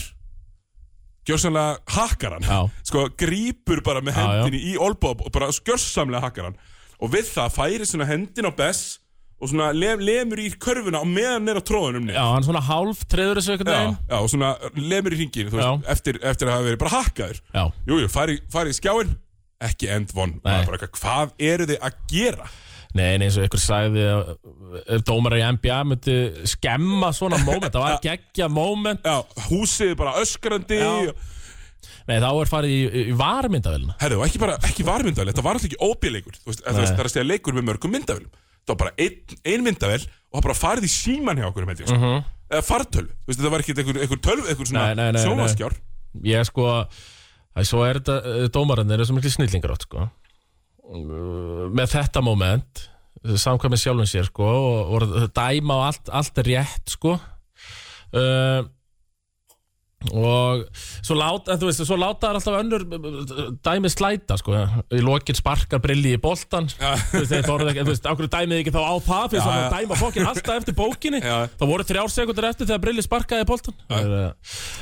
S1: gjörsamlega hakkar hann
S2: Já.
S1: sko grípur bara með
S2: Já, já.
S1: hendinni í olbob og bara skjörsamlega hakkar hann og við það færi svona hendin á Bess og svona lem, lemur í körfuna og meðan er á tróðunum
S2: já, hann svona hálf treður þessu einhvern
S1: já,
S2: veginn
S1: já, og svona lemur í hringin veist, eftir, eftir að hafa verið bara hakkaður
S2: Já,
S1: jújú, fari, fari í skjáin ekki end von
S2: Nei.
S1: bara, eitthvað, hvað eru þið að gera
S2: nei, nei, eins og ykkur sagði að ef dómar í NBA myndi skemma svona moment, það var geggja moment
S1: já, húsið er bara öskrandi
S2: Já. Nei, þá er farið í, í- í varmyndavelina
S1: Herðu, og ekki bara, ekki var myndavél, þetta var alltaf ekki óbíleikur Þú veist, það er að segja leikur með mörgum myndavélum Það var bara ein, ein myndavél og það bara farið í síman hjá okkur með því uh Eða fartölu, þú veist, þetta var ekki einhver, einhver tölv, einhver
S2: Mhm. Nei, nei,
S1: svona
S2: nei, nei.
S1: sjónaskjár
S2: Ég sko, æ, svo er þetta eh, dómarinn er þessu miklu snillingar átt sko Eh, með þetta moment samkvæmið sjálfum sér sko og, og dæma á allt, allt rétt sko uh, og svo láta, en þú veist, svo láta þær alltaf önnur uh, dæmið slæta sko í lokin sparkar brilli í boltan
S1: Já.
S2: þú veist, þetta orðið ekki, þú veist, ákveður dæmið ekki þá á það fyrir
S1: Já,
S2: svona að
S1: já.
S2: dæma fokkin alltaf eftir bókinni
S1: Já.
S2: það voru þrjár sekundur eftir þegar brilli sparkaði í boltan já,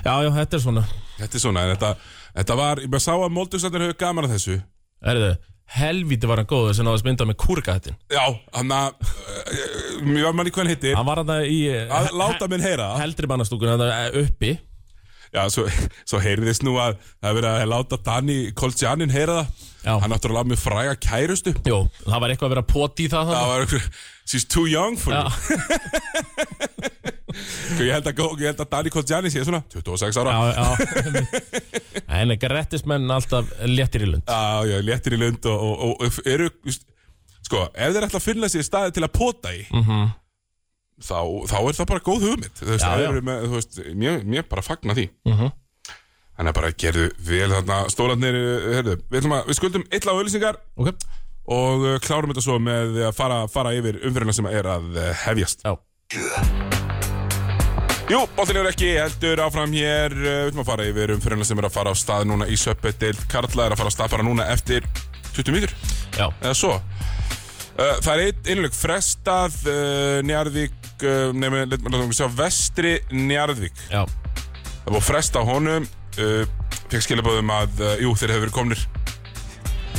S2: já, já þetta er svona
S1: Þetta er svona, en þetta, þetta var, ég bara sá að Moldusarnir höfðu gaman að þessu
S2: Erðu, helvíti var hann góður sem náðast mynda með kúrgættin
S1: Já, hann að, eh, mér var manni hvað hann hittir
S2: Hann var hann í eh,
S1: Að láta minn heyra það.
S2: heldri mannastúkun hann eh, uppi
S1: Já, svo, svo heyrðist nú að það er verið að láta Dani Koltjanin heyra það
S2: Já.
S1: Hann náttúrulega með fræga kærustu
S2: Jó, það var eitthvað að vera poti í það
S1: Það
S2: þannig
S1: var einhver, she's too young for
S2: Já.
S1: you Sko, Ég held að, gó- ég held að Dani Koltjani sé svona 26 ára Já,
S2: Já, já En ekki rettismenn alltaf léttir í lund
S1: já, léttir í lund og, og, og eru víst, Sko, ef þeir ætla að finna sér staði til að pota í
S2: Mhm.
S1: þá, þá er það bara góð hugmynd Þú veist,
S2: Já,
S1: já,
S2: já.
S1: já. Með, þú veist mér, mér bara fagna því
S2: Mhm.
S1: Þannig að bara gerðu vel þarna Stólarnir, herðu, við, ætlum að- við skuldum illa á auðlýsingar
S2: Ok,
S1: og uh, klárum þetta svo með að fara, fara yfir umfyrirna sem er að uh, hefjast
S2: já
S1: Jú, boltin er ekki heldur áfram hér uh, Við viljum að fara yfir umfyrirna sem er að fara á stað núna í söpbetild Karla er að fara á stað bara núna eftir 20 mínútur
S2: Já,
S1: eða svo Uh, það er einn innlög frestað uh, Njarðvík, uh, nefnir, letum við sjá, vestri Njarðvík.
S2: Já,
S1: Það var frestað honum, uh, fekk skilabóðum að, uh, jú, þeir hefur verið komnir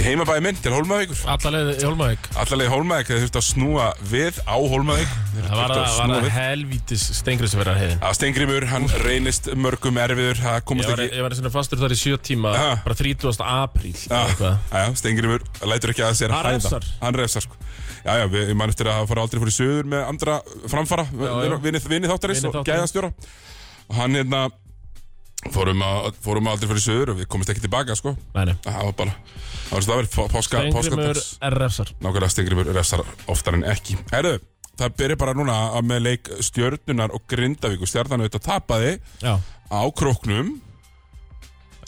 S1: í heimabæði minn til Hólmavíkur.
S2: allalegið í Hólmavík
S1: Allarlega í Hólmavík, þeir þurftu að snúa við á Hólmavík. Þeir
S2: Það var
S1: þurftu
S2: að, var að helvítis stengriðsverðar heiðin
S1: Að Steingrimur, hann reynist mörgum erfiður, það
S2: Ég
S1: komast
S2: var,
S1: ekki...
S2: ég var svona fastur þar í sjö tíma
S1: Ha.
S2: Bara 30. apríl
S1: Já,
S2: eitthvað.
S1: já, Steingrimur lætur ekki að sér
S2: Hann refsar.
S1: Hann refsar sko Já, já, við, ég man eftir að hafa fara aldrei fór í söður með andra framfara
S2: já.
S1: Vinið vini þáttarins
S2: Vini
S1: og
S2: þáttarins.
S1: gæðastjóra Og hann hérna fórum, að, fórum aldrei fór í söður og við komumst ekki tilbaka sko
S2: Nei, nei
S1: Það var bara, það var staðverð, páska,
S2: Stengrimur
S1: páskadags
S2: RFsar
S1: Nákvæmlega Steingrimur refsar oftar en ekki Herðu, það byrja bara núna að með leik stjörnunar og grindavík og stjarnan auðvitað tapaði
S2: Já
S1: á króknum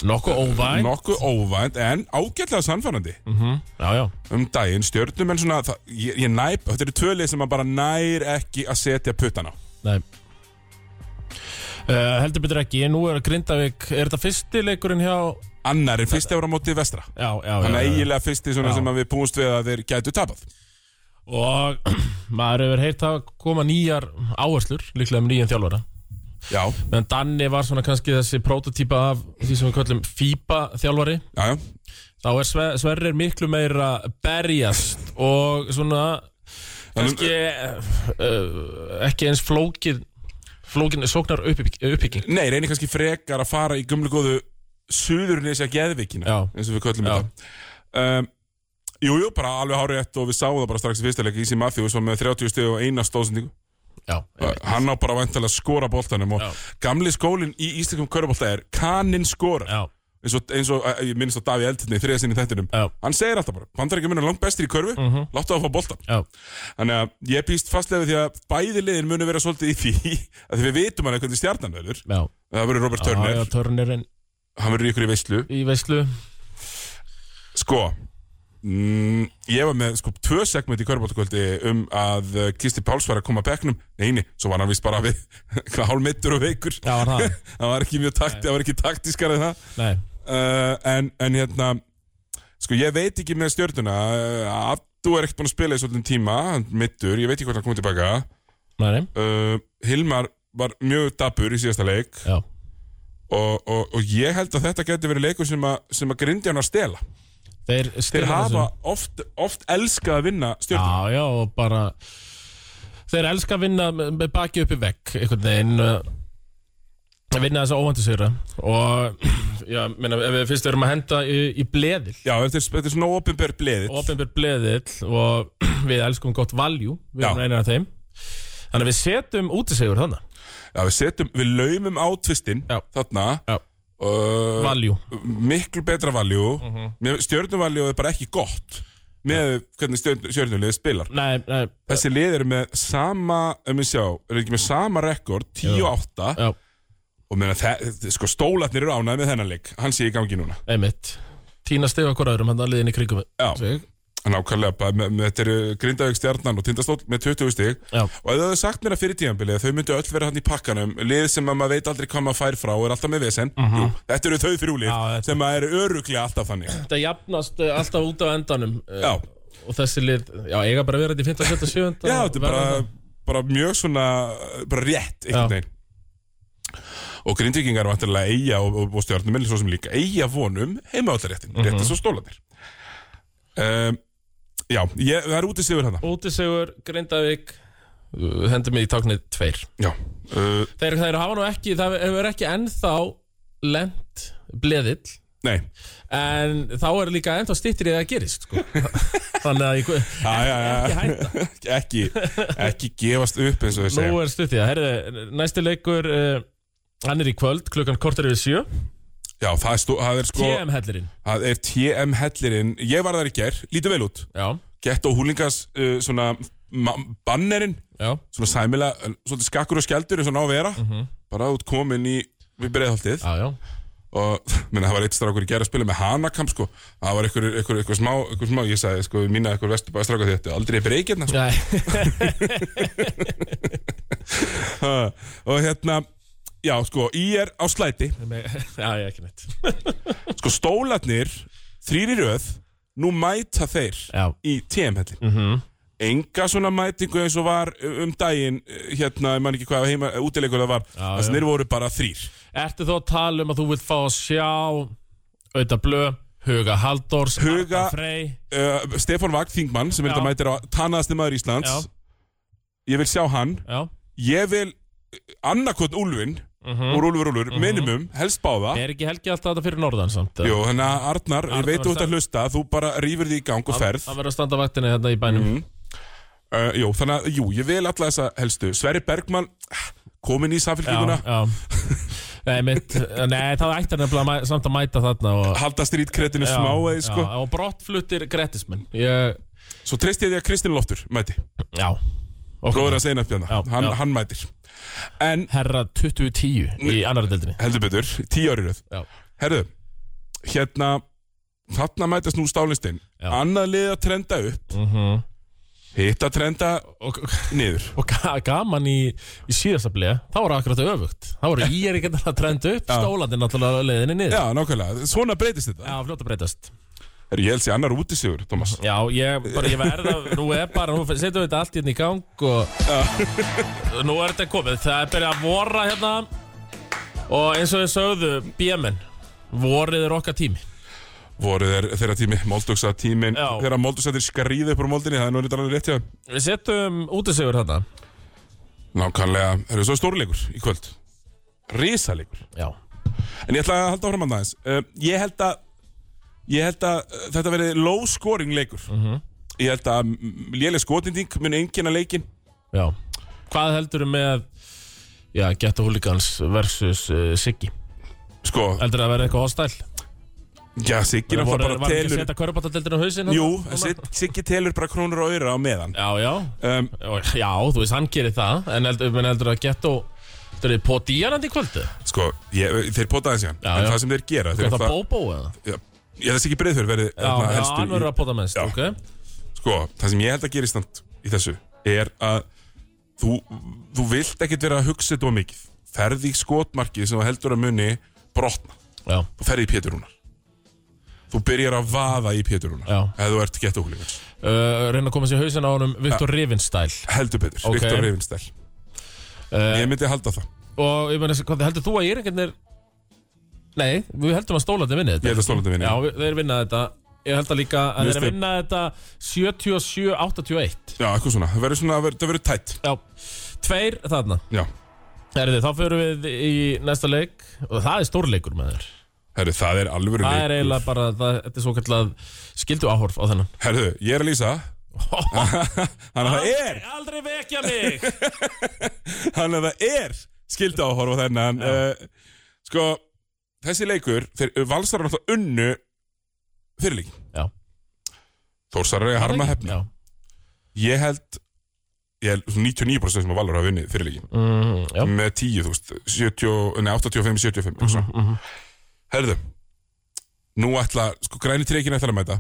S2: Nokku óvæn
S1: Nokkuð óvænt en ágætlega sannfærandi
S2: Mhm. Já, já
S1: um daginn stjörnum en svona, það, ég, ég næp, þetta eru tvölið sem maður bara nær ekki að setja puttan á.
S2: Nei uh, Heldur betur ekki, nú er Grindavík Er þetta fyrsti leikurinn hjá
S1: Annar er fyrsti ára á móti vestra.
S2: Já, já, já,
S1: Þannig að
S2: já, já.
S1: eiginlega fyrsti svona
S2: Já.
S1: sem að við búumst við að þeir gætu tapað.
S2: Og maður hefur heyrt að koma nýjar áherslur Líklega um nýjan þjálfara
S1: Já,
S2: Meðan Danni var svona kannski þessi prototýpa af Því sem við köllum FIBA þjálfari
S1: já, já.
S2: Þá er sve, Sverrir miklu meira berjast Og svona Kannski uh, Ekki eins flókin Flókin sóknar uppbygging
S1: Nei, reynir kannski frekar að fara í gumlugóðu suðurnisja geðvikina,
S2: Já.
S1: eins og við köllum
S2: Já.
S1: þetta. Um, jú, jú, bara alveg hárið rétt og við sáum það bara strax í fyrsta leik Ísi Matthews var með 30 stöð og eina stóðsendingu.
S2: Já,
S1: Uh, Hann á bara vantilega að skora boltanum og
S2: Já.
S1: gamli skólinn í íslikum körubólta er kaninn skora.
S2: já,
S1: eins og, eins og eh, ég minnst á Daví Eldinni þriða sinni í þættinum,
S2: Já.
S1: hann segir alltaf bara bandaríkjum er langt bestir í körfu, mm
S2: Mhm.
S1: -hmm. láttu að fá boltan
S2: já
S1: þannig að ég býst fastlega við því að bæði liðin munu vera svolítið í því að því við vitum hann hvernig stjarnan verður
S2: Já,
S1: það verður Robert Turner,
S2: Já, já, Turnerinn
S1: hann verður í ykkur í veislu
S2: í veislu
S1: sko Mm, ég var með sko tvö segment í Körbáttakvöldi um að eh, Kristi Páls var að koma að bekknum neini, svo var hann vist bara við hvað hálmittur og veikur
S2: Já, var það?
S1: það var ekki mjög takti, það var ekki taktískar en það
S2: Nei,
S1: uh, en, en hérna sko ég veit ekki með stjörnuna uh, Abdu er ekkert búinn að spila í svolítið tíma hann er middur, ég veit ekki hvort hann komið tilbaka
S2: nei, nei
S1: uh, Hilmar var mjög dabur í síðasta leik
S2: Já,
S1: og, og, og ég held að þetta geti verið leikur sem, a, sem að grindi hann að stela
S2: þeir
S1: þeir
S2: stila
S1: hafa
S2: þessu.
S1: oft, oft elskað að vinna stjörnuna
S2: Já, já, og bara Þeir elska að vinna með með baki upp í vekk einhvern veginn uh, vinna þess að óvæntu sigra og já, minna, ef við fyrst erum að henda í, í bleðil
S1: Já, þetta er, þetta er svona ópenbær bleðið
S2: Opinber bleðill og við elskum gott valjú við
S1: Já.
S2: erum einar af þeim þannig að við setjum útisegur þannig
S1: Já, við setjum, við laumum á tvistin
S2: Já.
S1: þarna
S2: Já.
S1: Uh,
S2: valjú
S1: miklu betra valjú
S2: Mhm.
S1: mm -hmm. stjörnuvaljú er bara ekki gott með hvernig stjörnulegu spilar
S2: nei, nei,
S1: þessi lið eru með sama um við sjá, eru ekki með sama rekord 10-8
S2: já,
S1: og meina, þe- sko, stólatnir eru ánæði með þennan leik hann sé í gangi núna
S2: einmitt tína stegu okkur öðrum hann að liðin í kringum
S1: Já.
S2: sig
S1: nákvæmlega, bara með, með, þetta eru Grindavík stjarnan og Tindastóll með 20 stig
S2: Já.
S1: og ef þau hefðu sagt mér að fyrir tíðanbilið þau myndu öll vera hann í pakkanum lið sem að maður veit aldrei hvað maður fær frá og er alltaf með vesen Jú, þetta eru þau þrjúlið
S2: Mhm. Já, þetta-
S1: sem að eru öruglega alltaf þannig
S2: þetta jafnast eh, alltaf út á endanum eh,
S1: Já.
S2: og þessi lið, já, eiga bara verið í 57.
S1: Já, þetta er bara, bara mjög svona bara rétt, einhvern
S2: Já.
S1: veginn og grindvikingar vantarlega eiga og, og, og stjórnum svo sem líka eiga vonum heima réttin,
S2: Mhm.
S1: rétt eins og stólanir um, Já, ég, það er útið sigur hana
S2: útisegur, Grindavík eh, hendur mig í táknið tveir
S1: Já, uh,
S2: þeir, þeir hafa nú ekki, það hefur ekki ennþá lent bleðill
S1: nei
S2: en þá er líka ennþá stýttir í það að gerist sko. þannig að ég,
S1: já, já,
S2: ekki
S1: já.
S2: hætta
S1: ekki, ekki gefast upp eins og þau
S2: nú
S1: segja
S2: er stutt í það, herri, næsti leikur eh, hann er í kvöld, klukkan kortar yfir sjö
S1: Já, það er, stó, það er sko
S2: TM hellirinn
S1: það er TM hellirinn, ég var þar í ger lítið vel út,
S2: já,
S1: gett og húlingas uh, svona ma- bannerinn
S2: já,
S1: svona sæmilega, svona skakkur og skjaldur eins og ná að vera, bara út komin í við breiðholtið
S2: já, já
S1: og minna, það var eitt strákur í gerð að spila með hanakamp sko, það var einhver, einhver, einhver, smá, einhver smá, ég sagði sko, mína einhver vesturbæða strákur þetta er aldrei breykirna sko.
S2: Nei.
S1: Ha, og hérna, já sko, í er á slæti,
S2: Já, ég ekki neitt
S1: sko stólarnir þrýri röð, nú mæta þeir
S2: Já, Mhm.
S1: í TM-hellin mm -hmm. enga svona mætingu eins og var um daginn eh, hérna, ég man ekki hvað heima, útileikur það var þess að þeir voru bara þrýr
S2: Ertu þó að tala um að þú vilt fá að sjá Auða Blö, Huga Halldórs
S1: Huga-
S2: Arnar Frey
S1: uh, Stefán Vagn Þingmann sem er
S2: Já.
S1: þetta mætir á tannaðasti maður Íslands
S2: Já,
S1: ég vil sjá hann,
S2: já
S1: ég vil eh, annarkotn Úlfin
S2: Mhm.
S1: úr Úlfur Úlfur, minimum, helst báða
S2: Er ekki helgi alltaf þetta fyrir norðan samt?
S1: Jú, þannig að Arnar, ég
S2: Arnar
S1: veit þú ert
S2: sagði-
S1: að hlusta þú bara rýfur því í gang og ferð Mm,
S2: Það verður að standa vaktinni hérna í bænum
S1: uh, Jú, þannig að, jú, ég vil alla þessa helstu Sverri Bergmann, komin í samfélkinguna
S2: Já, já Nei, mitt, nei, það ætti hann nefnilega að mæ- samt að mæta þarna og,
S1: halda strítkretinu
S2: já,
S1: smá eða sko
S2: já, og brottfluttir grettismenn ég,
S1: Svo treysti ég því að Kristinn Loftur mæti
S2: Já og
S1: Bróður að segja nefnir
S2: Já,
S1: hann,
S2: já.
S1: hann mætir En,
S2: Herra 2010 í annar deildinni
S1: heldur betur, tíu árið
S2: Já,
S1: Herðu, hérna Þarna mætast nú stálinstinn
S2: Já.
S1: Annað lið að trenda upp
S2: mhm
S1: Hitt að trenda
S2: og,
S1: niður
S2: og ga- gaman í, í síðasta bleið þá voru akkurat öfugt þá voru ég er ekki að trenda upp stólandi náttúrulega á leiðinni niður
S1: Já, nákvæmlega, svona breytist þetta
S2: Já, fljótt að breytast
S1: Herru, ég held sér annar útisigur, Thomas
S2: Já, ég, bara, ég verð að, nú er bara, nú setjum við þetta allt hérna í gang og nú er þetta komið, það er byrjað að vorra hérna og eins og við sögðu, BM-en, vorrið er okkar tími
S1: Voru þeir, þeirra tími, Moldugsa tímin
S2: Já.
S1: Þeirra Moldugsa þeir skarýðu upp úr moldinni Það er nú reyndar alveg rétt hjá þeim.
S2: Við setjum útisegur þarna
S1: Nákvæmlega, herru, svo er stórleikur í kvöld Rísalegur
S2: Já,
S1: En ég ætla að halda áfram að aðeins uh, Ég held að Ég held að uh, þetta verði low scoring leikur
S2: Mhm.
S1: Ég held að mm, léleg skotinding mun enginn að leikin
S2: já Hvað heldur með, já, Getta Hooligans versus uh, Siggi?
S1: Sko,
S2: Heldur það verði eitthvað hostæl?
S1: Já, Siggi
S2: Voru-
S1: náttúrulega
S2: Var
S1: bara
S2: ekki að
S1: telur
S2: setja körubattadeldinu á hausinn?
S1: Jú,
S2: þarna?
S1: en Sig- Siggi telur bara krónur og auðra á meðan
S2: Já, já,
S1: um,
S2: Og- já, þú veist, hann gerir það, en heldur, menn heldur að Getta, heldur þið på díanandi kvöldu?
S1: Sko, ég, þeir potaði síðan
S2: Já,
S1: En
S2: já.
S1: það sem þeir gera þeir
S2: Er það
S1: náttúrulega-
S2: Bobo eða?
S1: Já, Ég held að Siggi Breiðfjörð verði
S2: Já,
S1: þarna
S2: já
S1: helstu
S2: hann verður
S1: í,
S2: að pota mest,
S1: Já.
S2: ok
S1: Sko, það sem ég held að gerist samt í þessu Er að þú, þú vilt ekkit vera að hugsa þetta of mikið Ferði í skotmarkið sem þú heldur að muni brotna
S2: Já,
S1: Þú ferði í Péturúnar Þú byrjar að vaða í Péturúnar
S2: Já.
S1: Ef þú ert gett okkur
S2: uh, reyna að koma sér í hausinn á honum Viktor Rivinstæl
S1: Heldur Pétur,
S2: Ok.
S1: Viktor Reyfinstæl
S2: uh,
S1: Ég myndi halda það
S2: Og ég meina, hvað heldur þú að ég er einhvernir Nei, við heldum að stólandi vinni þetta
S1: Ég held að Stólandi vinni.
S2: Já, við- þeir vinna þetta Ég held að líka að
S1: Mér
S2: þeir
S1: finnst
S2: vinna þetta 77-81
S1: Já, eitthvað svona, það verður svona, það verður tætt
S2: Já, tveir þarna
S1: Já,
S2: Herði, þá förum við í næsta leik Og það er stórleikur með þér
S1: herru, það er alvöru
S2: Það er
S1: leikur.
S2: eiginlega bara, það, þetta er svo kallað skildu áhorf á þennan
S1: Herru, ég er að lýsa
S2: Ah.
S1: Þannig að það er,
S2: Aldrei vekja mig
S1: þannig að það er skilda á horfa þennan uh, Sko, þessi leikur þeir valsar hann alltaf unnu fyrirlík
S2: Já.
S1: Þórsar er að harma hefna
S2: Já
S1: Ég held, ég held svona 99% sem að Valur hafa unnið fyrirlíkin
S2: Mm, já. Mhm.
S1: með 10.000 70, nei, 85-75 mm Herðu Nú ætla, sko græni trekin ætla að mæta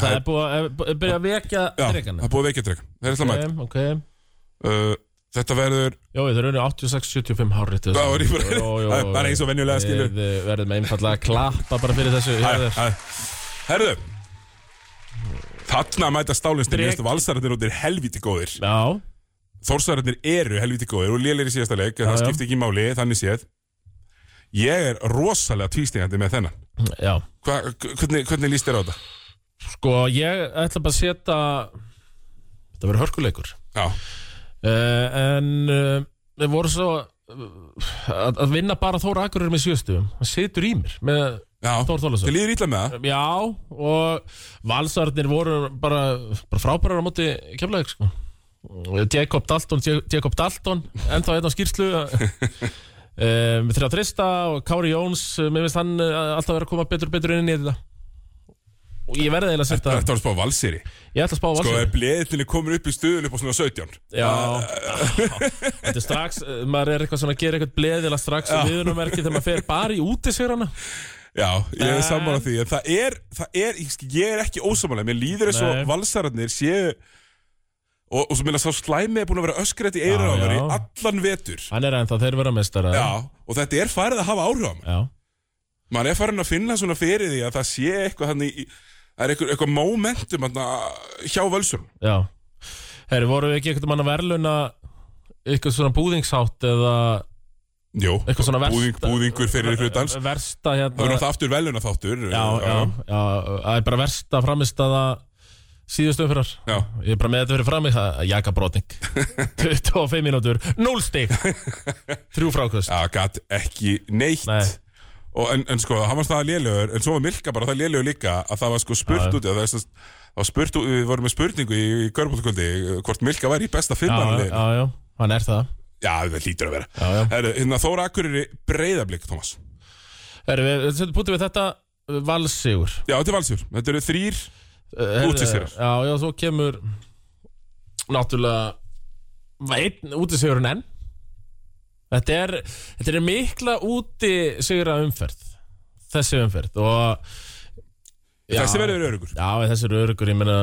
S2: Það er búið að er byrja að vekja
S1: Já, það
S2: dreikana
S1: er búið að veikja drekan Þeir ætla að mæta
S2: Ok, ok Eh.
S1: uh, Þetta verður
S2: Jó, þeir eru 86-75 hárið
S1: Það var ég bara- Það er bara eins og venjulega, skilur.
S2: Við verðum einfallega að klappa bara fyrir þessu
S1: Æ,
S2: Herðu,
S1: æ. Eh, Herðu Þarna mæta stálinstir
S2: Drek-
S1: Mér finnst valsararnir og þeir helviti góðir
S2: Já,
S1: Þórsararnir eru helviti góðir og lélir í síðasta leik en
S2: Já,
S1: það
S2: já.
S1: skipti ekki máli, þannig séð Ég er rosalega tvístingandi með þennan
S2: já
S1: Hva, hvernig, hvernig líst þér á þetta?
S2: Sko, ég ætla bara að setja Þetta verður hörkuleikur
S1: Já,
S2: uh, En uh, við vorum svo uh, að, að vinna bara Þóra Akurur með sjöstum Það situr í mér með
S1: já
S2: Þór
S1: Þið
S2: Þólasson
S1: líður ítla með það?
S2: Já, og valsarnir voru bara, bara frábærar á móti kemlaðið sko. Jacob Dalton, Ja- Jacob Dalton ennþá einn á skýrslu um, Þrjá Trista og Kári Jóns eh, mér finnst hann eh, alltaf vera að koma betur og betur inn í þetta og ég verði eiginlega að setja
S1: Þetta var að spá valsýri
S2: ég ætla að spá á
S1: Sko,
S2: valsarnir
S1: er bleðinni komin upp í stuðun upp á svona 17
S2: Já, þetta er strax, eh, maður er eitthvað svona að gera eitthvað bleðilega strax og viðunumerki þegar maður fer bara í útisverana
S1: Já, ég er
S2: En-
S1: sammála því En það er, það er ég, sk- ég er ekki ósammála Mér líður þess að
S2: Nei.
S1: valsararnir séu Og, og svo minna sá slæmi er búin að vera öskrætt í
S2: Já,
S1: eira á mér í
S2: já.
S1: allan vetur
S2: Hann er ennþá, þeir vera mestara
S1: Já, og þetta er farið að hafa áhrif á mér
S2: Já,
S1: Man er farin að finna svona fyrir því að það sé eitthvað hann í í- Það er eitthvað, eitthvað momentum hann, hjá völsurum
S2: já Herri, voru við ekki einhvern mann að verðluna eitthvað svona búðingshátt eða
S1: Jú,
S2: Eitthvað svona versta-
S1: búðing, búðingur fyrir hlutans
S2: versta
S1: Það verður
S2: hérna
S1: náttúrulega aftur veluna þáttur
S2: já, já, já, það er bara versta framistaða síðustu umfyrir
S1: já.
S2: Ég er bara með þetta fyrir frammi, það er jakabrótning 25 mínútur, 0 stig Þrjú frákvöst
S1: Já, gat ekki neitt
S2: Nei.
S1: Og, en, en sko, hann var það lélegur En svo var Milka bara það lélegur líka Að það var sko spurt
S2: Já.
S1: út Það var sem sagt- það var spurt út, við vorum með spurningu í, í Körbólkvöldi Hvort Milka væri í besta
S2: Já, já,
S1: fimmannalið Já,
S2: já, hann er það
S1: það lítur að vera
S2: Já, já.
S1: Heru, Hérna Þóra Akureyri breyðablík, Thomas
S2: Herri, við setjum pútið við þetta Valsigur
S1: Já, þetta er valsjur, þetta eru þrýr
S2: Eh,
S1: Útisigrar.
S2: Já, já, svo kemur Náttúrulega var Einn útisigurinn enn Þetta er, þetta er mikla útisigra umferð Þessi umferð og Já.
S1: Þessi verður örugur
S2: Já, en þessi eru örugur, ég meina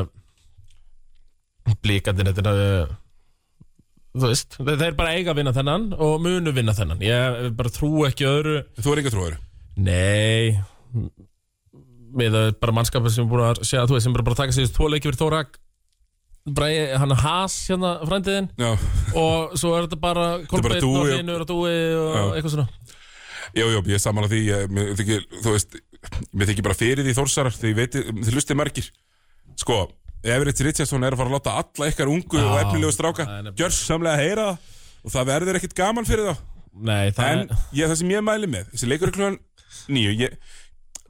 S2: Blíkandinn, þetta er eh, Þú veist, þe- þeir bara eiga að vinna þennan Og munu vinna þennan Ég bara trú ekki öðru
S1: Þú er enga tróður
S2: Nei m- Með að bara mannskapið sem er búin að segja, þú veist, sem er bara að taka sig þessu tvo leiki fyrir Tórak Bræði, hann er has hérna frændiðin
S1: Já,
S2: og svo er þetta bara Kolbeinn
S1: dúi
S2: og
S1: og-
S2: Hlinur og Dúi og
S1: Já.
S2: eitthvað svona
S1: já, já, ég er saman að því ég, mér, þykir, Þú veist, mér þykir bara fyrir því Þórsarar Því ég veit, þið lustið margir Sko, Everett Richardson er að fara að láta alla ykkar ungu og efnilegu stráka
S2: það er nefnilega-
S1: Gjörsamlega að heyra það Og það verður ekkit gaman fyrir þá
S2: Nei, það
S1: En
S2: er
S1: ég, það sem ég mæli með Þessi leikur er klugan nýju ég,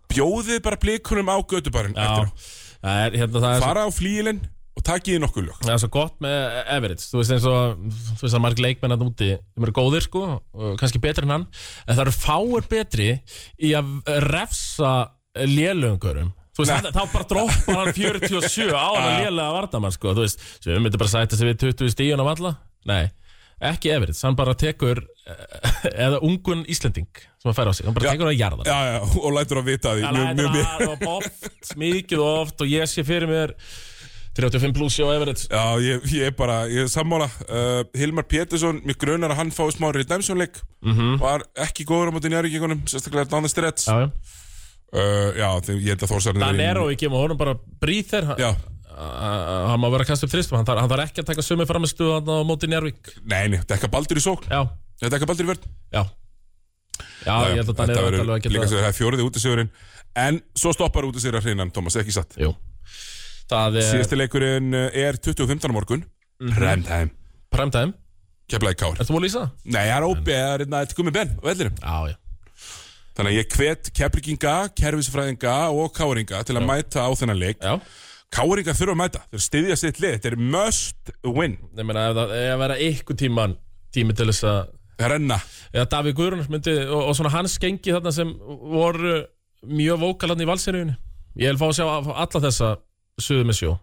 S1: Bjóðið bara blikunum á götubarinn
S2: Já,
S1: eftir á.
S2: það er hérna það er svo,
S1: Fara á flíilinn og takiði nokkuð lög
S2: það er svo gott með Everett Þú veist eins og, þú veist að marg leikmenn að úti Þeim eru góðir sko, og kannski betri en hann En það eru fáir betri í að refsa lélöngurum Þú veist,
S1: Nei.
S2: þá bara droppar hann 47 ára lélega vartamann sko, þú veist Svo við myndum bara sæta sig við 20 stíun á valla Nei, ekki Everett, hann bara tekur eh, eða ungun Íslending sem að færa á sig, hann bara
S1: Já.
S2: tekur hann að jarða
S1: Já, já, og lætur að vita því
S2: Það
S1: mjög, mjög,
S2: lætur
S1: mjög.
S2: að og oft, mikið og oft og ég sé fyrir mér 35 pluss á Everett
S1: Já, ég, ég er bara, ég er sammála uh, Hilmar Pétursson, mér grunar að hann fái smá redemptionleik -hmm. Var ekki góður á móti njárvíkingunum Sérstaklega down the stretch uh,
S2: Mhm. Já, já.
S1: Já, þegar ég held að Þórsarinn
S2: Dan er á ekki og honum bara brýþir
S1: Já,
S2: hann má vera að kasta upp þristum hann þarf, hann þarf ekki að taka sömu framistu hann á móti Njárvík
S1: nei, nei, þetta er ekki baldur í sókn
S2: já,
S1: Þetta er ekki baldur í vörn
S2: já já, ég held að Dan er
S1: Þetta
S2: alveg að
S1: verður líka
S2: geta
S1: svo, það er fjóriði útisegurinn En svo stoppar útisegur að hreinan, Thomas, ekki satt
S2: jú það er
S1: Síðasti leikurinn eh, er 20.15 á morgun
S2: Mhm.
S1: Prime time
S2: prime time,
S1: Keflaði Kár
S2: ertu múið að lýsa?
S1: Nei, það er óbið, það er þetta komið benn á vellinum
S2: já, já,
S1: Þannig að ég hvet Keflinginga, Kerfisfræðinga og Káringa til að mæta á þennan leik
S2: já
S1: Káringa þurfa að mæta, þeir styðja sitt lið Þetta er must win,
S2: ég meina, ef það er að vera ykkur tíman tími til þess að
S1: renna
S2: eða Davíð Guðrúnars myndi og, og svona hans gengi þarna sem voru mjög vókalann í valsýrjunni ég vil fá að sjá af- alla þessa suðu með sjó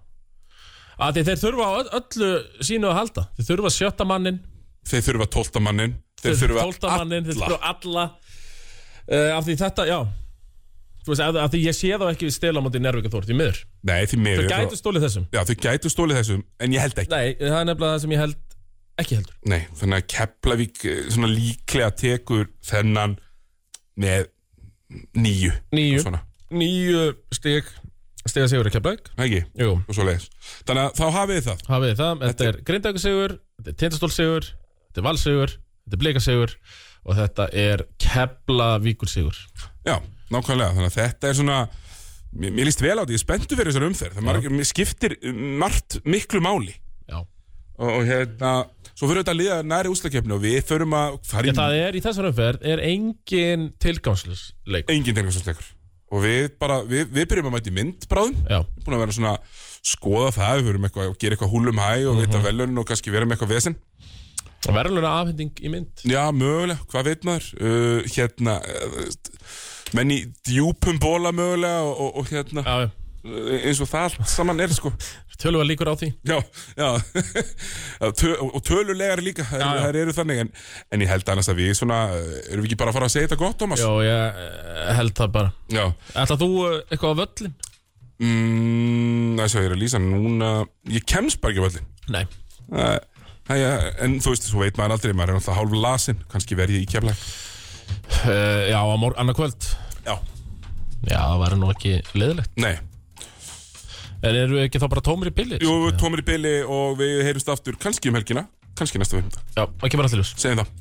S2: að þeir þurfa á öll- öllu sínu að halda þeir þurfa sjötta mannin
S1: Þeir þurfa tólta mannin Þeir
S2: tólfta
S1: þurfa
S2: mannin,
S1: alla
S2: þeir þurfa alla uh, af því þetta, já þú veist, af, af því ég sé þá ekki við stela á móti Nervika Þór, því miður
S1: Nei, því
S2: þau
S1: meður
S2: gætu stólið þessum
S1: Já, þau gætu stólið þessum, en ég held ekki
S2: nei, það er nefnilega það sem ég held ekki heldur
S1: Nei, þannig að Keflavík eh, svona líklega tekur þennan með nýju
S2: Níu.
S1: Svona,
S2: nýju stig stiga sigur ekki að blæk
S1: ekki,
S2: jú,
S1: og svo leiðis Þannig að þá hafið þið það
S2: hafið þið það, þetta er Grindavíkursigur þetta er Tindastólsigur, þetta er Valsigur þetta er Blekasigur og þetta er Keflavíkursigur
S1: Já, nákvæmlega, þannig að þetta er svona Mér, mér líst vel á því, ég er spenntu fyrir þessar umferð Það margir, mér skiptir margt miklu máli
S2: Já.
S1: Og, og hérna, svo fyrir þetta að liða næri úslakefni Og við förum að fara í
S2: það er í þessar umferð er engin tilgangsleik
S1: engin tengarsumstekur Og við bara, við, við byrjum að mæti mynd bráðum
S2: Já,
S1: Búin að vera svona skoða það Við verum eitthvað, gera eitthvað húlum hæ Og
S2: Mhm.
S1: vita velun og kannski vera með eitthvað vesinn
S2: það verður alveg afhending í mynd
S1: Já, mögulega, hvað veit maður uh, Hérna uh, Menn í djúpum bóla mögulega Og, og, og hérna,
S2: Já,
S1: uh, eins og það allt saman er sko
S2: tölum við líkur á því
S1: Já, já Já, tö, Og tölulegar líka, þær
S2: Já, já.
S1: þær eru þannig en, en ég held annars að við svona uh, Erum við ekki bara að fara að segja þetta gott, Thomas?
S2: Já, ég eh, held það bara
S1: já.
S2: Ætla þú eh, eitthvað á völlin?
S1: Mm, þessu, ég er að lýsa núna Ég kemst bara ekki völdin
S2: Nei,
S1: uh, ja, En þú veist, svo veit maður aldrei Maður er alltaf hálf lasin, kannski verð ég í kemla
S2: uh, já, á morgun, annarkvöld
S1: Já,
S2: Já, það verður nú ekki leðilegt
S1: nei
S2: En eru við ekki þá bara tómir í pillir?
S1: Jú, tómir í byli og við heyrumst aftur kannski um helgina, kannski næsta veikinda.
S2: Já, það kemur allir ljós
S1: Segjum það.